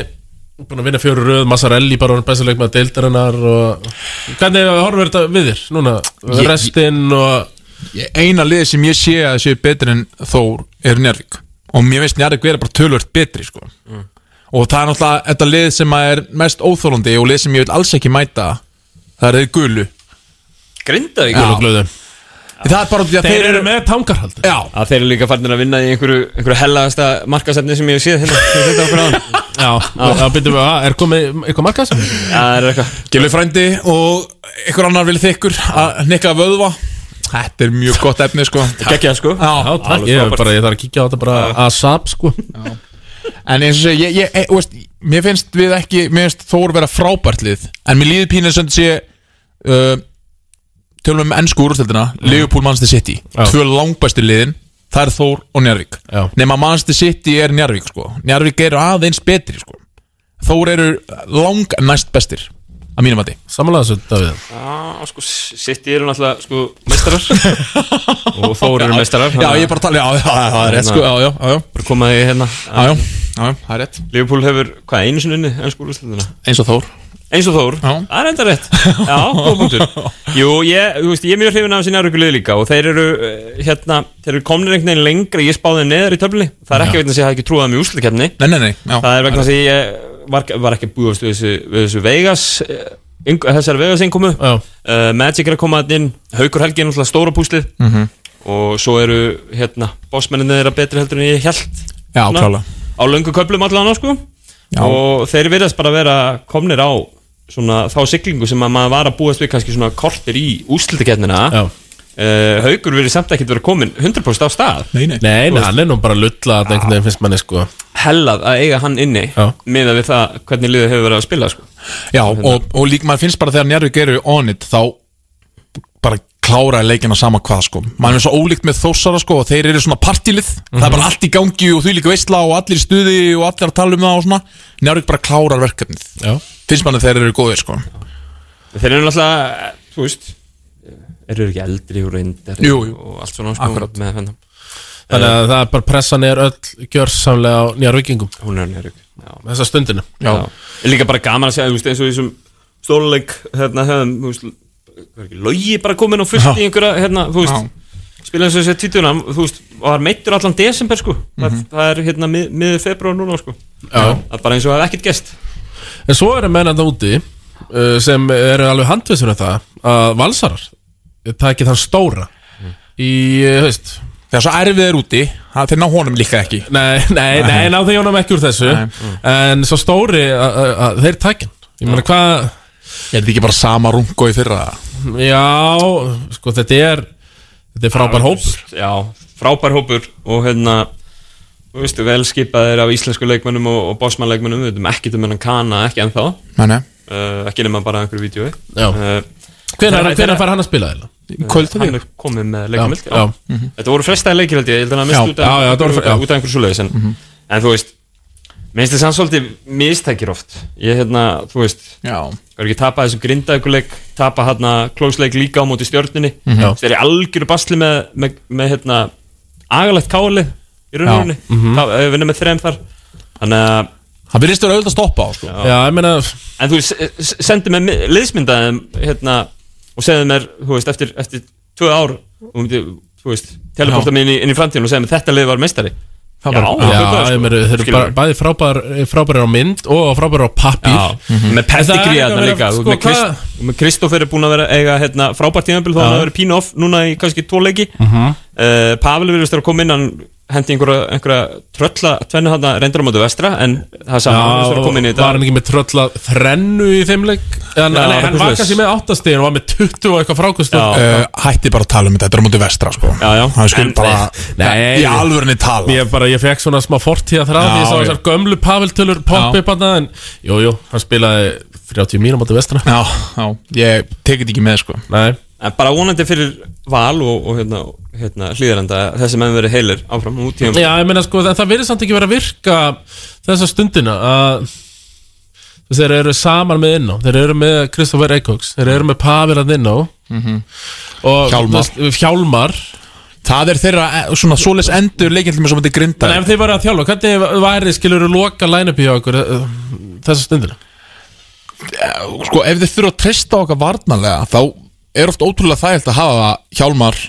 Speaker 2: Búin að vinna fjóru röð, Massarelli bara orðin bæstileg með deildarinnar og... Hvernig horfir þetta við þér núna?
Speaker 22: Ég-
Speaker 2: Restinn og
Speaker 22: Ég- Eina liðið sem ég sé að séu betri en Þór er Njarvík Og mér veist Njarvík vera bara tölvört betri sko Og það er náttúrulega þetta lið sem að er mest óþólandi Og lið sem ég vil alls ekki mæta Það er þeir gulu
Speaker 21: Grindaði
Speaker 22: Gulu
Speaker 2: glöðu
Speaker 22: Það er bara því að þeir eru
Speaker 2: með tangarhald
Speaker 22: Já
Speaker 21: Að þeir eru líka farnir að vinna í einhverju, einhverju hellaðasta markasefni sem ég hef séð hérna sem ég þetta okkur á
Speaker 2: Já, þá byrjum við að, er komið eitthvað markas? Já,
Speaker 21: er eitthvað
Speaker 22: Gilvi frændi og einhver annar vil þykkur að nikka vöðva Þetta er mjög gott efni sko
Speaker 21: Gekkja sko
Speaker 22: Já,
Speaker 2: Já, takk, ég, er bara, ég þarf að kíkja á þetta bara ASAP sko
Speaker 22: En eins og segja, ég, ég, ég, veist, mér finnst við ekki, mér finnst Þór vera frábært lið En mér líður pínir sem þetta sé uh, Tölum við með ennsku úrstældina Leopold Manchester City
Speaker 2: Já.
Speaker 22: Tvö langbæstu liðin, það er Þór og Njarvík
Speaker 2: Já.
Speaker 22: Nefn að Manchester City er Njarvík sko. Njarvík eru aðeins betri sko. Þór eru lang næst bestir Að mínum að því
Speaker 2: Samanlega þessu, Davíð
Speaker 21: Já, sko, City eru náttúrulega sko meistarar og Þór eru
Speaker 22: Já,
Speaker 21: meistarar Hérna-
Speaker 22: já, ég er bara að tala- já, já, já, það er rétt, sko, já, já, já
Speaker 21: Bara komaði hérna
Speaker 22: Já, já, já, það er rétt
Speaker 21: Liverpool hefur, hvað, einu sinni unni ennsku úrlustundina?
Speaker 22: Eins og Þór
Speaker 21: Eins og Þór, það er enda rétt Já, góð punktur Jú, ég, þú veist, ég er mjög hrifin af þessi nærvíkulega líka og þeir eru, eh, hérna, þeir eru komnir einhvern veginn lengra ég spáði þeim neðar í töflunni Það er ekki vegna þess að ég hafi ekki trúið þeim í úrslutakefni
Speaker 22: Nei, nei, nei, já
Speaker 21: Það er vegna þess að ég var, var ekki búið við þessu, við þessu Vegas eh, inn, þessari Vegas innkomu uh, Magic er að koma þarna inn, Haukur Helgi er náttúrulega stóra púslið
Speaker 22: Mhm.
Speaker 21: og svo eru hérna, bossmenninni þeirra betri heldur en ég held
Speaker 22: Já, klálega.
Speaker 21: á löngu köplum allan á sko
Speaker 22: Já.
Speaker 21: og þeir virðast bara vera komnir á svona þá siglingu sem að maður var að búast við kannski svona kortir í úslitakefnina Uh, haukur verið samt ekkert verið komin 100% á stað
Speaker 22: Nei, nei,
Speaker 2: Nei, nei, hann er nú bara að lulla að einhvern veginn finnst manni sko
Speaker 21: hellað að eiga hann inni miðað við það hvernig liðið hefur verið að spila sko.
Speaker 22: Já, og, og líka maður finnst bara þegar Njarvík eru on it þá bara klára leikina sama hvað sko maður er svo ólíkt með þósara sko og þeir eru svona partílið, það er
Speaker 2: Mhm.
Speaker 22: bara allt í gangi og þú líka veistla og allir í stuði og allir að tala um það og svona Njarvík bara klárar verkefnið
Speaker 2: Já.
Speaker 22: finnst maður að þeir eru góðir sko
Speaker 21: þeir eru náttúrulega, þú veist eru ekki eldri og reyndar
Speaker 22: Jú, jú.
Speaker 21: og allt svona sko,
Speaker 22: Akkurat.
Speaker 21: með Eh, hennar
Speaker 2: Þannig að það er bara pressan er öll gjörsamlega á nýjarvíkingum
Speaker 21: Hún er nýjarvíking
Speaker 2: Þessa stundinu
Speaker 21: Er líka bara gaman að segja, þú veist, eins og þessum stóluleik, hérna, hefðum, þú veist, var ekki logi bara komin og fullt í einhverja, hérna, þú veist, spila eins og þessi títuna, þú veist, og var meittur allan desember, sko, það,
Speaker 2: Mhm.
Speaker 21: það er, hérna, mið, miður februar núna, sko,
Speaker 2: Já.
Speaker 21: það er bara eins og hafa ekkert gest.
Speaker 2: En svo eru menn að úti uh, sem eru alveg handvisur um það að valsarar takið þann stóra í, uh, haust
Speaker 22: Þegar svo erfið er úti, það þeir ná honum líka ekki
Speaker 2: Nei, nei, nei, náðu því honum ekki úr þessu
Speaker 22: Nei.
Speaker 2: En svo stóri, að- að- að þeir takin Ég meina hvað
Speaker 22: Er þetta ekki bara sama rungo í fyrra?
Speaker 2: Já, sko þetta er Þetta er frábær hópur
Speaker 21: Já, frábær hópur og, hérna, þú veist, vel skipaðir af íslensku leikmönnum og, og bósmannleikmönnum, við veitum ekkert um hennan kana, ekki ennþá.
Speaker 22: Nei, nei
Speaker 21: uh, ekki nema bara einhverju Eh, vídeo
Speaker 2: Já. Hvenær- hvenær fær hann að spila eiginlega? Í kvöld, held
Speaker 21: Eh, Hann
Speaker 2: ég.
Speaker 21: er komið með leikamöld
Speaker 2: Já, já. Mhm.
Speaker 21: Þetta voru frestaði leikir held ég, ég held að hann mist
Speaker 2: Já,
Speaker 21: út af,
Speaker 2: já, já, þetta voru
Speaker 21: út
Speaker 2: fre- já.
Speaker 21: af, út af einhverju svoleiðis en,
Speaker 2: Mhm.
Speaker 21: en þú veist, minnst þess að svolítið mistækir oft Ég hérna, þú veist,
Speaker 22: Já.
Speaker 21: er ekki tapað þessum grindaðuguleik Tapa hérna klósleik líka á móti stjórninni
Speaker 22: Mhm. Já.
Speaker 21: Þeir eru algjöru basli með, með, með hérna, agalegt kálið í
Speaker 22: Já.
Speaker 21: rauninni
Speaker 2: Mhm.
Speaker 21: mm -hmm. Við vinnum með þrem þar Þannig að
Speaker 22: Það byrjist að vera auðvitað að stoppa á sko.
Speaker 21: Já, ég meina En þú sendir mér mi- liðsmyndaðum hérna, og segðum mér, þú veist, eftir, eftir tvö ár, þú myndi, þú veist teleporta
Speaker 2: Já.
Speaker 21: mig inn í, inn í framtíðin og segðum mér þetta lið var meistari
Speaker 2: Já, já,
Speaker 21: sko.
Speaker 2: ég meina, þeir eru bara- bæði frábær, frábærir á mynd og frábærir á pappír
Speaker 21: mhm.
Speaker 2: Mhm.
Speaker 21: með pedigree hérna líka sko, með, Krist, með Kristoffer er búin að vera eiga hérna, frábært tímabil þá
Speaker 2: Já.
Speaker 21: hann hefur verið pínu off núna í kannski tóleiki uh -huh.
Speaker 2: Mhm.
Speaker 21: uh, Pavel virðist vera að koma inn hann hendi einhverja, einhverja trölla tvennu hann reyndur á mótu vestra en það er saman, hann virðist vera að koma inn í
Speaker 2: Já,
Speaker 21: þetta
Speaker 2: var hann ekki með trölla þrennu í þeim leik Já,
Speaker 21: Já,
Speaker 2: Nei, hann
Speaker 21: eitthvað
Speaker 2: var
Speaker 21: svoleiðis.
Speaker 2: kannski með áttastegin og var með 20 og eitthvað frákust
Speaker 22: Eh, hætti bara að tala um þetta, þetta er á móti vestra sko.
Speaker 21: já, já.
Speaker 22: það skil bara
Speaker 2: eh, Nei,
Speaker 22: í alvörunni tala
Speaker 2: Ég, bara, ég fekk svona smá fortíða þráð
Speaker 22: Já,
Speaker 2: Ég sá
Speaker 22: já.
Speaker 2: þessar gömlu Pavel-tölur poppa
Speaker 22: Já.
Speaker 2: upp hann En jú, jú, hann spilaði 30 mínum átta vestra
Speaker 22: Já, já, ég tekið ekki með sko
Speaker 2: Nei
Speaker 21: En bara vonandi fyrir val og, og hérna, hérna hlýðarenda þessi menn verið heilir áfram út tíum
Speaker 2: Já, ég meina sko, það, það verið samt ekki verið að virka þessa stundina að þú veist, þeir eru saman með inná þeir eru með Kristoffer Eikóks þeir eru með Pavel að inná
Speaker 22: Mhm.
Speaker 2: og
Speaker 22: Hjálmar.
Speaker 2: þú veist, Hjálmar
Speaker 22: Það er þeirra, eh, svona, svoleiðs endur leikinn til mér sem þetta grinda
Speaker 2: Nei, ef þið varu að þjálfa, hvernig væri skilur loka line-upi á okkur uh, þessa stundina?
Speaker 22: sko, ef þið þurfa að treysta á okkar varnarlega þá er oft ótrúlega þægilt að hafa Hjálmar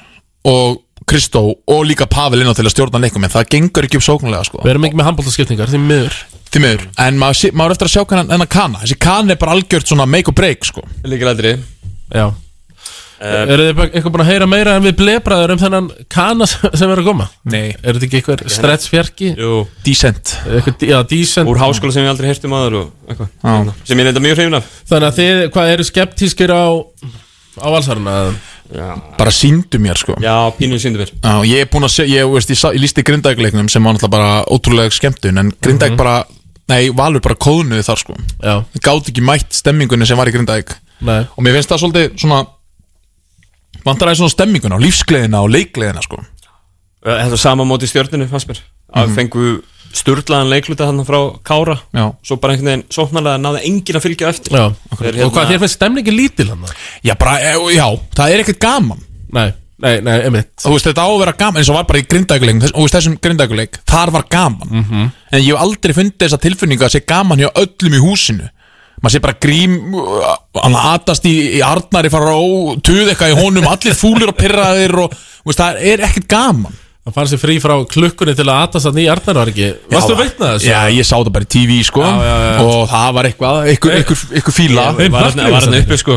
Speaker 22: og Kristó og líka Pavel inn á til að stjórna leikum en það gengur ekki upp sóknulega sko.
Speaker 2: Við erum ekki með handbóltaskipningar, því miður
Speaker 22: Því miður, en maður, sé- maður er eftir að sjá hvernig hennar kana þessi kana er bara algjört svona make or break sko.
Speaker 21: Líkilætri
Speaker 2: Já Eru þið bara- eitthvað búin að heyra meira en við blebraður um þennan kana sem sem er að koma?
Speaker 22: Nei
Speaker 2: Er þetta ekki eitthvað stretch fjarki?
Speaker 21: Jú
Speaker 22: Decent
Speaker 2: Já, decent
Speaker 21: Úr háskóla sem ég aldrei heyrst um aður og eitthvað Hérna, Sem ég reynda mjög hrifin af
Speaker 2: Þannig að þið, hvað eru skeptískir á á valsaruna?
Speaker 21: Já,
Speaker 22: bara síndu mér sko.
Speaker 21: já pínu síndu mér
Speaker 22: Já, ég er búin að segja, ég, veist, ég, sá- ég lísti grindækleiknum sem var náttúrulega bara ótrúlega skemmtun en grindæk
Speaker 2: Mhm.
Speaker 22: bara, nei, valur bara kóðnuði þar sko
Speaker 2: Já.
Speaker 22: gátt ekki mætt stemmingunni sem var í grindæk
Speaker 2: Nei.
Speaker 22: og mér finnst það svolítið svona vantar aðeins svona stemminguna og lífsgleðina og leikgleðina sko
Speaker 21: Þetta var sama móti stjórninu, fannst mér Að
Speaker 22: Mhm.
Speaker 21: fengu sturlaðan leikluta hann frá Kára
Speaker 22: Já.
Speaker 21: Svo bara einhvern veginn sóknarlega náði enginn að fylgja á eftir
Speaker 2: Já,
Speaker 21: Þeir,
Speaker 2: og hvað þér finnst stemningi lítil hann?
Speaker 22: Já, bara, e- já, það er ekkert gaman
Speaker 2: Nei, nei, nei, einmitt
Speaker 22: Þú veist, þetta á að vera gaman eins og var bara í grindækuleik og veist, þessum grindækuleik, þar var gaman
Speaker 2: Mhm.
Speaker 22: -hmm. en ég hef aldrei fundið þessa tilfinningu að sé gaman hjá öllum í húsinu maður sé bara grím uh, hann atast í, í Arnari fara á tuð eitthvað í honum, allir fúlir og pyrraðir og þú veist, það er ekkert gaman
Speaker 2: Það fann sér frí frá klukkunni til að atast hann í Arnarvargi Varstu
Speaker 22: Já,
Speaker 2: að veitna þessu?
Speaker 22: Já, ég sá það bara í TV sko
Speaker 2: já, já.
Speaker 22: og það var eitthvað, eitthvað, eitthvað, eitthvað fíla
Speaker 21: Ég var þarna- var hann uppi sko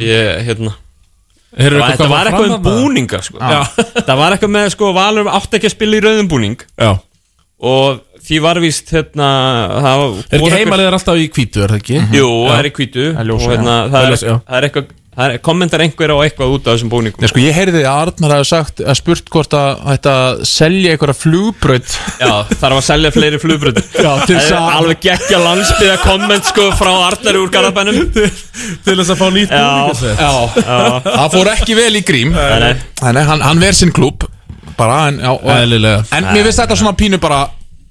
Speaker 21: Ég, hérna
Speaker 2: Heyrðu
Speaker 21: Það var-
Speaker 2: eitthvað
Speaker 21: Þetta
Speaker 2: hvað
Speaker 21: var
Speaker 2: var
Speaker 21: eitthvað um
Speaker 2: fram þarna?
Speaker 21: búninga sko
Speaker 2: Já.
Speaker 21: Það var eitthvað með sko Valur átti ekki að spila í rauðum búning
Speaker 2: Já.
Speaker 21: Og því var víst hérna það var-
Speaker 2: Er
Speaker 21: voru
Speaker 2: ekki
Speaker 21: einhver-
Speaker 2: heimaliðar alltaf í hvítu, er það ekki?
Speaker 21: Jú, það
Speaker 2: Já.
Speaker 21: er í kvítu
Speaker 2: Það er
Speaker 21: Og
Speaker 2: ljósa,
Speaker 21: hérna
Speaker 2: já.
Speaker 21: það
Speaker 2: Það er
Speaker 21: er-
Speaker 2: ljósa, já.
Speaker 21: það er eitthvað það er- Kommentar einhver á eitthvað út af þessum búningum
Speaker 22: Já, sko, ég heyrði að Arnar hafi sagt að spurt hvort að þetta selja einhverja flugbraut
Speaker 21: Já, þarf að selja fleiri flugbröð
Speaker 22: Já, til þess
Speaker 21: Það er
Speaker 22: að-
Speaker 21: alveg geggja landsbyða komment sko Frá Arnari úr Garabænum Til
Speaker 2: þess að fá nýtt
Speaker 21: búningasett Já, já
Speaker 22: Það fór ekki vel í grím
Speaker 21: nei.
Speaker 22: Þannig, hann, hann verð sinn klúb Bara, en, já og-
Speaker 2: Eðlilega.
Speaker 22: En mér finnst þetta svona pínu bara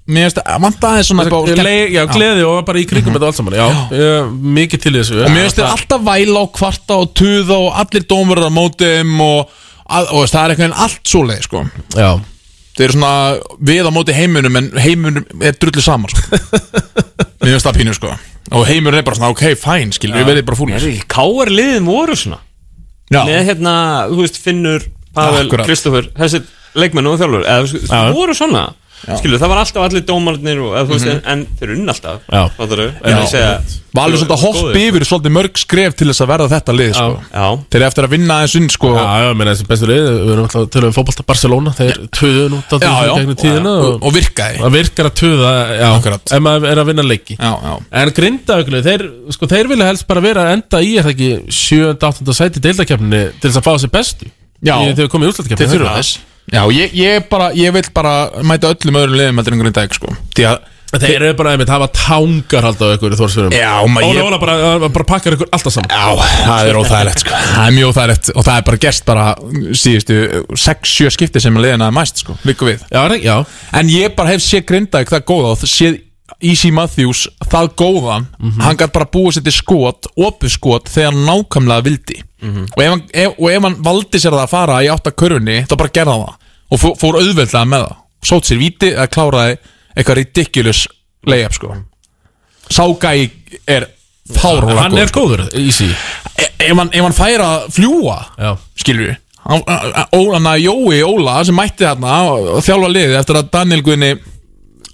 Speaker 22: Mér finnst að vanta aðeins svona upp á-
Speaker 2: Le- Já, gleði og bara í kringum þetta allt saman Já, já. mikið til í þessu
Speaker 22: Og mér finnst þetta alltaf væla og kvarta og tuða Og allir dómur á mótum Og, að, og veist, það er einhvern veginn allt svoleið sko.
Speaker 2: Já
Speaker 22: Það er svona við á móti heiminum En heiminum er drullu saman sko. Mér finnst það pínu sko Og heimurinn er bara svona, ok, fæn, skil, við verðum bara fúlis
Speaker 21: Káar liðin voru svona
Speaker 22: Já.
Speaker 21: Með hérna, þú veist, Finnur, Pavel,
Speaker 22: Akkurat.
Speaker 21: Kristoffer Þessi leikmenn og þjálfur Eða, þú veist,
Speaker 2: Já.
Speaker 21: voru svona
Speaker 22: Já.
Speaker 21: Skilur, það var alltaf allir dómarnir og, eða, þú veist,
Speaker 22: Mhm.
Speaker 21: en, en þeir unna alltaf
Speaker 2: Já.
Speaker 21: Fattar þau?
Speaker 22: Já.
Speaker 21: En ég segja
Speaker 22: Valur svolítið að hoppa yfir svolítið mörg skref til þess að verða þetta lið sko.
Speaker 21: Já.
Speaker 22: Þeir eru eftir að vinna aðeins inn sko.
Speaker 2: Já, já, menn þessi bestu lið Við erum alltaf til að um fótbolta Barcelona Þeir töðu nú
Speaker 22: Já, já.
Speaker 2: gegnum tíðina
Speaker 22: Og- og virkaði.
Speaker 2: Það virkar að töða, já
Speaker 22: Akkurat.
Speaker 2: Ef maður er að vinna leiki
Speaker 22: Já, já
Speaker 2: En grindauglu, þeir, sko, þeir vilja helst bara vera að enda í, er það ekki, 7. 8. sæti deildakefninni til þess að fá þessi bestu
Speaker 22: Já.
Speaker 2: Í- Þegar við komum í úrslutakefninni
Speaker 22: Þeir þurfa þess Já, ég, ég, bara, ég vil bara mæta öllum öðrum liðum heldur en Grindavík sko. Því að
Speaker 2: Þeir eru bara einmitt, hafa tangar alltaf ykkur í Þórsfjörðum
Speaker 22: Já, maður-
Speaker 2: Óla, óla, bara, eh, bara pakkar ykkur alltaf saman
Speaker 22: Já, það er óþægilegt sko Það er mjög óþægilegt og það er bara gerst bara síðustu 6-7 skipti sem að liðina er mæst sko, líka við
Speaker 2: já, já.
Speaker 22: En ég bara hef séð Grindavík það góða og séð Easy Matthews það góðan
Speaker 2: Mhm.
Speaker 22: hann gætt bara búið sér til skot, opið skot þegar hann nákvæmlega vildi
Speaker 2: Mhm.
Speaker 22: og, ef hann, ef, og ef hann valdi sér það að fara í átta körfunni, þá bara gerða hann það og fór, fór auðveldlega með það sót sér víti eða kláraði eitthvað ridiculous layup sko Ságæi er fárúlega
Speaker 2: Hann er góður, easy
Speaker 22: ef hann, ef hann færi að fljúa
Speaker 2: Já.
Speaker 22: skilur við Óla, Jói Óla sem mætti þarna og þjálfa liðið eftir að Daniel Guðni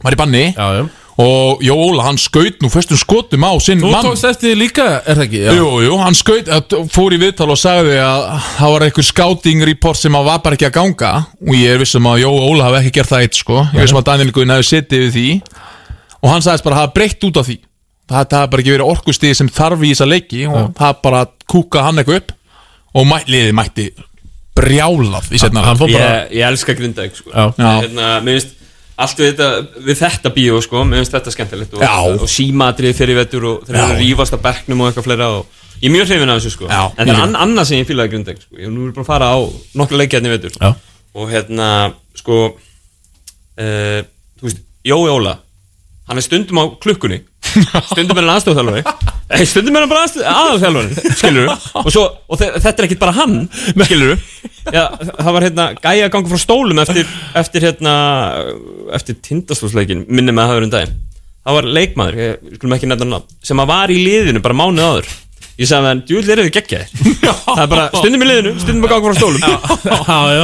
Speaker 22: var í banni já, já. og Jó Óla hann skaut nú fyrstum skotum á sinn
Speaker 2: Þú
Speaker 22: mann
Speaker 2: tókst eftir því líka, er það ekki? Já.
Speaker 22: Jú, jú, hann skaut, að- fór í viðtal og sagði að það var einhver scouting report sem að var bara ekki að ganga og ég er vissum að Jó Óla hafi ekki gert það eitt sko, ég er vissum að Daniel Guðin hafi setið við því og hann sagðist bara að hafa breytt út af því það það hafi bara ekki verið orkustið sem þarf í þessa leiki og það hafi bara kúkað hann eitthvað upp og mæ, liðið mætti brjálað í setna
Speaker 2: bara-
Speaker 21: ég, ég elska Grindavík sko.
Speaker 2: Já.
Speaker 21: Ég, hérna, mér finnst allt við þetta, við þetta bíó sko, mér finnst þetta skemmtilegt og, og
Speaker 22: Já.
Speaker 21: símatrið fyrir vettur og þeir
Speaker 22: Já.
Speaker 21: eru að rífast að berknum og eitthvað fleira og ég er mjög hrifin af þessu sko.
Speaker 22: Já,
Speaker 21: en það
Speaker 22: mjög.
Speaker 21: er an annað sem ég fílaði Grindavík sko. ég er nú bara að fara á nokkla leikjarni vettur
Speaker 2: Já.
Speaker 21: og hérna sko uh, þú veist, Jói Óla hann er stundum á klukkunni stundum er hann aðstofþjálfari stundum er hann bara aðstofþjálfari skilur og, svo, og þe þetta er ekkit bara hann skilur Já, það var hérna gæja að ganga frá stólum eftir, eftir hérna eftir tindastólsleikin minni með að hafa verið um daginn það var leikmaður, ég skulum ekki nefna nafn sem að var í liðinu bara mánuð áður ég sagði hann, djúvill eru þið geggja það er bara stundum í liðinu, stundum að ganga frá stólum
Speaker 2: Já, já,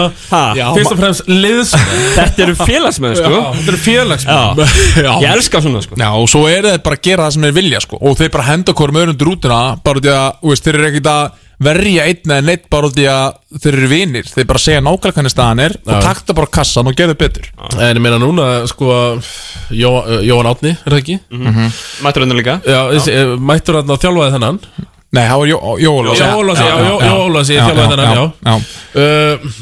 Speaker 2: já Fyrst og fremst liðsmenn
Speaker 21: Þetta eru félagsmenn, sko.
Speaker 2: Já, Þetta eru félagsmenn
Speaker 22: Já.
Speaker 21: Ég elska svona sko
Speaker 22: Já, og svo eru þeir bara að gera það sem þeir vilja sko. og þeir bara henda okkur með örundur útina bara út í að, þú veist, þeir eru ekkert að verja einn eða neitt bara út í að þeir eru vinir þeir bara segja nákvæmlega hvernig staðan er og
Speaker 2: Já.
Speaker 22: takta bara kassan og gerðu betur
Speaker 2: En ég meina núna, sko Jó, Jóhann Átni, er það ekki?
Speaker 22: Mhm.
Speaker 21: Mættur hann líka
Speaker 2: Já, þessi, eh, mættur hann að þjálfaði þennan
Speaker 22: Nei, það var Jó- Jóla
Speaker 2: Jó Ólafs, já, Jó- Jó Ólafs, ég þjálfaði þennan, já uh,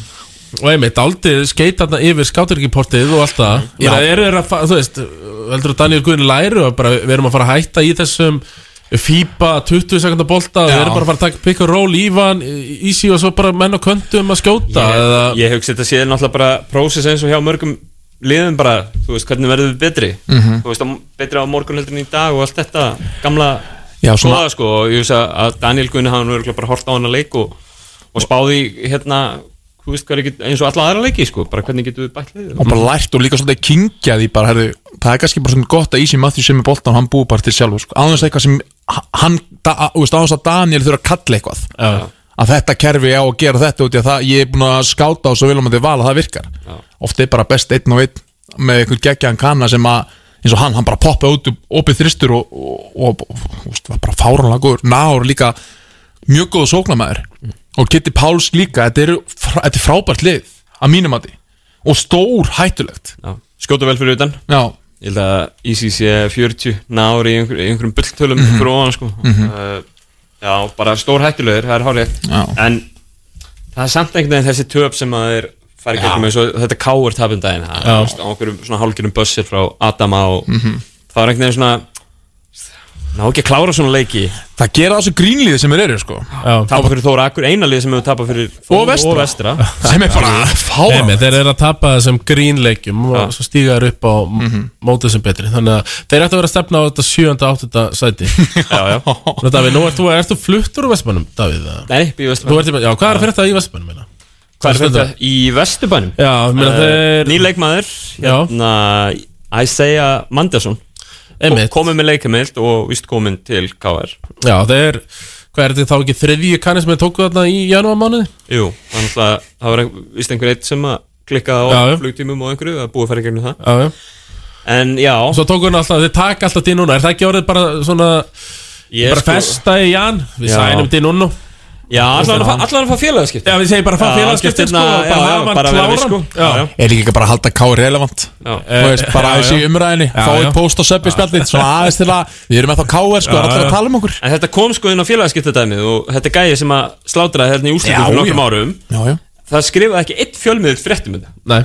Speaker 2: Og einmitt, aldrei skeit þarna yfir skáturkiportið og allt það
Speaker 22: Já.
Speaker 2: Ég meina, eru þeir að, fa- þú veist, heldur að Daniel Guðin læru að bara, við erum að fara að hætta í þessum FIBA 20 sekundar bolta og við
Speaker 22: Já.
Speaker 2: erum bara að fara að taka pick and roll í van í sí og svo bara menn og köndum að skjóta eða,
Speaker 21: ég, ég hugsa þetta séð náttúrulega bara prósess eins og hjá mörgum liðum bara, þú veist, hvernig verðum við betri
Speaker 22: Mhm.
Speaker 21: þú veist, á- betri á morgun heldur en í dag og allt þetta gamla
Speaker 22: Já, svona-
Speaker 21: góða, sko, og ég veist að Daniel Gunni hafði nú örugglega bara hort á hann að leik og, og spáði í, hérna þú veist, hvað er ekki, eins og alla aðra leiki sko, bara hvernig getum við bætt liðið
Speaker 22: og bara lært og líka svolítið kingja því bara, herðu, það er kannski bara svona gott að Ísi Matthews sem er boltan hann búið bara til sjálfur sko. ánvegs eitthvað sem hann, da, þú veist, ánvegs að Daniel þurfa að kalla eitthvað
Speaker 2: Já.
Speaker 22: að þetta kerfi á að gera þetta út í að það, ég er búin að skáta á svo viljum að þið vala, það virkar Já. oft er bara best einn og einn með einhvern geggjaðan kanna sem að eins og hann, hann bara poppa út um opið þristur og, og, og, og þú veist, var bara fáránlega góður náður líka mjög góð sóknamaður og Kitty Páls líka þetta er, þetta er frábært lið að mínum að og stór hættulegt
Speaker 21: Já. skjóta vel fyrir utan
Speaker 22: Já.
Speaker 21: ég held að E ICC 40 nári í einhver, í einhverjum bulltölum
Speaker 22: Mhm.
Speaker 21: fyrir ofan sko.
Speaker 22: Mhm.
Speaker 21: uh, já, bara stór hættulegur það er hárétt
Speaker 22: Já.
Speaker 21: en það er samt einhvern veginn þessi töp sem að þeir fara í gegnum eins og þetta káur tapum um daginn það
Speaker 2: Já.
Speaker 21: er veist, á einhverjum svona hálgirum bussir frá Adama og
Speaker 22: Mhm.
Speaker 21: það er einhvern veginn svona ná ekki að klára svona leiki
Speaker 22: það gera þessu grínlíði sem þeir eru sko
Speaker 21: tapa fyrir Þóra Akkur, eina lið sem hefur tapað fyrir Þór
Speaker 22: Og Vestra. Sem er bara fáránlegt.
Speaker 2: Nei, Þeir eru að tapa þessum grínleikjum og svo stíga þeir upp á mm
Speaker 21: Mhm.
Speaker 2: mótið sem betri Þannig að þeir ættu að vera að stefna á þetta 7. 8. sæti
Speaker 21: Já, já
Speaker 2: Nú, Davíð, nú ert þú, ert þú fluttur úr Vestmannum, Davíð?
Speaker 21: Nei, býr í Vesturbænum.
Speaker 2: Þú ert í- Já, hvað er fyrir þetta í Vestmannum? meina?
Speaker 21: Hvað er þetta? Í Vesturbænum?
Speaker 2: Já, ég meina þeir-
Speaker 21: Ný leikmaður, hérna, Isaiah Manderson
Speaker 2: Einmitt.
Speaker 21: Komið með leikamild og vist komin til KR
Speaker 2: Já, þeir, hvað er þetta þá ekki þriðji kanni sem þeir tóku þarna í janúar mánuði?
Speaker 21: Jú, þannig að það var ein- vist einhver eitt sem að klikkaði á
Speaker 2: Já, já.
Speaker 21: flugtímum og einhverju að búið að fara í gegnum það
Speaker 2: Já, já
Speaker 21: En já
Speaker 2: Svo tóku hann alltaf, þeir taka alltaf til núna Er það ekki orðið bara svona
Speaker 21: Ég
Speaker 2: Bara
Speaker 21: sko-
Speaker 2: festa í Jan, við
Speaker 21: Já.
Speaker 2: sænum til núna
Speaker 21: Já, allan að fá- allan að fá félagaskipti
Speaker 2: Já, við segjum bara að fá félagaskipti, sko, og bara hafa hann kláran.
Speaker 21: sko.
Speaker 2: Já.
Speaker 22: er ekki bara að halda K relevant
Speaker 21: Já.
Speaker 22: Þú veist, bara
Speaker 21: Já,
Speaker 22: aðeins í
Speaker 21: já.
Speaker 22: umræðinni
Speaker 21: Já,
Speaker 22: fá
Speaker 21: já.
Speaker 22: eitt post á söppi spjallin svona aðeins til að við erum eftir á K sko, það er allir að tala um okkur
Speaker 21: En þetta kom sko inn á félagaskiptadæmið og þetta er gæði sem að slátraði hérna í úrslitum
Speaker 22: Já,
Speaker 21: fyrir nokkrum
Speaker 22: já.
Speaker 21: árum
Speaker 22: já, já.
Speaker 21: Það skrifaði ekki eitt fjölmiðil fréttum um þetta
Speaker 2: Nei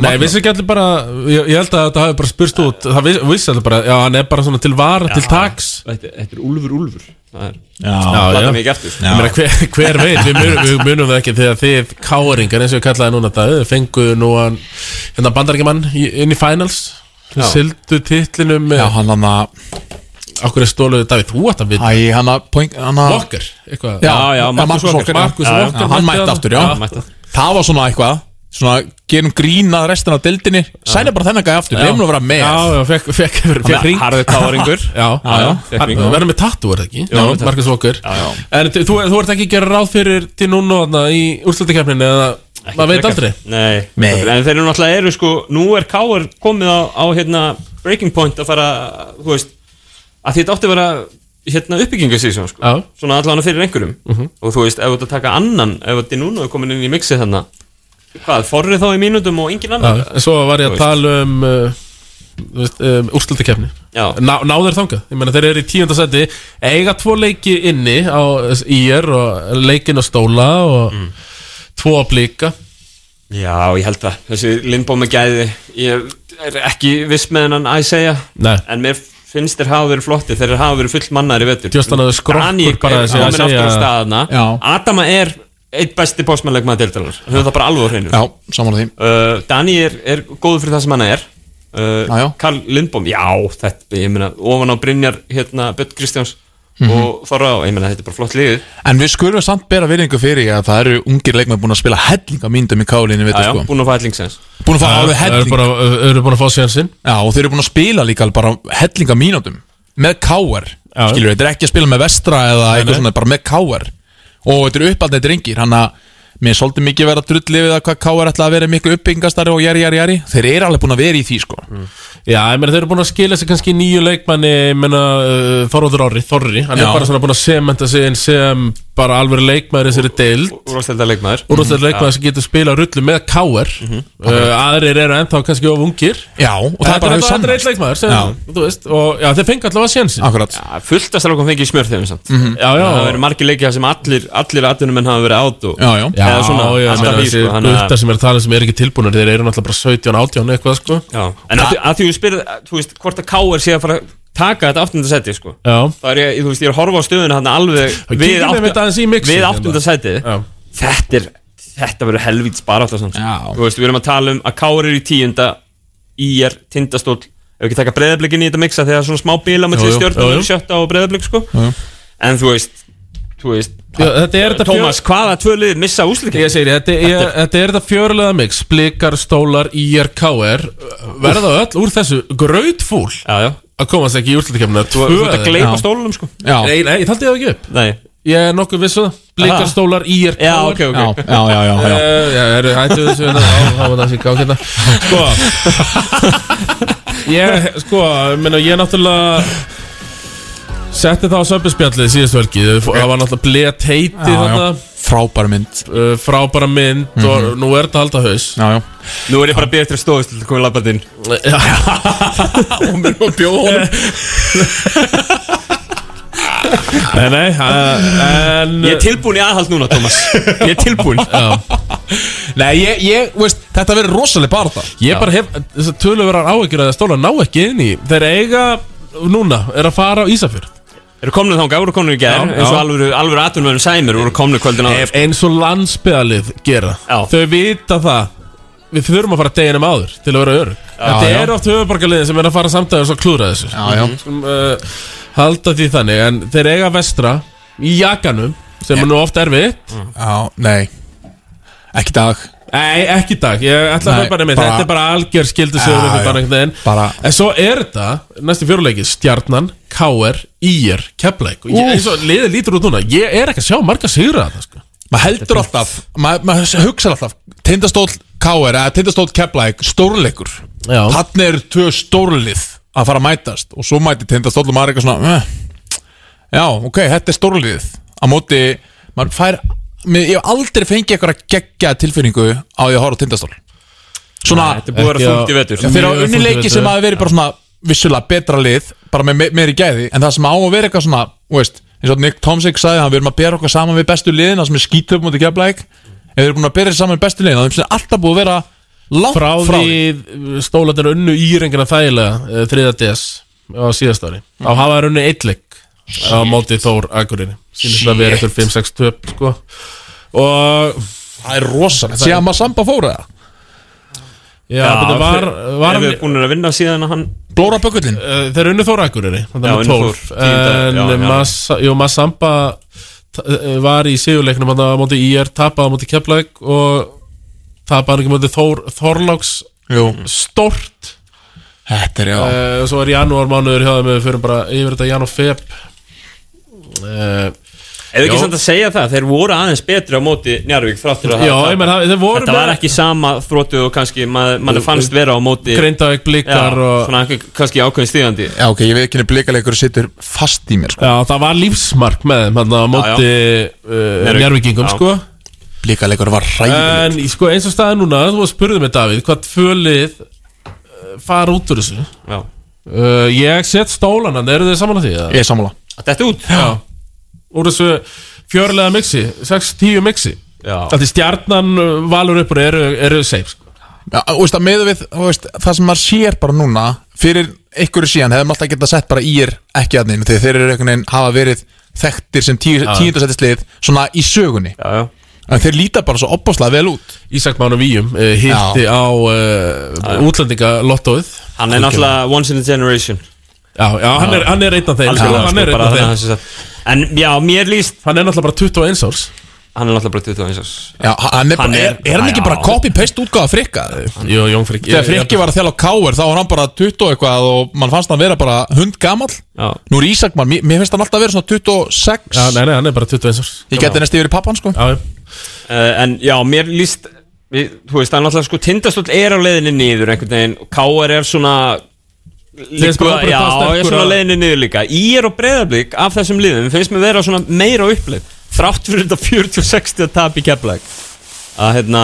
Speaker 2: Nei, vissi ekki allir bara Ég, ég held að þetta hafi bara spurst út Það vissi, vissi allir bara, já, hann er bara svona til vara Til taks
Speaker 21: Þetta þetta er Úlfur Úlfur Það er
Speaker 2: já.
Speaker 21: Platan er ekki eftir
Speaker 2: Ég meina, hver, hver veit, við munum, við munum það ekki Þegar þið káringar, eins og ég kallaði núna þetta Fengu nú hann Hérna bandarækjumann í- inn í finals
Speaker 22: Já.
Speaker 2: Sildu titlinum Já,
Speaker 22: hann hann að
Speaker 2: Akkur er stóluðu Davíð, þú ætti að vita
Speaker 22: Æ, hann að point- hann að-
Speaker 2: Walker, eitthvað.
Speaker 22: Já,
Speaker 2: Já, já,
Speaker 22: já,
Speaker 2: Marcus
Speaker 22: Markus
Speaker 2: Walker.
Speaker 22: Walker
Speaker 2: Marcus
Speaker 22: já, já,
Speaker 2: Walker
Speaker 22: Hann
Speaker 2: mætti
Speaker 22: mætti
Speaker 2: þarna.
Speaker 22: aftur,
Speaker 2: Já,
Speaker 22: já
Speaker 2: mætti
Speaker 22: Það var svona eitthvað Svona, gerum grínað restina af dildinni Sæna bara þennan gæði aftur,
Speaker 2: Já.
Speaker 22: leifum að vera með
Speaker 2: Já, já, fekk, fekk, fekk,
Speaker 22: Hann er
Speaker 2: fekk ring
Speaker 22: harður káringur.
Speaker 2: Já,
Speaker 22: Já, já,
Speaker 2: já,
Speaker 22: fékk
Speaker 2: já
Speaker 22: ring.
Speaker 2: Verður með tattu, er það ekki?
Speaker 22: Jú,
Speaker 2: Já,
Speaker 22: með tattu.
Speaker 2: Markus Walker
Speaker 22: Já, já.
Speaker 2: En þú, þú, þú ert ekki að gera ráð fyrir til núna þarna í úrslutakefninu eða maður veit
Speaker 21: frekar.
Speaker 2: aldrei
Speaker 21: Nei, en þeir eru náttúrulega eru sko Nú er Káar komið á, á hérna, breaking point að fara þú veist, að þetta átti að vera hérna, uppbygginga síðan sko.
Speaker 2: Já.
Speaker 21: svona allan fyrir einhverjum
Speaker 2: Mhm.
Speaker 21: og þú veist, ef þú ert að taka annan ef þetta er núna og komin inn í mixið þannig hvað, forrið þá í mínútum og engin
Speaker 2: Já,
Speaker 21: annar
Speaker 2: en Svo var
Speaker 21: Þú
Speaker 2: ég að
Speaker 21: veist.
Speaker 2: tala um, uh, þú veist, um úrslutakefni
Speaker 21: Já.
Speaker 2: Ná, Náður þangað, ég meina þeir eru í tíunda seti Eiga tvo leiki inni á IR og leikin að stóla og
Speaker 21: Mm.
Speaker 2: tvo að blika
Speaker 21: Já, ég held það, þessi Lindbó með gæði ég er ekki viss með hennan að segja,
Speaker 2: Nei.
Speaker 21: en mér finnst þeir hafa verið flotti, þeir hafa verið full mannar í vetur
Speaker 2: Djóst hann að þau skrokkur
Speaker 21: Daniel
Speaker 2: bara
Speaker 21: er
Speaker 2: þessi að
Speaker 21: komin aftur á
Speaker 2: segja-
Speaker 21: staðana
Speaker 2: Já.
Speaker 21: Adama er eitt besti postmannleik maður deildalar, höfum það bara alveg á hreinu
Speaker 22: Já, saman að því
Speaker 21: uh, Dani er, er góður fyrir það sem hann er uh,
Speaker 22: Já, já.
Speaker 21: Karl Lindbóm, já þetta, ég meina, ofan á Brynjar hérna, Bött Kristjáns
Speaker 22: Mhm.
Speaker 21: og Þorra og ég meina, þetta er bara flott liðið
Speaker 22: En við skulum samt bera virðingu fyrir að það eru ungir leikmenn búin að spila hellinga myndum í kálinni við
Speaker 21: Já, já,
Speaker 22: þetta sko
Speaker 21: búin að fá hellingsens
Speaker 22: Búin að fá
Speaker 2: Já, þeir eru
Speaker 22: alveg helling
Speaker 2: Þeir eru búin að fá sénsinn
Speaker 22: Já, og þeir eru búin að spila líka bara hellinga mínútum með káar Skilur, þetta er ekki að spila með vestra eða eitthvað svona, bara með káar Og þetta eru uppaldið drengir, hann að Mér er svolítið mikið vera drulli við að hvað káar ætla að vera miklu uppbyggingastari og jari, jari, jari Þeir eru alveg búin að vera í því sko
Speaker 21: Mm.
Speaker 2: Já, ég meina þeir eru búin að skila sig kannski í nýju leikmanni, ég meina uh, Þorvaldur Orri, Þorri, hann
Speaker 22: Já.
Speaker 2: er bara svona búin að sementa sig inn sem bara alvöru leikmaður í þessari deild.
Speaker 21: Úrvastælda leikmaður.
Speaker 2: Úrvastælda
Speaker 21: Mhm.
Speaker 2: leikmaður sem getur spila rullu með káer, uh, aðrir eru ennþá kannski of ungir.
Speaker 22: Já, og
Speaker 2: það er bara aðra eitt leikmaður sem, þú veist, og já, þeir fengi allavega sénsinn.
Speaker 22: Akkurat.
Speaker 21: Já, fullt að strákum fengið smjör þeim samt
Speaker 2: Mhm. Já, já.
Speaker 21: Það verið margir leikið sem allir, allir atvinnumenn hafa verið átt og
Speaker 22: Já, já.
Speaker 2: Já,
Speaker 21: Eða svona,
Speaker 2: já, ég meina
Speaker 21: alltaf í
Speaker 2: þessi
Speaker 21: sko hann að-
Speaker 2: gutta sem er að tala sem er ekki tilbúinir, þeir eru náttúrulega bara 17, 18 eitthvað, sko.
Speaker 21: Já, En að, því- að því þú spyrir, að, þú veist, hvort að K.R. sé að fara að taka þetta áttundasæti, sko
Speaker 2: Já.
Speaker 21: Það er ég, þú veist, ég er að horfa á stöðuna hann alveg
Speaker 2: kíkjum einmitt aðeins í mixið
Speaker 21: Við
Speaker 2: hérna.
Speaker 21: áttundasæti Þetta er, þetta verður helvíts barátta samt sko. Þú veist, við erum að tala um að K.R. er í tíunda Í er tindastóll Ef ekki taka breyðablikin í þetta mixa þegar svona smá bila
Speaker 2: Jú,
Speaker 21: Mellir
Speaker 2: jú, jú,
Speaker 21: stjórnum
Speaker 2: jú.
Speaker 21: sjötta og breyðablik, sko
Speaker 2: Já.
Speaker 21: En þú veist, þú veist
Speaker 2: Já, þetta er þetta
Speaker 21: Tómas,
Speaker 2: fjör-
Speaker 21: hvaða tvö liðið missa úslikin?
Speaker 2: Ég segir, þetta er,
Speaker 21: Þetta
Speaker 2: þetta er þetta fjörulega mix Blikar, stólar, IR, KR Verða öll úr þessu grautfúl
Speaker 21: já, já.
Speaker 2: Að komast ekki í úrslutakefnina
Speaker 21: Þú þú ert að gleypa stólunum, sko
Speaker 2: Nei, nei, ég taldi það ekki upp
Speaker 21: Nei
Speaker 2: Ég er nokkuð vissu það Blikar,
Speaker 21: Aha.
Speaker 2: stólar, IR, KR
Speaker 21: Já, ok, ok.
Speaker 22: Já, já, já, já.
Speaker 2: Eh, já er, Hættu þessu hérna, Já, það var það sem gaf hérna Sko Ég, sko, ég meina, ég náttúrulega Setti það á söpinspjallið síðustu helgi Það var náttúrulega blet heiti
Speaker 22: Já, já.
Speaker 2: þarna
Speaker 22: Frábæra mynd Mhm.
Speaker 2: Frábæra mynd og nú er þetta að halda haus Eh,
Speaker 22: Já, já
Speaker 21: Nú er ég bara að bíða eftir að stóðist til að koma í labbandinn
Speaker 2: Já,
Speaker 22: Og mér var bjóð honum
Speaker 2: Nei, nei en,
Speaker 21: Ég er tilbúin í aðhald núna, Tómas Ég er tilbúin
Speaker 22: Nei, ég, ég, veist, þetta verður rosalega barða
Speaker 2: Ég bara hef þess að töluverar áhyggjur að stóla ná ekki inn í Þeir eiga núna, er að fara á Ísafjörð
Speaker 21: Eru komnir þá, eru komnir í gær
Speaker 2: Já,
Speaker 21: eins og
Speaker 2: já.
Speaker 21: alvöru, sko. alvöru atvinnverðin sæmir voru komnir kvöldin á
Speaker 2: Ef eins og landsbyðalið gera já. Þau vita það Við þurfum að fara deginum áður til að vera öru Þetta
Speaker 22: já.
Speaker 2: er oft höfuborgarliðin sem er að fara samtæður og klúra þessu
Speaker 22: Já, já.
Speaker 2: Sem, uh, Halda því þannig En þeir eiga vestra í jakanum Sem er nú oft erfitt
Speaker 22: Já, nei Ekki í dag
Speaker 2: Nei, ekki í dag, ég ætla að
Speaker 22: Nei,
Speaker 2: hlaupa nefnir
Speaker 22: bara-
Speaker 2: Þetta er bara algjör skildu
Speaker 22: Já,
Speaker 2: sögur
Speaker 22: já.
Speaker 2: bara einhvern veginn
Speaker 22: Bara-
Speaker 2: En svo er þetta, næstu fjöruleiki Stjarnan, KR, IR, Keflæk Og sko. ég,
Speaker 22: Úff.
Speaker 2: eins og liðið lítur út núna Ég er ekki að sjá marga sigra þetta sko
Speaker 22: Maður heldur alltaf, maður ma hugsa alltaf Tindastóll K.R. eða Tindastóll Keflæk Stórleikur
Speaker 2: Já.
Speaker 22: Þannig eru tvö stórlið að fara að mætast Og svo mæti Tindastóll og maður er eitthvað svona eh. Já, ok, þetta er stórliðið Á móti, maður fær mér, Ég hef aldrei fengið eitthvað að gegja tilfinningu Á því að horfa á Tindastóll Svona
Speaker 21: Nei, þetta er búið að vera þungt í vetur.
Speaker 22: Já, Þeir
Speaker 21: Mjög
Speaker 22: eru
Speaker 21: þungt í
Speaker 22: unni leiki
Speaker 21: vetur.
Speaker 22: sem hafa verið bara svona Vissulega betra lið, bara með me- meiri gæði En það sem á að vera eitthvað svona, þú veist Eins og Nick Tomsik sagði, hann við erum að bera okkar saman við bestu liðina Sem er skítöp mútið gefla ekki Ef þeir eru búin að bera sér saman við bestu liðina Þeim sem er alltaf búið að vera Langt
Speaker 2: frá
Speaker 22: frá
Speaker 2: því stólandir unnu írengina þægilega þriða DS á síðast ári þá hafa þeir unnu eitleik á móti Þór Akureyri sínum að vera eitthvað 5-6 töp sko. og það er rosalegt
Speaker 22: Sér að maður samba fóra það
Speaker 2: Já, þetta var, var
Speaker 21: Ef við búin að vinna síðan að hann Eh,
Speaker 22: Blóra bökullin
Speaker 2: uh, Þeir unnu Þór Akureyri þannig
Speaker 21: Já,
Speaker 2: að
Speaker 21: unnu
Speaker 2: tólf.
Speaker 21: Þór, tíunda,
Speaker 2: En
Speaker 21: já, já.
Speaker 2: Massa- Jú, Massamba t- eh, var í sigurleiknum hann á móti IR tapaði á móti Keflæk og tapaði hann ekki á móti Þór, Þorláks
Speaker 22: Jú.
Speaker 2: stort
Speaker 22: Þetta er já
Speaker 2: uh, Svo er janúar mánuður hjá þeim við fyrir bara yfir þetta janúar feb uh,
Speaker 21: Ef ekki
Speaker 2: já.
Speaker 21: samt að segja það, þeir voru aðeins betri á móti Njarvík þráttur að
Speaker 2: Já,
Speaker 21: hafa
Speaker 2: ég
Speaker 21: tapað.
Speaker 2: menn, það- þeir voru
Speaker 21: Þetta
Speaker 2: með-
Speaker 21: var ekki sama þróttu og kannski maður maður fannst vera á móti
Speaker 2: Grindavík, Blikar
Speaker 21: Já,
Speaker 2: og-
Speaker 21: Svona einhver- kannski ákveðin stíðandi
Speaker 22: Já, ok, ég veit ekki henni blikaleikur sittur fast í mér sko.
Speaker 2: Já, það var lífsmark með þeim hann á móti uh,
Speaker 22: Njarðvík,
Speaker 2: njárvíkingum
Speaker 22: já.
Speaker 2: sko
Speaker 22: Blikaleikur var ræðilegur
Speaker 2: En sko, eins og staðan núna, þú spurðið mig Davíð hvað tvölið uh, fara út úr þessu
Speaker 21: Já.
Speaker 2: uh, Ég set stólanan, eru þið saman að því?
Speaker 22: Ég er sammála
Speaker 21: Þetta út
Speaker 2: Já. Úr þessu fjörlega mixi, 6-10 mixi
Speaker 21: Já.
Speaker 2: Þetta stjarnan uh, valur uppur eru, eru safe sko.
Speaker 22: Já, þú veist, að meðu við, þú veist, það sem maður sér bara núna fyrir einhverju síðan hefðum alltaf getað sett bara í er ekki að neina þegar þeir eru einhvern veginn hafa verið þekktir sem tíu,
Speaker 2: Já.
Speaker 22: tíundasettislið svona í sögunni
Speaker 21: já, já.
Speaker 22: en þeir líta bara svo opbáslega vel út
Speaker 2: Ísak Mána Víum uh, hitti á uh, útlendinga lottóið
Speaker 21: Hann er náttúrulega once in a generation
Speaker 2: Já, já, hann, Er, hann er einn af þeim
Speaker 21: Algjörlega,
Speaker 2: Hann
Speaker 21: sko,
Speaker 2: er einn
Speaker 21: bara
Speaker 2: af
Speaker 21: þannig að
Speaker 2: þeim
Speaker 21: það En já, mér líst
Speaker 2: Hann er náttúrulega bara 21 árs
Speaker 21: Hann er náttúrulega bara 21 árs
Speaker 22: Já, hann er, hann er, er hann ekki
Speaker 21: já.
Speaker 22: bara copy-paste útgáða frikka?
Speaker 2: Jú, Jón Frikki
Speaker 22: Þegar frikki var að þjála á Káur þá var hann bara 20 og eitthvað og mann fannst hann vera bara hund gamall
Speaker 21: Já.
Speaker 22: Nú er Ísak mann, mér, mér finnst hann alltaf vera svona 26
Speaker 2: Já, nei, nei, hann er bara 21 árs
Speaker 22: Ég geti næst yfir í pappan sko
Speaker 2: Já,
Speaker 21: uh, En já, mér líst við, Þú veist, það er náttúrulega sko Tindastóll er á leiðinni niður einhvern veginn og KR er svona Líka,
Speaker 2: finnst bara bara
Speaker 21: já,
Speaker 2: það sterkur
Speaker 21: er svona
Speaker 2: að-
Speaker 21: leiðinni niður líka Í er og breyðablík af þessum liðum finnst mér vera svona meira á uppleið Þrátt fyrir þetta 40-60 tap í keflæk Að hérna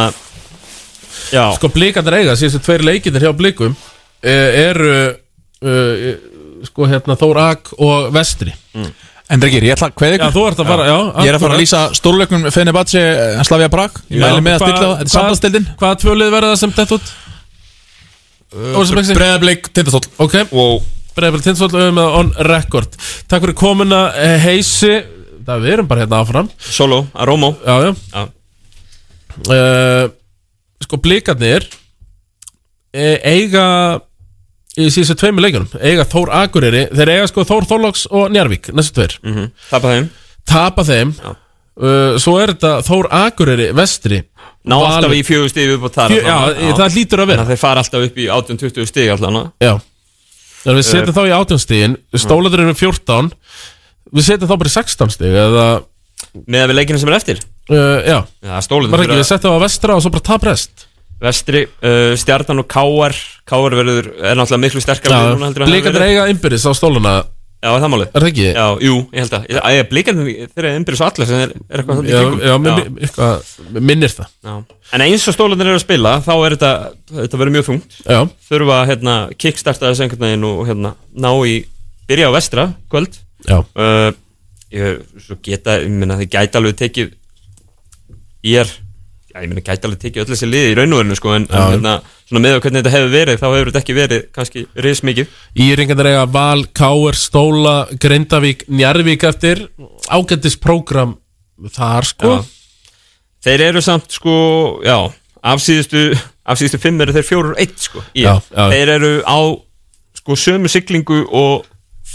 Speaker 21: Já
Speaker 2: Sko blikandir eiga, síðustu tveir leikindir hjá blikum eh, eru uh, sko hérna Þór Ak og Vestri
Speaker 22: En Dregir, ég ætla að kveða
Speaker 2: Já, þú ert að fara, já,
Speaker 22: Ég er að fara
Speaker 2: akkurat.
Speaker 22: að lýsa stórleikum Fenerbahce eh, Slavia Prag Ég mæli með að stilla það, þetta er samtast
Speaker 2: Hvaða tvölið verða það sem dett út?
Speaker 22: Breiðablik, Tindastóll
Speaker 2: Ok
Speaker 21: wow.
Speaker 2: Breiðablik, Tindastóll við erum með on record Takk fyrir komuna eh, Heisi Það við erum bara hérna áfram
Speaker 21: Solo, Aromo
Speaker 2: Já, já,
Speaker 21: já.
Speaker 2: Eh, Sko blikarnir eh, eiga í síðustu tveimur leikunum eiga Þór Akureyri, þeir eiga sko Þór Þorlóks og Njarvík, næstu tveir
Speaker 21: mm -hmm. Tapa þeim
Speaker 2: Tapa þeim uh, Svo er þetta Þór Akureyri vestri
Speaker 21: Ná alltaf
Speaker 2: Valur.
Speaker 21: í fjögur stíð upp á þar
Speaker 2: Fjö- já, það hlýtur að vera.
Speaker 21: Þeir fara alltaf upp í 18-20 stíð allan að-
Speaker 2: Já Þannig að við setjum
Speaker 21: Eh.
Speaker 2: þá í 18 stíðin Stólandur eru 14 Við setjum þá bara í 16 stíð Eða,
Speaker 21: Með að við leikina sem er eftir
Speaker 2: uh, já
Speaker 21: Já, stólinn
Speaker 2: Var ekki, við setjum þá á vestra og svo bara tap rest
Speaker 21: Vestri, uh, Stjarnan og Káar Káar verður, er náttúrulega miklu sterkar
Speaker 2: Já, Blikarnir eiga innbyrðis á stóluna
Speaker 21: Já, er það málið
Speaker 2: Er það ekki?
Speaker 21: Já, jú, ég held að Ég- Æ, Blikarnir, þeir eru innbyrðis á alla sem er, er eitthvað þannig í
Speaker 2: Já,
Speaker 21: kringum.
Speaker 2: já, minni, eitthvað, minnir það
Speaker 21: já. En eins og stólandir eru að spila þá er þetta, þetta verður mjög þungt
Speaker 2: Já.
Speaker 21: Þurfa að hérna, kickstarta þessu einhvern veginn og hérna, ná í, byrja á vestra kvöld
Speaker 2: Já.
Speaker 21: uh, ég, Svo geta, ég meina þið gæti alveg tekið ég er Já, ég meina gæti alveg tekið öll þessi liði í raun og verinu sko, en, en
Speaker 2: Já.
Speaker 21: hérna, svona með á hvernig þetta hefur verið þá hefur þetta ekki verið kannski reis mikið
Speaker 2: Íringarnir eiga Val, Káer, Stóla, Grindavík, Njarvík eftir Ágættis prógram þar sko
Speaker 21: Já. Þeir eru samt sko, já, af síðustu, af síðustu fimm eru þeir fjóru og eitt sko í.
Speaker 2: Já, já.
Speaker 21: Þeir eru á sko sömu siglingu og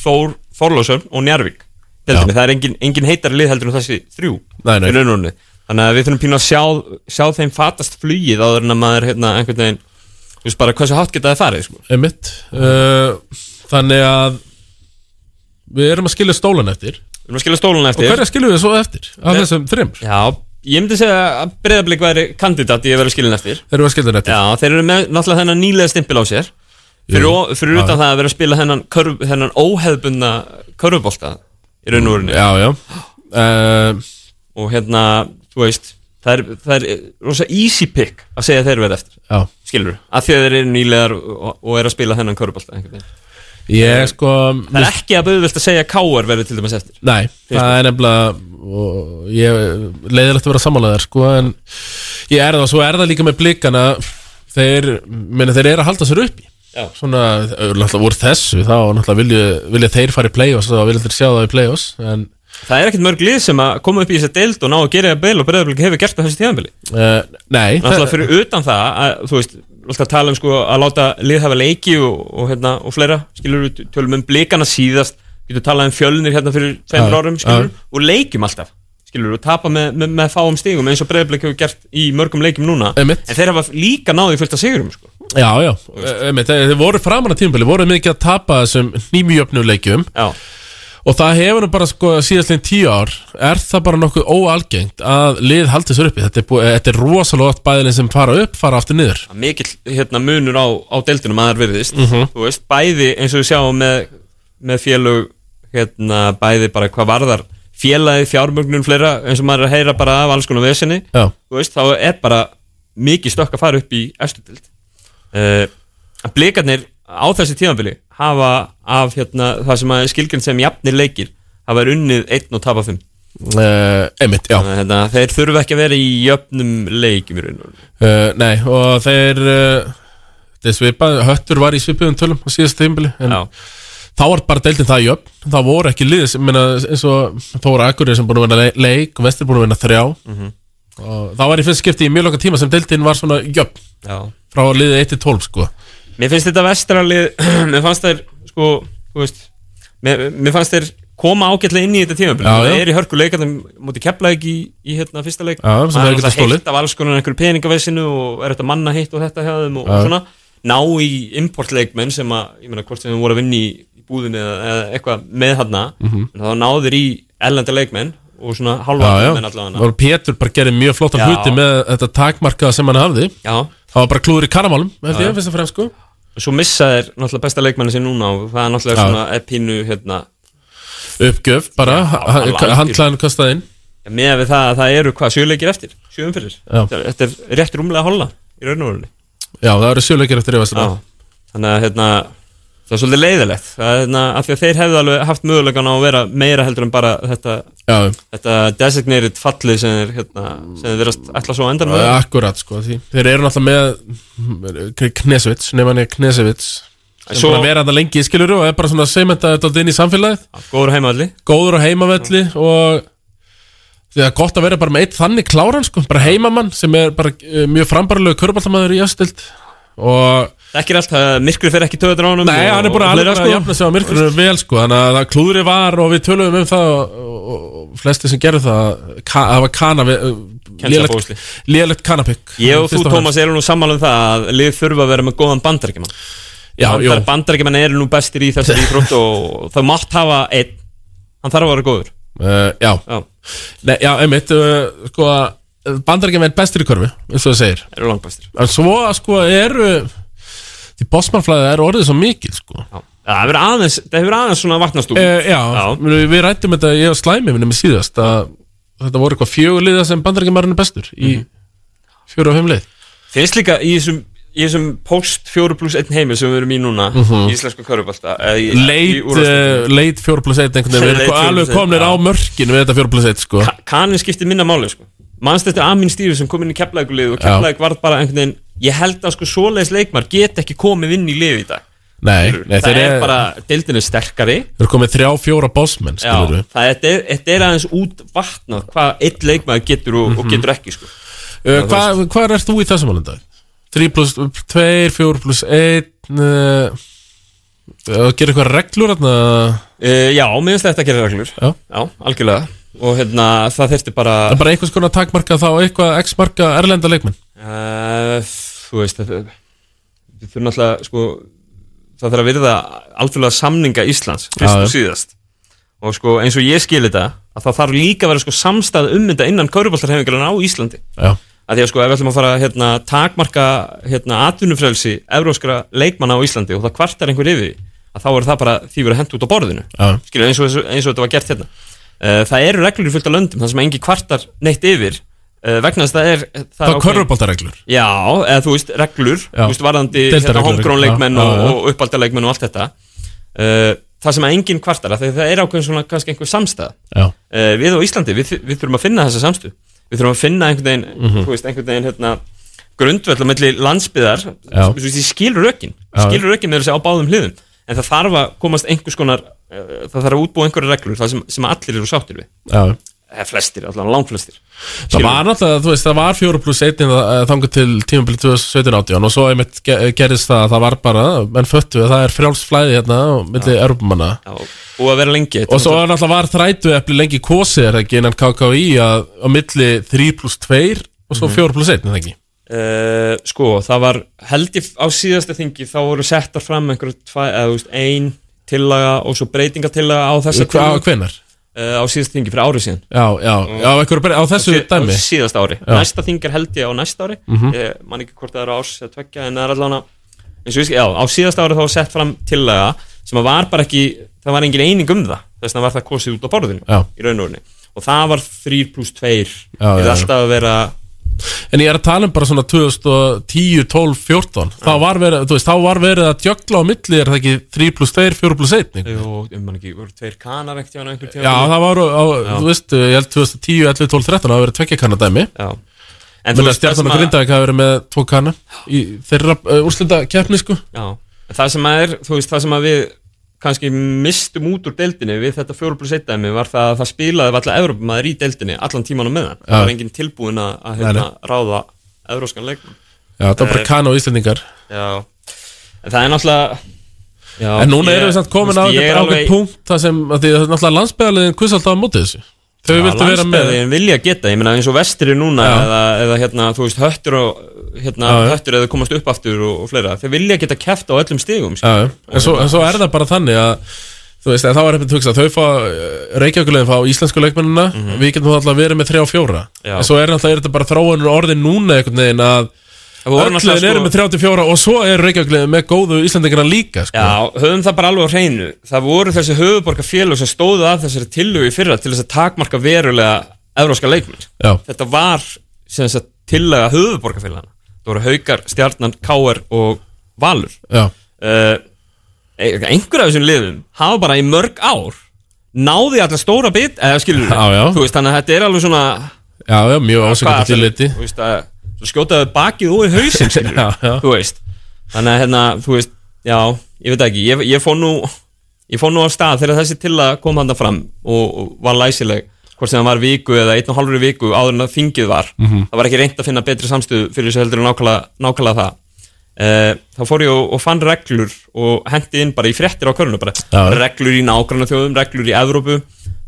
Speaker 21: Þór, Þorlásson og Njarvík Deildinni. Það er engin, engin heitari lið heldur en þessi þrjú
Speaker 2: Nei, nei.
Speaker 21: í raun og verinu. Þannig að við þurfum pínu að sjá, sjá þeim fatast flugið áður en að maður hérna, einhvern veginn Þú veist bara hversu hátt geta það farið sko.
Speaker 2: Einmitt uh, Þannig að Við erum að skilja stólan eftir
Speaker 21: Við erum að skilja stóluna eftir
Speaker 2: Og hverja skiljum við svo eftir? Af þessum þrimur?
Speaker 21: Já, ég myndi segja að breyðablík væri kandidat í að vera skilin eftir
Speaker 2: Þeir eru að skilja eftir
Speaker 21: Já, þeir eru með náttúrulega þennan nýlega stimpil á sér Fyrir,
Speaker 2: Jú,
Speaker 21: ó, fyrir
Speaker 2: já,
Speaker 21: utan
Speaker 2: já.
Speaker 21: það að vera að spila hennan, körf, hennan óheðbunna körfubolta í raun og verinu
Speaker 2: Já, Eh, já
Speaker 21: Og hérna, þú veist, það er, það er rosa easy pick að segja að þeir verið eftir
Speaker 2: Já.
Speaker 21: Skilur, af því að þeir eru nýlegar og, og eru að spila hennan körfubolta einhvern veginn.
Speaker 2: Ég sko
Speaker 21: Eh, Það er ekki að bauðvöld að segja að Káar verið til dæmis eftir
Speaker 2: Nei,
Speaker 21: Fyrst-
Speaker 2: það er nefnilega og ég leiðilegt að vera sammálaðar sko, en ég er það, svo er það líka með blikana þeir, minna, þeir eru að halda sér upp í
Speaker 21: Já.
Speaker 2: svona, náttúrulega voru þessu þá náttúrulega vilja, vilja þeir fara í play-offs þá vilja þeir sjá það í play-offs en
Speaker 21: Það er ekkert mörg lið sem að koma upp í þessa deild og ná að gera beil og breyðarblik hefur gert á þessu tíðanbili
Speaker 2: uh, nei
Speaker 21: Náttúrulega fyrir utan það að þú veist alltaf tala um sko að láta lið hafa leiki og, og, hérna, og fleira, skilur við tölum um blikana síðast, getur talað um fjölnir hérna fyrir tveimur
Speaker 2: Já,
Speaker 21: árum, skilur
Speaker 2: já.
Speaker 21: og leikjum alltaf, skilur og tapa með, með, með fáum stigum eins og breyðarblik hefur gert í mörgum leikjum núna,
Speaker 2: Einmitt.
Speaker 21: en þeir hafa líka náði fullt af sigurum, sko
Speaker 2: Já, já, einmitt, þeir þeir voru framan að tímpili voru mikið að tapa þessum nýmjöfnu leikjum
Speaker 21: já.
Speaker 2: og það hefur nú bara sko síðastlegin tíu ár er það bara nokkuð óalgengt að lið haldi sér uppi, þetta er, búið, þetta er rosalega oft bæðilinn sem fara upp, fara aftur niður
Speaker 21: mikill hérna, munur á, á deildinum að það er virðist
Speaker 2: Mhm.
Speaker 21: þú veist, bæði eins og við sjáum með, með félög hérna, bæði bara hvað varðar félagi, fjármögnun, fleira eins og maður er að heyra bara af alls konar vesinni
Speaker 2: Já.
Speaker 21: þú veist, þá er bara mikið stökk að fara upp í efstu deild uh, blikarnir á þessi tímanfili hafa af hérna, það sem að skilgjörn sem jafnir leikir hafa unnið einn og tapa fimm
Speaker 2: uh, einmitt, já
Speaker 21: Þannig að, hérna, þeir þurfa ekki að vera í jöfnum leikjum í raun og veru.
Speaker 2: Uh, nei, og þeir uh, þeir svipað, höttur var í svipuðum tölum á síðasta tímbili en þá var bara deildin það í öfn þá voru ekki liðis, minna, eins og Þóra Akureyri sem búin að vinna le- leik og Vestir búin að vinna þrjá
Speaker 21: Mhm.
Speaker 2: og það var í fyrst skipti í mjög langa tíma sem deildin var svona í öfn
Speaker 21: Já.
Speaker 2: frá liðið 1-12 sko
Speaker 21: Mér finnst þetta vestralið Mér fannst þær sko þú veist, mér, mér fannst þær koma ágætlega inn í þetta tímabili
Speaker 2: Já, já.
Speaker 21: Það er í hörku leikandum Móti keflaðið í, í hérna fyrsta leik
Speaker 2: Já,
Speaker 21: Maður
Speaker 2: sem þeir
Speaker 21: er
Speaker 2: geta
Speaker 21: alltaf
Speaker 2: stólið.
Speaker 21: heilt af alls konar einhverju peningavesinu og er þetta manna hitt og þetta hjá þeim og,
Speaker 2: Já.
Speaker 21: og svona Ná í importleikmenn sem að, ég meina hvort sem þeim voru að vinna í, í búðinu eða, eða eitthvað með hann
Speaker 2: Mhm.
Speaker 21: en þá náður í ellenda leikmenn og svona halva
Speaker 2: Já, já,
Speaker 21: leikmenn allavega
Speaker 2: og Pétur bara gerði mjög flottan
Speaker 21: Já.
Speaker 2: hluti með þetta takmarkað sem hann hafði
Speaker 21: Já.
Speaker 2: það var bara klúður í karamálum held ég, fyrst og fremst sko
Speaker 21: Svo missa þér náttúrulega besta leikmennin sem núna og það er náttúrulega
Speaker 2: Já.
Speaker 21: svona er pínu hérna
Speaker 2: uppgjöf bara,
Speaker 21: alveg algjör.
Speaker 2: handklæðin kastaði inn
Speaker 21: Já, Meðan við það að það eru hvað sjöleikir eftir Sjöumfyrir
Speaker 2: Já.
Speaker 21: Þetta er rétt rúmlega að holla í raun og verunni
Speaker 2: já, það eru sjöleikir eftir yfast
Speaker 21: Já. Þannig að hérna Það er svolítið leiðilegt Það er hérna af því að þeir hefðu alveg haft mögulegan á að vera meira heldur en bara þetta
Speaker 2: Já.
Speaker 21: Þetta designated fallið sem er hérna Sem þeir verðast ætla svo á endan
Speaker 2: Uh, akkurat sko, því þeir eru náttúrulega með Knesevits, nefnir hann Knesevits
Speaker 21: Svo-
Speaker 2: sem Svo... bara vera þetta lengi í skiluru og er bara svona segmenta þetta inn í samfélagið
Speaker 21: Góður á heimavelli
Speaker 2: Góður á heimavelli og því það er gott að vera bara með eitt þannig kláran sko, bara heimamann sem er bara uh, mjög frambarlegu körbaltamæður í östild og
Speaker 21: Þekkir allt að myrkri fer ekki töður á honum
Speaker 2: Nei,
Speaker 21: og- sko
Speaker 2: hann er búin
Speaker 21: og
Speaker 2: að
Speaker 21: fleira,
Speaker 2: alveg að jafna sig á myrkrinu vel sko, þannig að það klúðri var og við töluðum um það og, og, og flesti sem gerðu það, ka, það var kana við, uh,
Speaker 21: Kennsla fósli.
Speaker 2: lélegt kanapikk
Speaker 21: Ég og þú, Tómas, erum nú sammála um það að lið þurfa að vera með góðan bandarækjumann
Speaker 2: Já, jú.
Speaker 21: Bandarækjumann eru nú bestir í þessari íþrótt og það mátt hafa einn Hann þarf að vera góður
Speaker 2: Uh, já.
Speaker 21: Já.
Speaker 2: Nei, já, einmitt, uh, sko, bandarækjum er bestir í körfu, eins og það segir.
Speaker 21: Eru langbestir.
Speaker 2: En svo, sko, eru, því bótsmannflæðið er orðið svo mikið, sko.
Speaker 21: Já. Það hefur aðeins, það hefur aðeins svona vatnast út
Speaker 2: Uh, já, Við, við rættum þetta, ég og slæmi minni með síðast, að þetta voru eitthvað fjögur liða sem bandarækjum er bestur í
Speaker 21: Mhm.
Speaker 2: fjögur og fimm lið.
Speaker 21: Finnst líka í þessum, í þessum post 4 plus 1 heimil sem við erum í núna
Speaker 2: Mhm.
Speaker 21: Í íslensku körfubalta eða í- í
Speaker 2: Leit,
Speaker 21: úrvalsdeildinni.
Speaker 2: uh, leit fjögur pluss eitt einhvern veginn, við
Speaker 21: Leit
Speaker 2: erum
Speaker 21: fjögur
Speaker 2: alveg
Speaker 21: pluss eitt,
Speaker 2: komnir
Speaker 21: já.
Speaker 2: á mörkin við þetta fjögur pluss eitt, sko.
Speaker 21: Kaninn skiptir minna máli sko. Manst þetta Amin Stýri sem kom inn í keflækulið og
Speaker 2: Já.
Speaker 21: keflæk varð bara einhvern veginn Ég held að sko svoleiðis leikmar get ekki komið inn í lið í dag
Speaker 2: Nei, nei,
Speaker 21: Það
Speaker 2: þeir
Speaker 21: er
Speaker 2: eru-
Speaker 21: bara, deildin er sterkari
Speaker 2: Þeir eru komið þrjá, fjóra bótsmenn, skilur
Speaker 21: Já, það þetta er, þetta er aðeins út vatnað hvað einn leikmaður getur og, og
Speaker 2: Mhm.
Speaker 21: getur ekki sko.
Speaker 2: Uh, hvað hva er þú í þessum alveg dag? 3 pluss 2, 4 pluss 1 uh, uh, Gerir eitthvað reglur hérna?
Speaker 21: uh, Já, mér finnst þetta að gera reglur
Speaker 2: Já,
Speaker 21: algjörlega og hérna, það þurfti bara,
Speaker 2: Það er bara einhvers konar takmarka þá eitthvað x marka erlenda leikmenn
Speaker 21: uh, Þú veist það, við þurfum alltaf sko, það þarf að virða alþjóðlega samninga Íslands fyrst
Speaker 2: Já,
Speaker 21: og
Speaker 2: já.
Speaker 21: síðast og sko, eins og ég skil þetta að það þarf líka að vera sko, samstæð ummynda innan kauruboltarhefingarinn á Íslandi
Speaker 2: Já.
Speaker 21: að því að sko ef við ætlum að fara hérna, takmarka hérna, atvinnufrelsi evróskra leikmanna á Íslandi og það kvartar einhver yfir því, að þá er það bara því verið hent út á borðinu
Speaker 2: Já.
Speaker 21: Skilur, eins, og, eins, og, eins og þetta var gert hérna uh, það eru reglur í fullt af löndum þar sem engi kvartar neitt yfir uh, vegna þess að það er
Speaker 2: Það er körfuboltareglur.
Speaker 21: já, eða þú veist reglur
Speaker 2: Já.
Speaker 21: þú veist varðandi
Speaker 2: Deildarreglur,
Speaker 21: hérna, homegrown
Speaker 2: já,
Speaker 21: leikmenn
Speaker 2: já,
Speaker 21: og,
Speaker 2: já.
Speaker 21: og uppaldarleikmenn og allt þetta uh, það sem að enginn kvartar af því að það er ákveðin svona kannski einhver samstæð
Speaker 2: Já.
Speaker 21: Eh, við á Íslandi, við, við þurfum að finna þessa samstu við þurfum að finna einhvern veginn,
Speaker 2: Mhm.
Speaker 21: þú veist, einhvern veginn hérna, grundvöll á milli landsbyðar
Speaker 2: Já.
Speaker 21: þú veist, ég skilur rökin
Speaker 2: Já.
Speaker 21: skilur rökin með þessi á báðum hliðum en það þarf að komast einhvers konar eh, það þarf að útbúa einhverja reglur það sem, sem allir eru sáttir við
Speaker 2: Já.
Speaker 21: eða flestir, allan langflestir
Speaker 2: Það var náttúrulega, þú veist, það var 4 pluss 1 þangur hérna, eh, til tímabilið 2017-18 og svo einmitt ge- gerðist það að það var bara menn föttu að það er frjálsflæði hérna á milli erfumanna
Speaker 21: og að vera lengi
Speaker 2: og svo var náttúrulega var þrætu efli lengi kosið er það ekki innan KKI að á milli 3 pluss 2 og svo
Speaker 21: Mhm.
Speaker 2: 4 pluss 1 er það ekki
Speaker 21: Eh, sko, það var held ég á síðasta þingi þá voru settar fram einhverjum tvæ, eða, þú veist, ein tillaga og svo breytingatillaga á þessa
Speaker 2: Hva- á hvenær?
Speaker 21: Eh, á síðasta þingi fyrir ári síðan
Speaker 2: Já, já, já, á einhverju bre- á þessu
Speaker 21: sí-
Speaker 2: dæmi?
Speaker 21: á síðasta ári,
Speaker 2: Já.
Speaker 21: næsta þing er held ég á næsta ári
Speaker 2: Mhm.
Speaker 21: ég man ekki hvort það eru árs eða tveggja en það er allan eins og ég, sk- já, á síðasta ári þá var sett fram tillaga sem að var bara ekki, það var engin eining um það þess vegna var það kosið út á borðinu
Speaker 2: Já.
Speaker 21: í raun og orðinu og það var 3 pluss 2
Speaker 2: Já,
Speaker 21: það
Speaker 2: já, já.
Speaker 21: er alltaf að vera
Speaker 2: En ég er að tala um bara svona 2010, 12, 14 þá var, verið, þú veist, þá var verið að jökla á milli er það ekki 3 pluss 2, 4 pluss 1
Speaker 21: Jú, um man ekki, voru tveir kanar ekkert hjá hann einhver tíma
Speaker 2: Já, það var, á,
Speaker 21: Já.
Speaker 2: þú veist, ég held 2010, 11, 12, 13 það hafa verið tvekja kanna dæmi
Speaker 21: Já En
Speaker 2: En
Speaker 21: þú
Speaker 2: þú
Speaker 21: veist, það sem
Speaker 2: stjarnan að
Speaker 21: að-
Speaker 2: Grindavík hafa verið með tvo kanna í þeirra uh, úrslita keppni sko
Speaker 21: Já, en það sem að er, þú veist, það sem að við kannski mistum út úr deildinni við þetta 4 plus 1 dæmi var það að það spilaði alltaf Evrópumæður í deildinni allan tíman á meðan,
Speaker 2: Já.
Speaker 21: það var enginn tilbúin að, að
Speaker 2: Nei,
Speaker 21: hérna, ráða evróskan leikmann
Speaker 2: Já, það var bara
Speaker 21: Eh,
Speaker 2: Kana og Íslendingar
Speaker 21: Já, en það er náttúrulega já,
Speaker 2: En núna
Speaker 21: ég-
Speaker 2: erum við samt komin
Speaker 21: þú
Speaker 2: á
Speaker 21: veist, ég er
Speaker 2: þetta
Speaker 21: alveg-
Speaker 2: ákveð punkt það sem, að því það er náttúrulega landsbyðarliðin kvist alltaf á móti þessu Þau viltu vera með
Speaker 21: landsbyggðin vilja geta, ég meina eins og vestri núna
Speaker 2: Já.
Speaker 21: eða, eða hérna, þú veist, höttur og hérna,
Speaker 2: Já, já.
Speaker 21: höttur eða komast upp aftur og, og fleira, þeir vilja geta keft á öllum stigum
Speaker 2: Já, já. en svo, en svo er það bara þannig að þú veist, en þá er hefðið hugsa þau fá reykjaukulegin fá íslensku leikmennina við getum þá alltaf verið með 3 og 4
Speaker 21: Mhm. Já.
Speaker 2: en svo er náttúrulega er þetta bara þróunur orðin núna einhvern veginn að
Speaker 21: við vorum
Speaker 2: ölluðin
Speaker 21: náttúrulega,
Speaker 2: eru
Speaker 21: sko-
Speaker 2: með 34 og svo er reykjaukulegin með góðu íslendingina líka sko.
Speaker 21: Já, höfum það bara alveg á hreinu Það voru þessi höfuborgarfélög sem stóðu að þessari tillögu í fyrra til þess að takmarka verulega evróska leikmenn
Speaker 2: Já.
Speaker 21: Þetta var sem þess að tillega höfuborgarfélagana Það voru haukar, stjarnan, káar og valur
Speaker 2: Já.
Speaker 21: Eh, Einhver af þessum liðum hafa bara í mörg ár náði alltaf stóra bit eða skilur
Speaker 2: Já, já.
Speaker 21: Þú veist, þannig að þetta er alveg svona
Speaker 2: já, já, mjög
Speaker 21: Hvað
Speaker 2: ásökandi til
Speaker 21: ætlarðu,
Speaker 2: liti
Speaker 21: Þú veist að svo skjótaðu bakið úr í hausinn skilur
Speaker 2: Já, já.
Speaker 21: Þú veist Þannig að hérna, þú veist, já, ég veit ekki Ég, ég fór nú Ég fór nú á stað þegar þessi til að koma hann fram og, og var læsileg hvort sem það var viku eða einn og halvri viku áður en að þingið var
Speaker 2: Mhm.
Speaker 21: það var ekki reynt að finna betri samstöðu fyrir þessu heldur en nákvæmlega, nákvæmlega það uh, þá fór ég og, og fann reglur og hendi inn bara í fréttir á körnum bara
Speaker 2: Já.
Speaker 21: reglur í nágranna þjóðum, reglur í Evrópu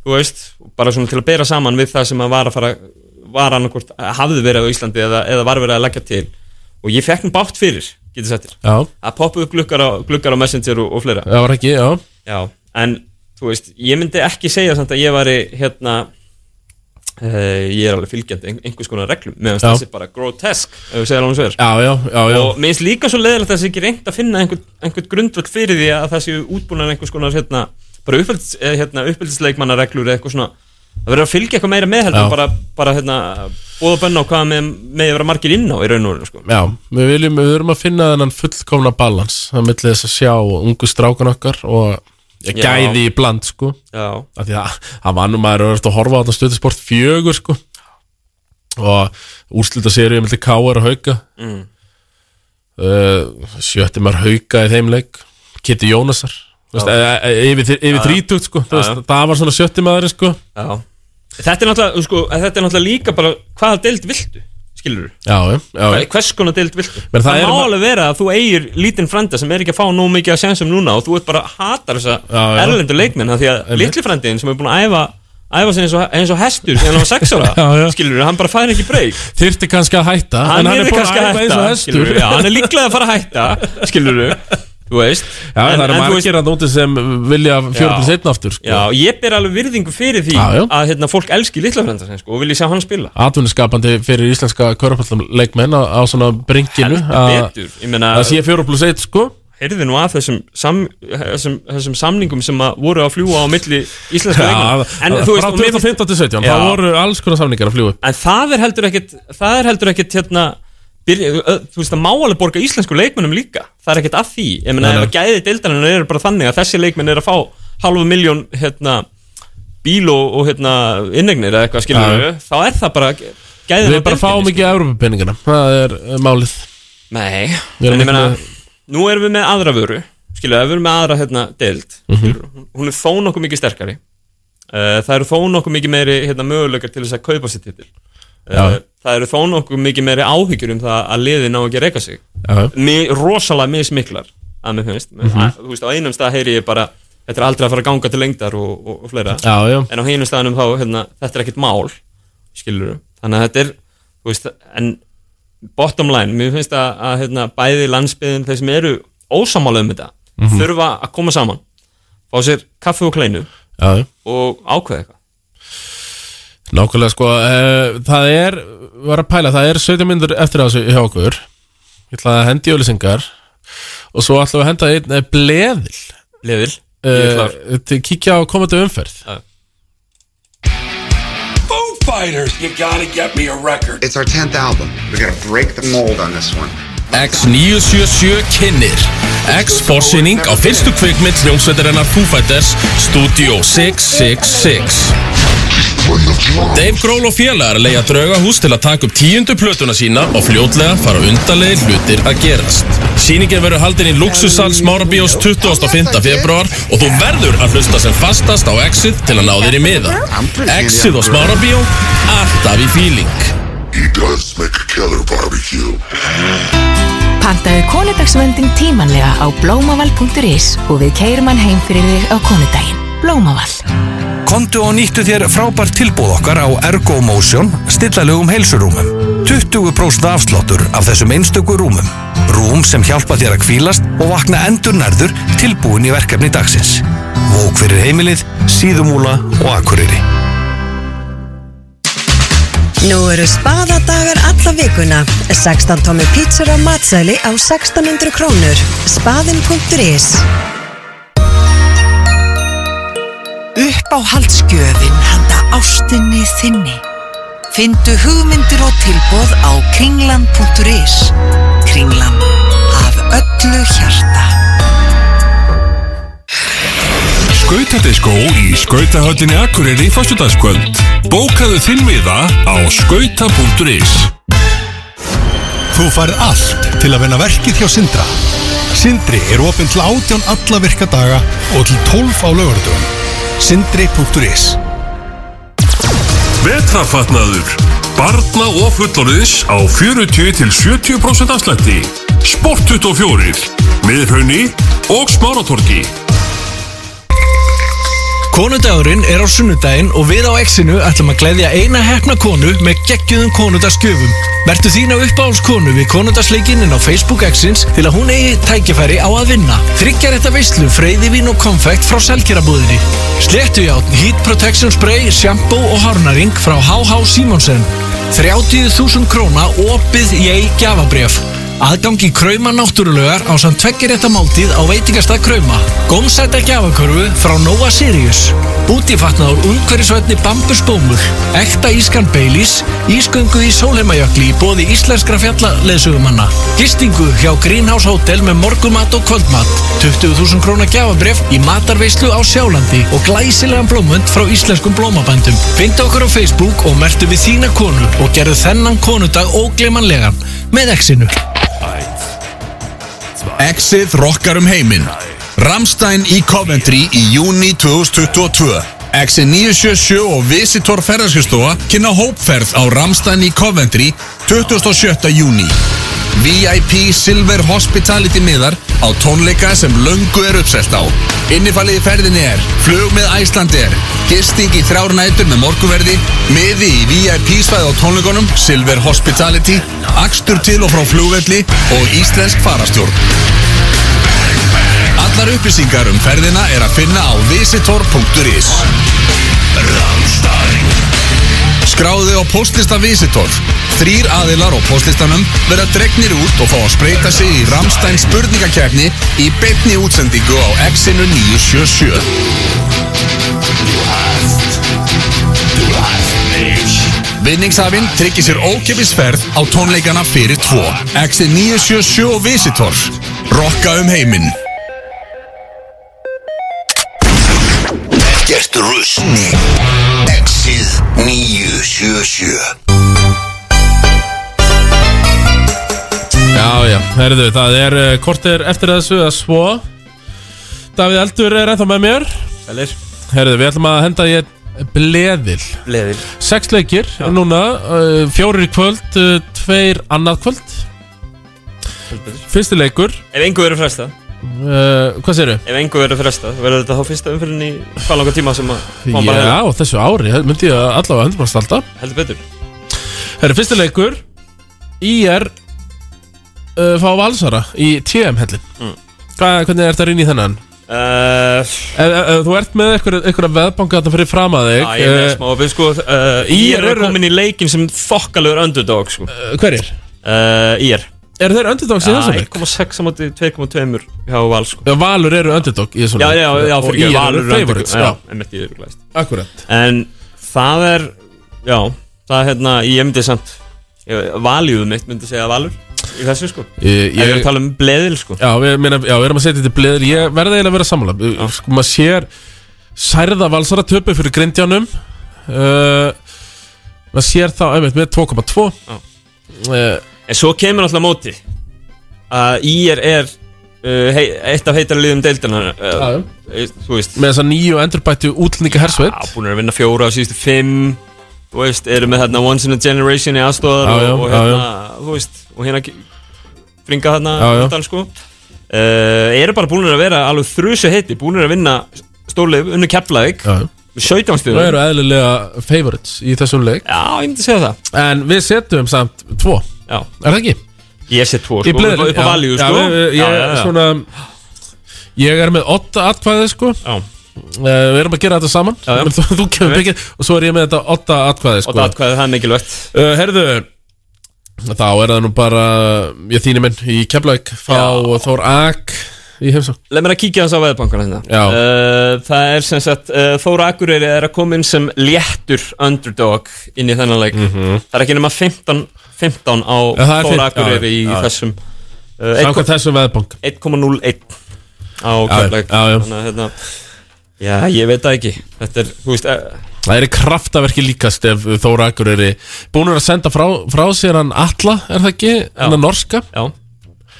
Speaker 21: þú veist, bara svona til að bera saman við það sem að var að fara var annarkvort, eh, hafði verið á Íslandi eða, eða var verið að leggja til og ég fekk nú bátt fyrir, getur settir
Speaker 2: Já.
Speaker 21: að poppa upp gluggar á, gluggar á Messenger og, og fleira
Speaker 2: Það var ekki, já
Speaker 21: Já, en þú veist, ég myndi ekki segja samt að ég væri hérna uh, ég er alveg fylgjandi ein- einhvers konar reglum meðan
Speaker 2: Já.
Speaker 21: þessi bara grotesk ef við segja alveg svo er
Speaker 2: Já, já, já, já.
Speaker 21: og mér finnst líka svo leiðilegt að þessi ekki reynd að finna einhvern, einhvern grundvöld fyrir því að það séu útbúinan einhvers konar hérna, bara uppelds, eh, hérna, uppeldisleikmannareglur eða eitthvað svona það verður að fylgja eitthvað meira með heldur
Speaker 2: Já.
Speaker 21: bara, bara hérna, bóða bönna á hvað með, með vera margir inn á í raun og raun sko.
Speaker 2: Já, við viljum, við verum að finna þennan fullkomna balans á milli þess að sjá ungu strákan okkar og
Speaker 21: Já.
Speaker 2: gæði í bland sko
Speaker 21: Já.
Speaker 2: Af því að hann var nú maður er að horfa á þetta stöðusport fjögur sko og úrslita séri milli K.R. og Hauka
Speaker 21: Mm.
Speaker 2: uh, sjötti maður Hauka í þeim leik Kitty Jónasar þú veist,
Speaker 21: Já.
Speaker 2: e- e- yfir,
Speaker 21: Já,
Speaker 2: þri-
Speaker 21: já.
Speaker 2: yfir þrítugt sko þú
Speaker 21: Já,
Speaker 2: veist,
Speaker 21: já.
Speaker 2: það var svona sjötti maður sko
Speaker 21: Já. Þetta er náttúrulega, sko, þetta er náttúrulega líka bara hvaða deild viltu, skilur
Speaker 2: Já, já, já, já.
Speaker 21: Hvers konar deild viltu?
Speaker 2: Menn það
Speaker 21: Það,
Speaker 2: er
Speaker 21: má
Speaker 2: ma-
Speaker 21: alveg vera að þú eigir lítinn frænda sem er ekki að fá nóg mikið að sjansum núna og þú ert bara að hatar þessa
Speaker 2: Já, já.
Speaker 21: erlendu leikmenn af því að litli frændiðin sem er búin að æfa æfa sig eins og, eins og hestur sem hann var 6 ára
Speaker 2: Já, já.
Speaker 21: skilur hann bara fær ekki breyk
Speaker 2: þyrfti kannski að hætta en hann er
Speaker 21: yrði
Speaker 2: búin
Speaker 21: kannski
Speaker 2: að hætta eins og hestur
Speaker 21: skilurðu. Já, hann er líklega að fara að hætta skilur þú veist
Speaker 2: Já,
Speaker 21: En-
Speaker 2: það
Speaker 21: en
Speaker 2: eru
Speaker 21: þú veist-
Speaker 2: margir að nóti sem vilja
Speaker 21: Já.
Speaker 2: 4.1 aftur sko.
Speaker 21: Já, ég ber alveg virðingu fyrir því
Speaker 2: Já, já.
Speaker 21: að hérna, fólk elski litla frænda sinn sko, og vilji sjá hann spila
Speaker 2: atvinniskapandi fyrir íslenska körpallumleikmenn á, á svona bringinu að
Speaker 21: betur, ég meina
Speaker 2: það sé 4 pluss 1 sko
Speaker 21: heyrði nú að þessum, sam, þessum, þessum samningum sem að voru að fljúa á milli íslenska
Speaker 2: Já,
Speaker 21: leikmanna. en þú
Speaker 2: frá
Speaker 21: veist, og mér finnst-
Speaker 2: 2015 til 17
Speaker 21: Já.
Speaker 2: það voru alls konar samningar að fljúa upp.
Speaker 21: en það er heldur ekkit það er heldur ekkit hérna byrja, ö- þú veist, það má alveg borga íslensku leikmennum líka það er ekkit að því, ég meina
Speaker 2: Nei,
Speaker 21: ef að gæði deildarinn eru bara þannig að þessi leikmenn eru að fá halvu miljón hérna bíl og, og hérna innegnir eða eitthvað skilur
Speaker 2: Já.
Speaker 21: þá er það bara gæðin
Speaker 2: Við
Speaker 21: á
Speaker 2: bara
Speaker 21: deildinni,
Speaker 2: fáum ekki Evropapeningana Það er uh, málið
Speaker 21: Nei,
Speaker 2: Við
Speaker 21: en
Speaker 2: erum
Speaker 21: ég
Speaker 2: ekki
Speaker 21: meina
Speaker 2: með-
Speaker 21: Nú erum við með aðra vöru Skilja, við erum með aðra hérna deild
Speaker 2: Mhm.
Speaker 21: skilurðu, hún- Hún er þó nokkuð mikið sterkari uh, Það eru þó nokkuð mikið meiri hérna, möguleikar til þess að kaupa sér titil uh,
Speaker 2: Já.
Speaker 21: Það eru þó nokkuð mikið meiri áhyggjur um það að liði ná ekki að reyka sig
Speaker 2: Já.
Speaker 21: Mi, Rosalega mismiklar að mér finnst mm
Speaker 2: Mhm.
Speaker 21: Þú veist, á einum stað heyri ég bara Þetta er aldrei að fara að ganga til lengdar og, og, og fleira
Speaker 2: Já, já.
Speaker 21: En á hinum staðanum þá, hérna, þetta er ekkert mál Skilur Þannig að þetta er, þú veist, en bottom line, mér finnst að, að hérna, bæði landsbyðin, þeir sem eru ósamála um þetta,
Speaker 2: Mhm.
Speaker 21: þurfa að koma saman fá sér kaffi og kleinu
Speaker 2: Já, já.
Speaker 21: og ákveða eitthvað
Speaker 2: Nákvæmlega sko uh, Það er, var að pæla, það er 17 myndur eftir af þessu hjá okkur Ég ætla að hendi ölusingar Og svo ætlum við að henda einn eh, bleðil
Speaker 21: Bleðil, ég er
Speaker 2: uh,
Speaker 21: klár.
Speaker 2: til- Kíkja á komandi umferð
Speaker 3: Foo Fighters, you gotta get me a record. It's our 10th album. We gotta break the mold on this one.
Speaker 23: X977 kynir X-forsynning á fyrstu kvikmynd hljómsveitarinnar Foo Fighters Studio 666 Dave Grohl og félagar leiða draugahús til að taka upp tíundu plötuna sína og fljótlega fara undarlegi hlutir að gerast. Sýningin verður haldin í Luxussal Smárabíós 25. februar og þú verður að hlusta sem fastast á Exit til að ná þér í miða. Exit og Smárabíó, alltaf í fíling. He does make a killer barbecue.
Speaker 4: Pantaðu konudagsvöndin tímanlega á blómaval.is og við keirum hann heim fyrir þig á konudaginn. Blómaval.
Speaker 7: Kontu og nýttu þér frábært tilbúð okkar á Ergo Motion stillalögum heilsurúmum. 20% afsláttur af þessum einstöku rúmum. Rúm sem hjálpa þér að kvílast og vakna endur nærður tilbúin í verkefni dagsins. Vók fyrir heimilið, síðumúla og akureyri.
Speaker 5: Nú eru spaðadagar alla vikuna. 16 tómi pítsur á matsæli á 1600 krónur. Spaðin.is
Speaker 24: Uppáhaldsgjöfin handa ástinni þinni. Findu hugmyndir og tilbóð á kringlan.is. Kringlan. Af öllu hjarta.
Speaker 11: Skautadiskó í Skautahöllinni Akureyri í fastudagskvöld. Bókaðu þinn miða á skauta.is
Speaker 25: Þú færð allt til að vinna verkið hjá Sindra. Sindri er opinn til 18 alla virka daga og til 12 á lögardöfum. Sindri.is
Speaker 11: Vetrafatnaður. Barna og fullorðis á 40 til 70% afslætti. Sport 24. Miðraunni og Smáratorgi.
Speaker 7: Konudagurinn er á sunnudaginn og við á Exinu ætlum að gleyðja eina hefna konu með geggjum konudagsgjöfum. Vertu þín á uppáhaldskonu við konudagsleikinn á Facebook Exins til að hún eigi tækifæri á að vinna. Tryggjar þetta veislu, freyðivín og konfekt frá selgerabúðinni. Sléttujátn, heat protection spray, shampoo og hárnaring frá HH Simonsen. 30.000 króna opið ég gjafabrjöf. Aðgangi Krauma náttúrulegar á samt tveggjarétta máltíð á veitingastað Krauma. Gómsæta gjafakörfu frá Nova Sirius. Útifatnaður umhverjusvætni bambusbómur. Ekta ískan Baileys. Ísköngu í sólheimajökli í bóði íslenskra fjallaleðsugumanna. Gistingu hjá Greenhouse Hotel með morgumat og kvöldmat. 20.000 krónar gjafabref í matarveislu á Sjálandi og glæsilegan blómund frá íslenskum blómabændum. Fyndu okkur á Facebook og mertu við þína konu og gerðu þennan konudag óglemanlegan með exinu.
Speaker 15: Exit rockar um heiminn Ramstein í Coventry í júni 2022 Exit 977 og Visitor ferðarskjöstofa kynna hópferð á Ramstein í Coventry 27. júni VIP Silver Hospitality miðar á tónleika sem löngu er uppselt á Innifalið í ferðinni er flug með Æslandir, gisting í þrjár nætur með morguverði, miði í VIP svæði á tónleikunum Silver Hospitality, akstur til og frá flugvelli og íslensk farastjórn Allar upplýsingar um ferðina er að finna á visitor.is Skráðu á postlista Visitor. Þrýr aðilar á postlistanum verða dregnir út og fá að spreita sig í Ramstein spurningakefni í betni útsendingu á Exinu 977. Vinningshafinn tryggir sér ókepisferð á tónleikana fyrir tvo. Exin 977 og Visitor. Rokka um heiminn.
Speaker 18: Gert rusni Exið 977
Speaker 2: herðu, það er uh, kortir eftir þessu að svo Davíð Eldur er ennþá með mér
Speaker 21: Sælir
Speaker 2: Herðu, við ætlum að henda ég bleðil
Speaker 21: Bleðil
Speaker 2: Sex leikir núna, uh, fjórir í kvöld, uh, tveir annað kvöld Fyrsti leikur
Speaker 21: Ef engu verður fresta
Speaker 2: uh, Hvað segirðu?
Speaker 21: Ef engu verður fresta Verður þetta þá fyrsta umfyrin í hvað langa tíma sem að má bara
Speaker 2: Já, á þessu ári, það myndi ég að allavega hendur maður stálta
Speaker 21: Heldur betur
Speaker 2: Herru, fyrsti leikur IR uh, fá valsara í TM-hellin
Speaker 21: Mm.
Speaker 2: Hvernig er þetta inn í þennan?
Speaker 21: Uh, ef,
Speaker 2: ef, ef þú ert með einhverja veðbanka þetta fyrir fram að þig
Speaker 21: Já, ég er með
Speaker 2: eh,
Speaker 21: smá opið sko uh, Ír er komin í leikin sem þokkalur underdog sko uh,
Speaker 2: Eh, Hverjir?
Speaker 21: Uh, Ír
Speaker 2: Eru þeir underdogs í þessum leik?
Speaker 21: 1,6 á móti 2,2 hjá Val sko
Speaker 2: Já, Valur eru underdog í þessum
Speaker 21: Já,
Speaker 2: leik.
Speaker 21: já, já,
Speaker 2: Og
Speaker 21: fyrir
Speaker 2: IR
Speaker 21: ekki,
Speaker 2: eru favorites
Speaker 21: Já,
Speaker 2: já.
Speaker 21: einmitt ég eru glæst
Speaker 2: Akkurat.
Speaker 21: En það er, já, það er hérna, ég myndi samt ég- Valjuð mitt myndi segja Valur í þessu sko Ef
Speaker 2: Ég-
Speaker 21: við erum
Speaker 2: ég-
Speaker 21: að tala um bleðil sko
Speaker 2: Já, við, meina, já, við erum að setja þetta í bleðir Ég verði eiginlega að vera sammála Við- Sko, maður sér særða valsara töpu fyrir grindjánum uh, Maður sér þá, einmitt, með 2,2
Speaker 21: Já.
Speaker 2: Eh,
Speaker 21: En svo kemur alltaf móti að IR er uh, hei, eitt af heitar liðum deildana uh, Þú veist
Speaker 2: Með þess að nýju endurbættu útlendinga hersveit
Speaker 21: Já, búin að vinna fjóra á síðustu fimm Þú veist, eru með hérna Once in a Generation í aðstofar
Speaker 2: Já, já,
Speaker 21: og, og
Speaker 2: já,
Speaker 21: hérna, þú veist, og hérna ge- fringa hérna
Speaker 2: Já, já.
Speaker 21: utan, sko. uh, Eru bara búin að vera alveg þrjusu heiti, búin að vinna stórleif unnu Keflavík
Speaker 2: Já, já.
Speaker 21: með 17
Speaker 2: Það eru
Speaker 21: stíðum
Speaker 2: eðlilega favorites í þessum leik
Speaker 21: Já, ég myndi segja það
Speaker 2: En við setjum samt 2
Speaker 21: Já
Speaker 2: Er það ekki?
Speaker 21: Ég set 2
Speaker 2: Í
Speaker 21: sko,
Speaker 2: bleðri,
Speaker 21: upp á
Speaker 2: já.
Speaker 21: valíu
Speaker 2: Já,
Speaker 21: sko
Speaker 2: við- við- ég er svona Ég er með 8 atkvæði sko
Speaker 21: Já
Speaker 2: Við erum að gera þetta saman
Speaker 21: Já, já.
Speaker 2: Þú, þú kemur
Speaker 21: Ég veit.
Speaker 2: byggir Og svo er ég með þetta 8 atkvæði sko
Speaker 21: Og það hvað það er mikilvægt
Speaker 2: Uh, herðu, þá er það nú bara ég þínir minn í Keflavík fá Þór Ak í heimsókn
Speaker 21: Leð mér að kíkja þess á veðbankana hérna
Speaker 2: Já.
Speaker 21: uh, Það er sem sagt uh, Þóra Akureyri er að koma inn sem léttur underdog inn í þennan leik Það er ekki nema 15, 15 á
Speaker 2: Ja, Mhm. það er fínt.
Speaker 21: Þóra Akureyri
Speaker 2: Já,
Speaker 21: í
Speaker 2: já.
Speaker 21: þessum uh,
Speaker 2: Samkvæmt þessum veðbank
Speaker 21: 1,01 á
Speaker 2: Já,
Speaker 21: Keflæk
Speaker 2: já, já.
Speaker 21: að hérna Já, ég veit það ekki Þetta er, þú veist, uh,
Speaker 2: Það er kraftaverki líkast ef Þór Akur er búin að senda frá, frá sér hann Alla, er það ekki? Hann er norska
Speaker 21: Já,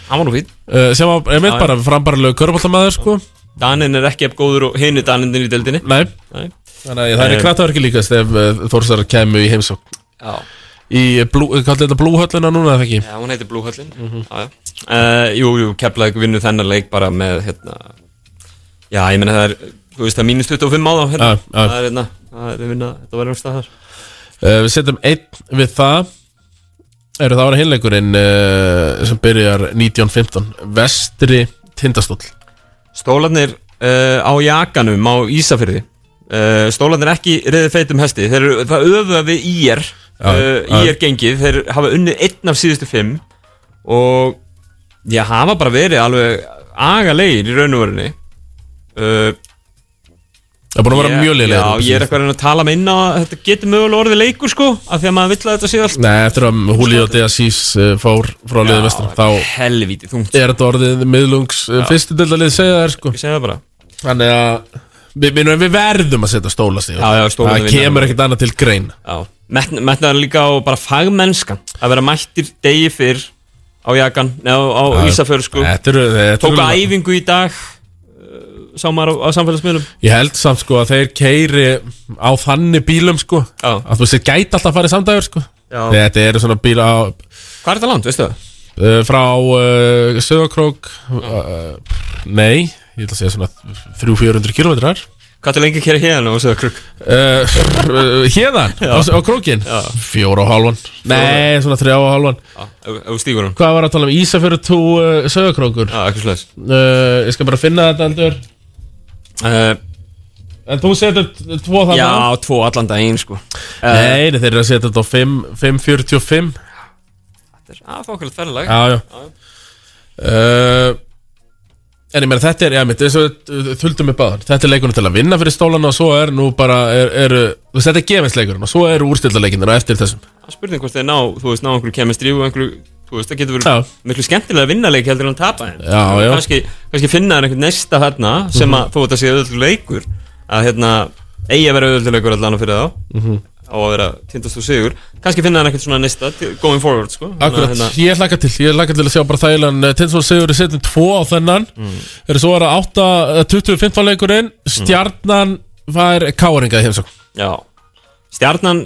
Speaker 21: hann var nú fín
Speaker 2: uh, sem var, ég
Speaker 21: Já,
Speaker 2: veit bara, frambaralegu körbóltamæður sko
Speaker 21: Danin er ekki eftir góður og hinn er Danin í deildinni
Speaker 2: Nei,
Speaker 21: Nei.
Speaker 2: Þannig að það er
Speaker 21: Eh,
Speaker 2: kraftaverki líkast ef uh, Þórsar kemur í heimsókn
Speaker 21: Já.
Speaker 2: Í, eh, blú, kallir þetta blúhöllina núna, er það ekki?
Speaker 21: Já, hún heitir Blúhöllin mm -hmm. uh, Jú, jú, Keflavík vinnur þennan leik bara með hérna Já, ég meina það er, þú veist, það er mínus 25 á þá hérna.
Speaker 2: Já, já.
Speaker 21: Það er hérna, það er vinna, þetta var einhverstað þar
Speaker 2: Uh, við setjum einn við það eru það að vera hinleikurinn uh, sem byrjar 1915 vestri tindastóll
Speaker 21: Stólarnir uh, á jakanum á Ísafyrði uh, Stólarnir ekki reyði feitum hesti Þeir eru, það öfuða við IR
Speaker 2: Já,
Speaker 21: uh,
Speaker 2: já.
Speaker 21: IR gengið, þeir hafa unnið einn af síðustu fimm Og já, hafa bara verið alveg agalegir í raun og verunni uh,
Speaker 2: Það er búin að vera
Speaker 21: Ég-
Speaker 2: mjög liðlega
Speaker 21: Já, ég er eitthvað að reyna að tala með inn á að þetta getur mögulega orðið leikur sko Af því að maður vill að þetta sé allt
Speaker 2: Nei, eftir að Húli og Deasís uh, fór frá liðið vestra þá
Speaker 21: helvítið þungt
Speaker 2: er þetta orðið miðlungs uh,
Speaker 21: Já.
Speaker 2: fyrstu dildalið segja þær sko
Speaker 21: Ég segja það bara
Speaker 2: Þannig að við, við, við verðum að setja stóla sig
Speaker 21: Já, já, Stólarnir
Speaker 2: Það
Speaker 21: vinna.
Speaker 2: kemur ekkert annað til grein
Speaker 21: Já, metna, metnaður líka á bara fagmennskan Að vera mættir degi fyrr á jakan, neða á
Speaker 2: Já,
Speaker 21: Ísafjörð sko
Speaker 2: þetta eru- þetta
Speaker 21: Tóku
Speaker 2: eru-
Speaker 21: æfingu í dag uh, Sá maður á, á samfélagsmiðlum
Speaker 2: Ég held samt sko að þeir keiri á þannig bílum sko
Speaker 21: Já.
Speaker 2: að þú sér gæti alltaf að fara í samdægur sko
Speaker 21: Já.
Speaker 2: Þetta eru svona bíla á
Speaker 21: Hvað er þetta land, veistu það?
Speaker 2: Uh, frá uh, Söðakrók uh, Nei, ég ætla að segja svona 300-400 kilometrar
Speaker 21: Hvað er lengi að kera hérna og segja krukk?
Speaker 22: Eh,
Speaker 2: uh, uh, Hérðan, á, á krókin Fjóra og hálfan Nei, svona þrjá og hálfan
Speaker 21: Ef þú stígur hún
Speaker 2: Hvað var að tala um Ísafjörðu 2 uh, Söðakrókur?
Speaker 21: Já, eitthvað slags
Speaker 2: uh, Ég skal bara finna þetta endur
Speaker 21: uh,
Speaker 2: En þú setur t- tvo þarna
Speaker 21: Já, tvo allan daginn sko Eh,
Speaker 2: Nei, nei, þeir eru að setja þetta á 5 5.45
Speaker 21: Það er þokkulegt ferðalag
Speaker 2: Já, já uh, En ég meina þetta er, já, mitt, þess að þuldum upp aðan Þetta er leikunum til að vinna fyrir stólana og svo er nú bara, er, er, þú veist, þetta er gefinsleikurinn og svo eru úrstildarleikinnir og eftir þessum
Speaker 21: Það er spurning hvort þeir ná, þú veist, ná einhverju kemistri og einhverju, þú veist, það getur verið
Speaker 2: Já.
Speaker 21: miklu skemmtilega að vinna leik heldur en að tapa þeim
Speaker 2: Já, já. Mhm.
Speaker 21: Kannski, kannski finna þeir einhvern næsta hérna sem að þú veist að sé auðvitað leikur að hérna eigi að vera auðvitað leikur allan fyrir þá
Speaker 2: Mhm.
Speaker 21: á að vera tindast og sigur kannski finna hann ekkert svona næsta til- going forward sko Þannig að,
Speaker 2: Akkurat,
Speaker 21: hérna,
Speaker 2: ég hlaka til, ég hlaka til að sjá bara þægilegan eh, Tinsson Sigur í setjum 2 á þennan mm. Eru svo að 8, 25 leikurinn
Speaker 21: Mm.
Speaker 2: Stjarnan fær káringa í heimsókn
Speaker 21: Já, stjarnan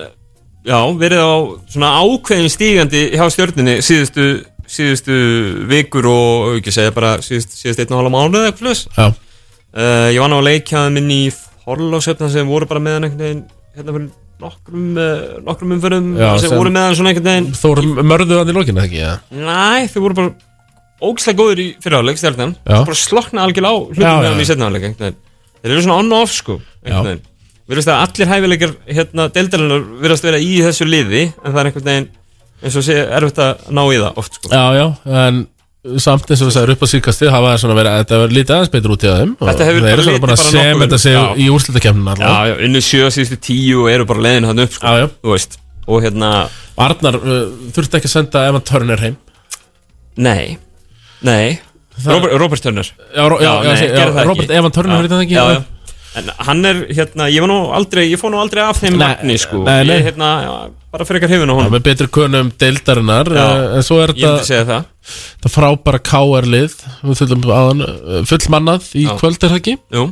Speaker 21: Já, verið á svona ákveðin stígandi hjá stjörninni síðustu, síðustu vikur og og ekki segja bara síðust, síðust einn og hálfa mánuð eitthvað flus
Speaker 2: Já.
Speaker 21: Ég vann á að leikja minn í Horlósöfna sem voru bara með hann einhvern veginn hérna fyrir nokkrum, eh, nokkrum umförum sem, voru með hann svona einhvern veginn
Speaker 2: Þóru mörðu hann í lokinu, ekki? Ja.
Speaker 21: Næ, þau voru bara ógislega góður í fyrirháleik stjarnan,
Speaker 2: Já.
Speaker 21: bara slokna algjörlega á hlutum
Speaker 2: Já,
Speaker 21: með
Speaker 2: já.
Speaker 21: hann í setnaháleik þeir eru svona on og off sko einhvern veginn. virðast að allir hæfileikar hérna, deildarinnar virðast vera í þessu liði en það er einhvern veginn eins og sé erfitt að ná í það oft sko
Speaker 2: Já, já, en samt eins og þess að upp á síðkasti hafa þær svona verið, þetta hefur lítið aðeins betur út í þeim og
Speaker 21: Þetta hefur
Speaker 2: þeir eru
Speaker 21: bara litið
Speaker 2: svona bara
Speaker 21: bara
Speaker 2: að sem
Speaker 21: nokkuð
Speaker 2: þetta
Speaker 21: vel.
Speaker 2: séu
Speaker 21: Já.
Speaker 2: í úrslutakefnin
Speaker 21: Já,
Speaker 2: alltaf
Speaker 21: já, unnu sjö síðustu tíu og eru bara leiðin hann upp sko, já, já. þú veist og hérna
Speaker 2: Arnar, uh, þurfti ekki að senda Emma Turner heim
Speaker 21: Nei, nei
Speaker 2: Það-
Speaker 21: Robert, Robert Turner
Speaker 2: Já, Ro- já,
Speaker 21: nei,
Speaker 2: já, já,
Speaker 21: gerði
Speaker 2: já,
Speaker 21: það
Speaker 2: Robert
Speaker 21: ekki.
Speaker 2: Evan Turner,
Speaker 21: Já,
Speaker 2: heitir það ekki?
Speaker 21: Já, já En hann er, hérna, ég var nú aldrei, ég fór nú aldrei af þeim magni, sko
Speaker 2: nei, nei.
Speaker 21: Ég, hérna, já, bara fyrir ykkar hefðin á honum
Speaker 2: með betri kunum deildarinnar
Speaker 21: Já,
Speaker 2: eh, en svo er
Speaker 21: ég myndi segja
Speaker 2: þetta
Speaker 21: það.
Speaker 2: það frábæra KR lið við þurfum áðan, eh, fullmannað í
Speaker 21: Já.
Speaker 2: kvöld er það ekki?
Speaker 21: Jú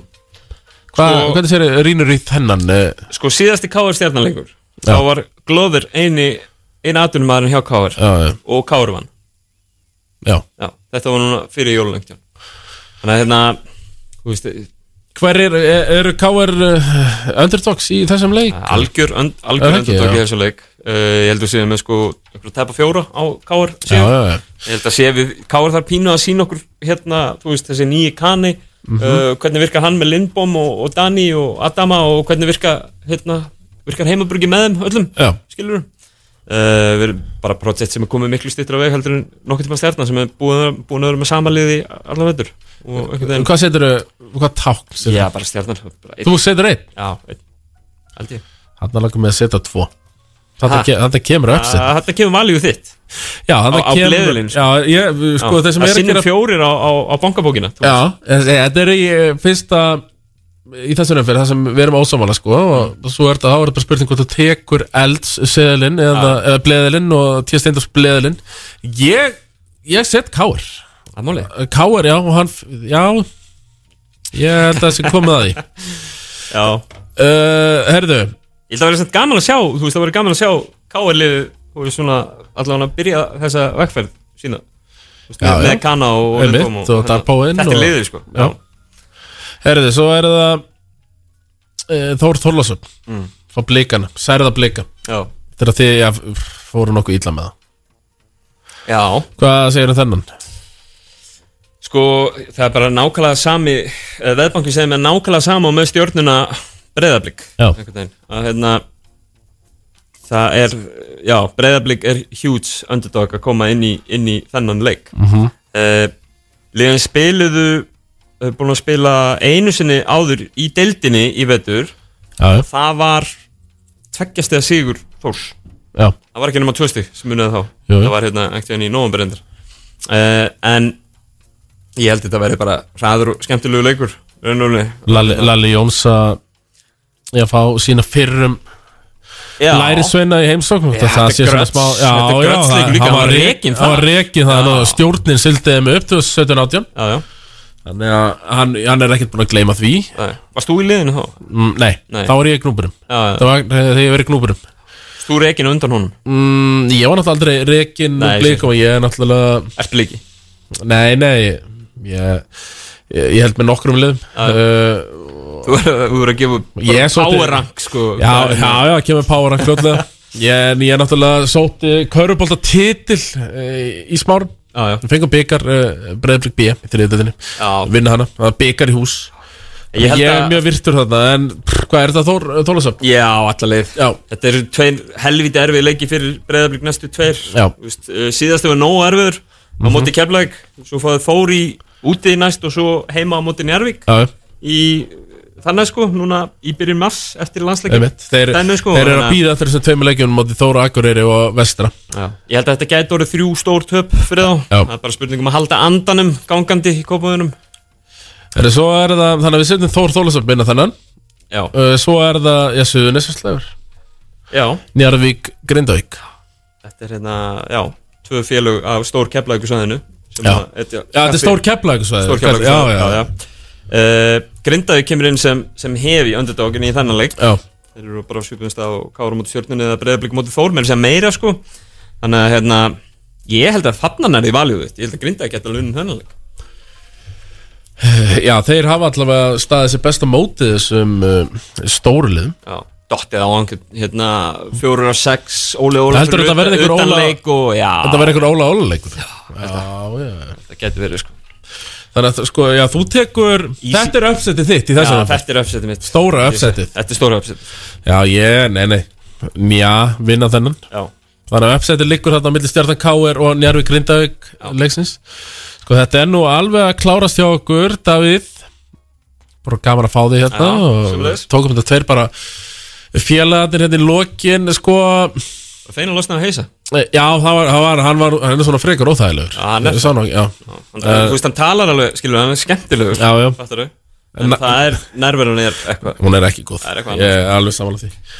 Speaker 2: Hva,
Speaker 21: Sko-
Speaker 2: Hvernig sér rínur í þennan? eh,
Speaker 21: Sko, síðasti K.R. stjarnalengur Þá var Glover eini, eini atvinnumæðurinn hjá K.R.
Speaker 2: Já, já.
Speaker 21: Og K.R. vann
Speaker 2: Já.
Speaker 21: Þetta var núna fyrir jólulengt Þannig að, hérna, þú veist, eh,
Speaker 2: Hver er, er- eru KR eh, underdogs í þessum leik?
Speaker 21: Eh, algjör, und, algjör
Speaker 2: Er það ekki,
Speaker 21: endur
Speaker 2: já.
Speaker 21: í þessu leik uh, ég held að séu með sko einhverju tæpa fjóra á Káar
Speaker 2: Já, já, já.
Speaker 21: ég held að séu við Káar þar pínu að sína okkur hérna, þú veist, þessi nýji kani
Speaker 2: Mhm.
Speaker 21: uh, hvernig virkar hann með Lindbom og, og Dani og Adama og hvernig virka hérna, virkar heimabruggi með þeim öllum,
Speaker 2: Já.
Speaker 21: skilur Uh, við erum bara projekt sem er komið miklu stýttur að veg heldur en nokkuð tíma stjarnan sem er búin, búin að vera með samaliði allar vettur og einhvern veginn
Speaker 2: Hvað setur hvað tákn? seturðu?
Speaker 21: Já, bara stjarnan bara einn.
Speaker 2: Þú setur einn?
Speaker 21: Já, einn Held ég
Speaker 2: Þannig langar mig að setja tvo Þetta,
Speaker 21: Ha? Ah,
Speaker 2: ke þetta kemur öxin
Speaker 21: Að Þetta kemur valjú þitt
Speaker 2: Já,
Speaker 21: Á-
Speaker 2: þetta
Speaker 21: á
Speaker 2: kemur
Speaker 21: bleðilinn, sko.
Speaker 2: Já, ég, sko,
Speaker 21: Já,
Speaker 2: þeir sem
Speaker 21: að
Speaker 2: eru að
Speaker 21: sinnum
Speaker 2: gera-
Speaker 21: fjórir á, á, á bankabókina þú
Speaker 2: Já, en- en þetta er í eh, fyrsta í þessu umferð, það sem við erum ásamála sko, og svo er þetta, þá er þetta bara spurning hvort þú tekur elds seðlinn eða,
Speaker 21: Ah.
Speaker 2: eða bleðilinn og tjastindars bleðilinn ég, ég set Káur
Speaker 21: Amáli
Speaker 2: Káur, já, og hann, f- já ég held að það sé komið að því
Speaker 21: Já
Speaker 2: uh, Herðu
Speaker 21: Ég held að vera samt gaman að sjá Þú veist það verið gaman að sjá Káarlið Þú veist svona allan að byrja þessa vegferð sína Þú veist,
Speaker 2: Já,
Speaker 21: Með
Speaker 2: já.
Speaker 21: Kana og og
Speaker 2: Einmitt,
Speaker 21: Lindbom
Speaker 2: og Darpóinn
Speaker 21: Þetta er
Speaker 2: og-
Speaker 21: liðið sko
Speaker 2: Já. Herðu, svo er það uh, Þór Þorlásson
Speaker 21: Mm.
Speaker 2: frá blikana, særða blika
Speaker 21: Já.
Speaker 2: Þetta er að þið ja, fóru nokkuð illa með það
Speaker 21: Já
Speaker 2: Hvað segir um þennan?
Speaker 21: Sko það er bara nákvæmlega sami eh, Veðbankin segir mér nákvæmlega sama og með stjórnuna breyðablík
Speaker 2: Já.
Speaker 21: að hérna það er, já, breyðablík er huge underdog að koma inn í, inn í þennan leik
Speaker 2: Mhm.
Speaker 21: uh, liðan spiluðu uh, búin að spila einu sinni áður í deildinni í vetur
Speaker 2: Já.
Speaker 21: og það var tveggjast eða sigur Þórs
Speaker 2: Já.
Speaker 21: það var ekki nema tvö stig sem munið þá
Speaker 2: Jú, jú.
Speaker 21: það var hérna ekkert enn í nóvambur endur uh, en ég held að þetta verði bara hraður og skemmtilegu leikur raunverulega.
Speaker 2: Lalli, Lalli Jóns að ég að fá sína fyrrum
Speaker 21: Já.
Speaker 2: lærisveina í
Speaker 21: Já,
Speaker 2: heimsókn
Speaker 21: þetta
Speaker 2: það
Speaker 21: er
Speaker 2: sé svona
Speaker 21: gröts-
Speaker 2: smá já,
Speaker 21: þetta er
Speaker 2: já,
Speaker 21: grötsleikur
Speaker 2: það-
Speaker 21: líka,
Speaker 2: hann var
Speaker 21: hann var
Speaker 2: rekin
Speaker 21: rekinn
Speaker 2: það var
Speaker 21: þar.
Speaker 2: rekin það og stjórnin sildiði mig upp til 17-18
Speaker 21: já, já.
Speaker 2: þannig að hann, hann er ekkert búin að gleyma því
Speaker 21: Nei. varst þú í liðinu þá?
Speaker 2: Mm, nei,
Speaker 21: Nei.
Speaker 2: þá var ég í knúpurum
Speaker 21: Já, já.
Speaker 2: það var eh, þegar ég verið í knúpurum
Speaker 21: Þú rekin undan honum
Speaker 2: mm, ég var náttúrulega aldrei rekin
Speaker 21: Nei, ég
Speaker 2: blikum og ég er náttúrulega
Speaker 21: Ert bliki?
Speaker 2: nei, nei ég, ég, ég held með nokkrum liðum uh,
Speaker 21: Þú verður þú verður að gefa
Speaker 2: Ég er
Speaker 21: bara
Speaker 2: svolítið-
Speaker 21: power rank sko
Speaker 2: Já, já, já, kemur power rank fljóðlega Ég, en ég er náttúrulega sótti Körubólta titil eh, í smárum
Speaker 21: Já, já
Speaker 2: Við fengum byggar uh, Breiðblik B í þriðutöldinni Vinna hana, það er byggar í hús
Speaker 21: Ég
Speaker 2: Ég,
Speaker 21: held
Speaker 2: er
Speaker 21: að-
Speaker 2: mjög virtur þarna En pff, hvað er þetta Þór, Þólasöfn?
Speaker 21: Já, allaveg
Speaker 2: Já.
Speaker 21: Þetta eru tveir helviti erfið leiki fyrir breyðablík næstu tveir
Speaker 2: Já.
Speaker 21: Þú veist, eh, Síðasti var nógu erfiður á
Speaker 2: Mhm.
Speaker 21: móti keflæk Svo fáðu Þór í úti næst og svo heima á móti Njarvík
Speaker 2: Já.
Speaker 21: Í þannig sko, núna í byrjun mars eftir landsleikin
Speaker 2: Einmitt, þeir,
Speaker 21: sko,
Speaker 2: þeir eru
Speaker 21: þannig
Speaker 2: að býða eftir þessum tveimur leikjum Móti Þóra Akureyri og Vestra
Speaker 21: Já. Ég held að þetta gæti orðið þrjú stór töp fyrir þá
Speaker 2: Já.
Speaker 21: Það er bara spurning um að halda andanum gangandi í kópaðunum
Speaker 2: Þeir, Svo er það, Uh, þannig að við setjum Þór Þólasöfn Vinna þennan
Speaker 21: Já.
Speaker 2: Svo er það, já, Suðunis
Speaker 21: Já.
Speaker 2: Njarðvík, Grindavík
Speaker 21: Þetta er hérna, já, tvö félög af stór keflækusvæðinu
Speaker 2: Já. Já, þetta er stór Keflavíkursvæði.
Speaker 21: Stór
Speaker 2: Já, já.
Speaker 21: keflækusvæðinu, já, já, Uh, Grindavík kemur inn sem, sem hefi underdogin í þannan leik
Speaker 2: Já.
Speaker 21: Þeir eru bara á svipumst á Kára móti stjórninu eða breyðablík móti fór Mér sem meira sko Þannig að hérna, ég held að þarna nærði valið þitt Ég held að Grindavík geta lunin þennan leik
Speaker 2: Uh, Já, þeir hafa allavega staðið sér besta mótið þessum uh, stóruliðum
Speaker 21: Já, dottið á einhvern, hérna, fjórar og sex Óli Óla
Speaker 2: Heldur þetta verði einhver Óla
Speaker 21: og, já,
Speaker 2: Þetta verði einhver Óla Óla leikur Já, já
Speaker 21: Þetta getur verið sko
Speaker 2: Þannig að sko, já, þú tekur Þetta er uppsetið þitt í þessu
Speaker 21: Já, þetta er uppsetið mitt
Speaker 2: Stóra uppsetið
Speaker 21: Þetta er stóra uppsetið
Speaker 2: Já, ég, nei, nei Mjá, vinna þennan
Speaker 21: Já.
Speaker 2: Þannig að uppsetið liggur þarna á milli stjartan K.R. og Njárvi Grindavík leiksins Sko, þetta er nú alveg að klárast hjá okkur, Davíð Bara gaman að fá þig hérna
Speaker 21: Já,
Speaker 2: og
Speaker 21: sömuleiðis.
Speaker 2: Tókum þetta tveir bara Félagarnir hérna í lokin, sko
Speaker 21: Feina losnar að heisa
Speaker 2: Já, það var, það var, hann var, hann er svona frekar óþægilegur
Speaker 21: hann er
Speaker 2: Ég sá nú- Já, Eh,
Speaker 21: Hann, þú veist, hann talar alveg, skilur, hann er skemmtilegur
Speaker 2: Já, já.
Speaker 21: Fattarðu? En það er, nærverðan er eitthvað
Speaker 2: Hún er ekki góð
Speaker 21: Það er eitthvað
Speaker 2: Ég er alveg samanlega því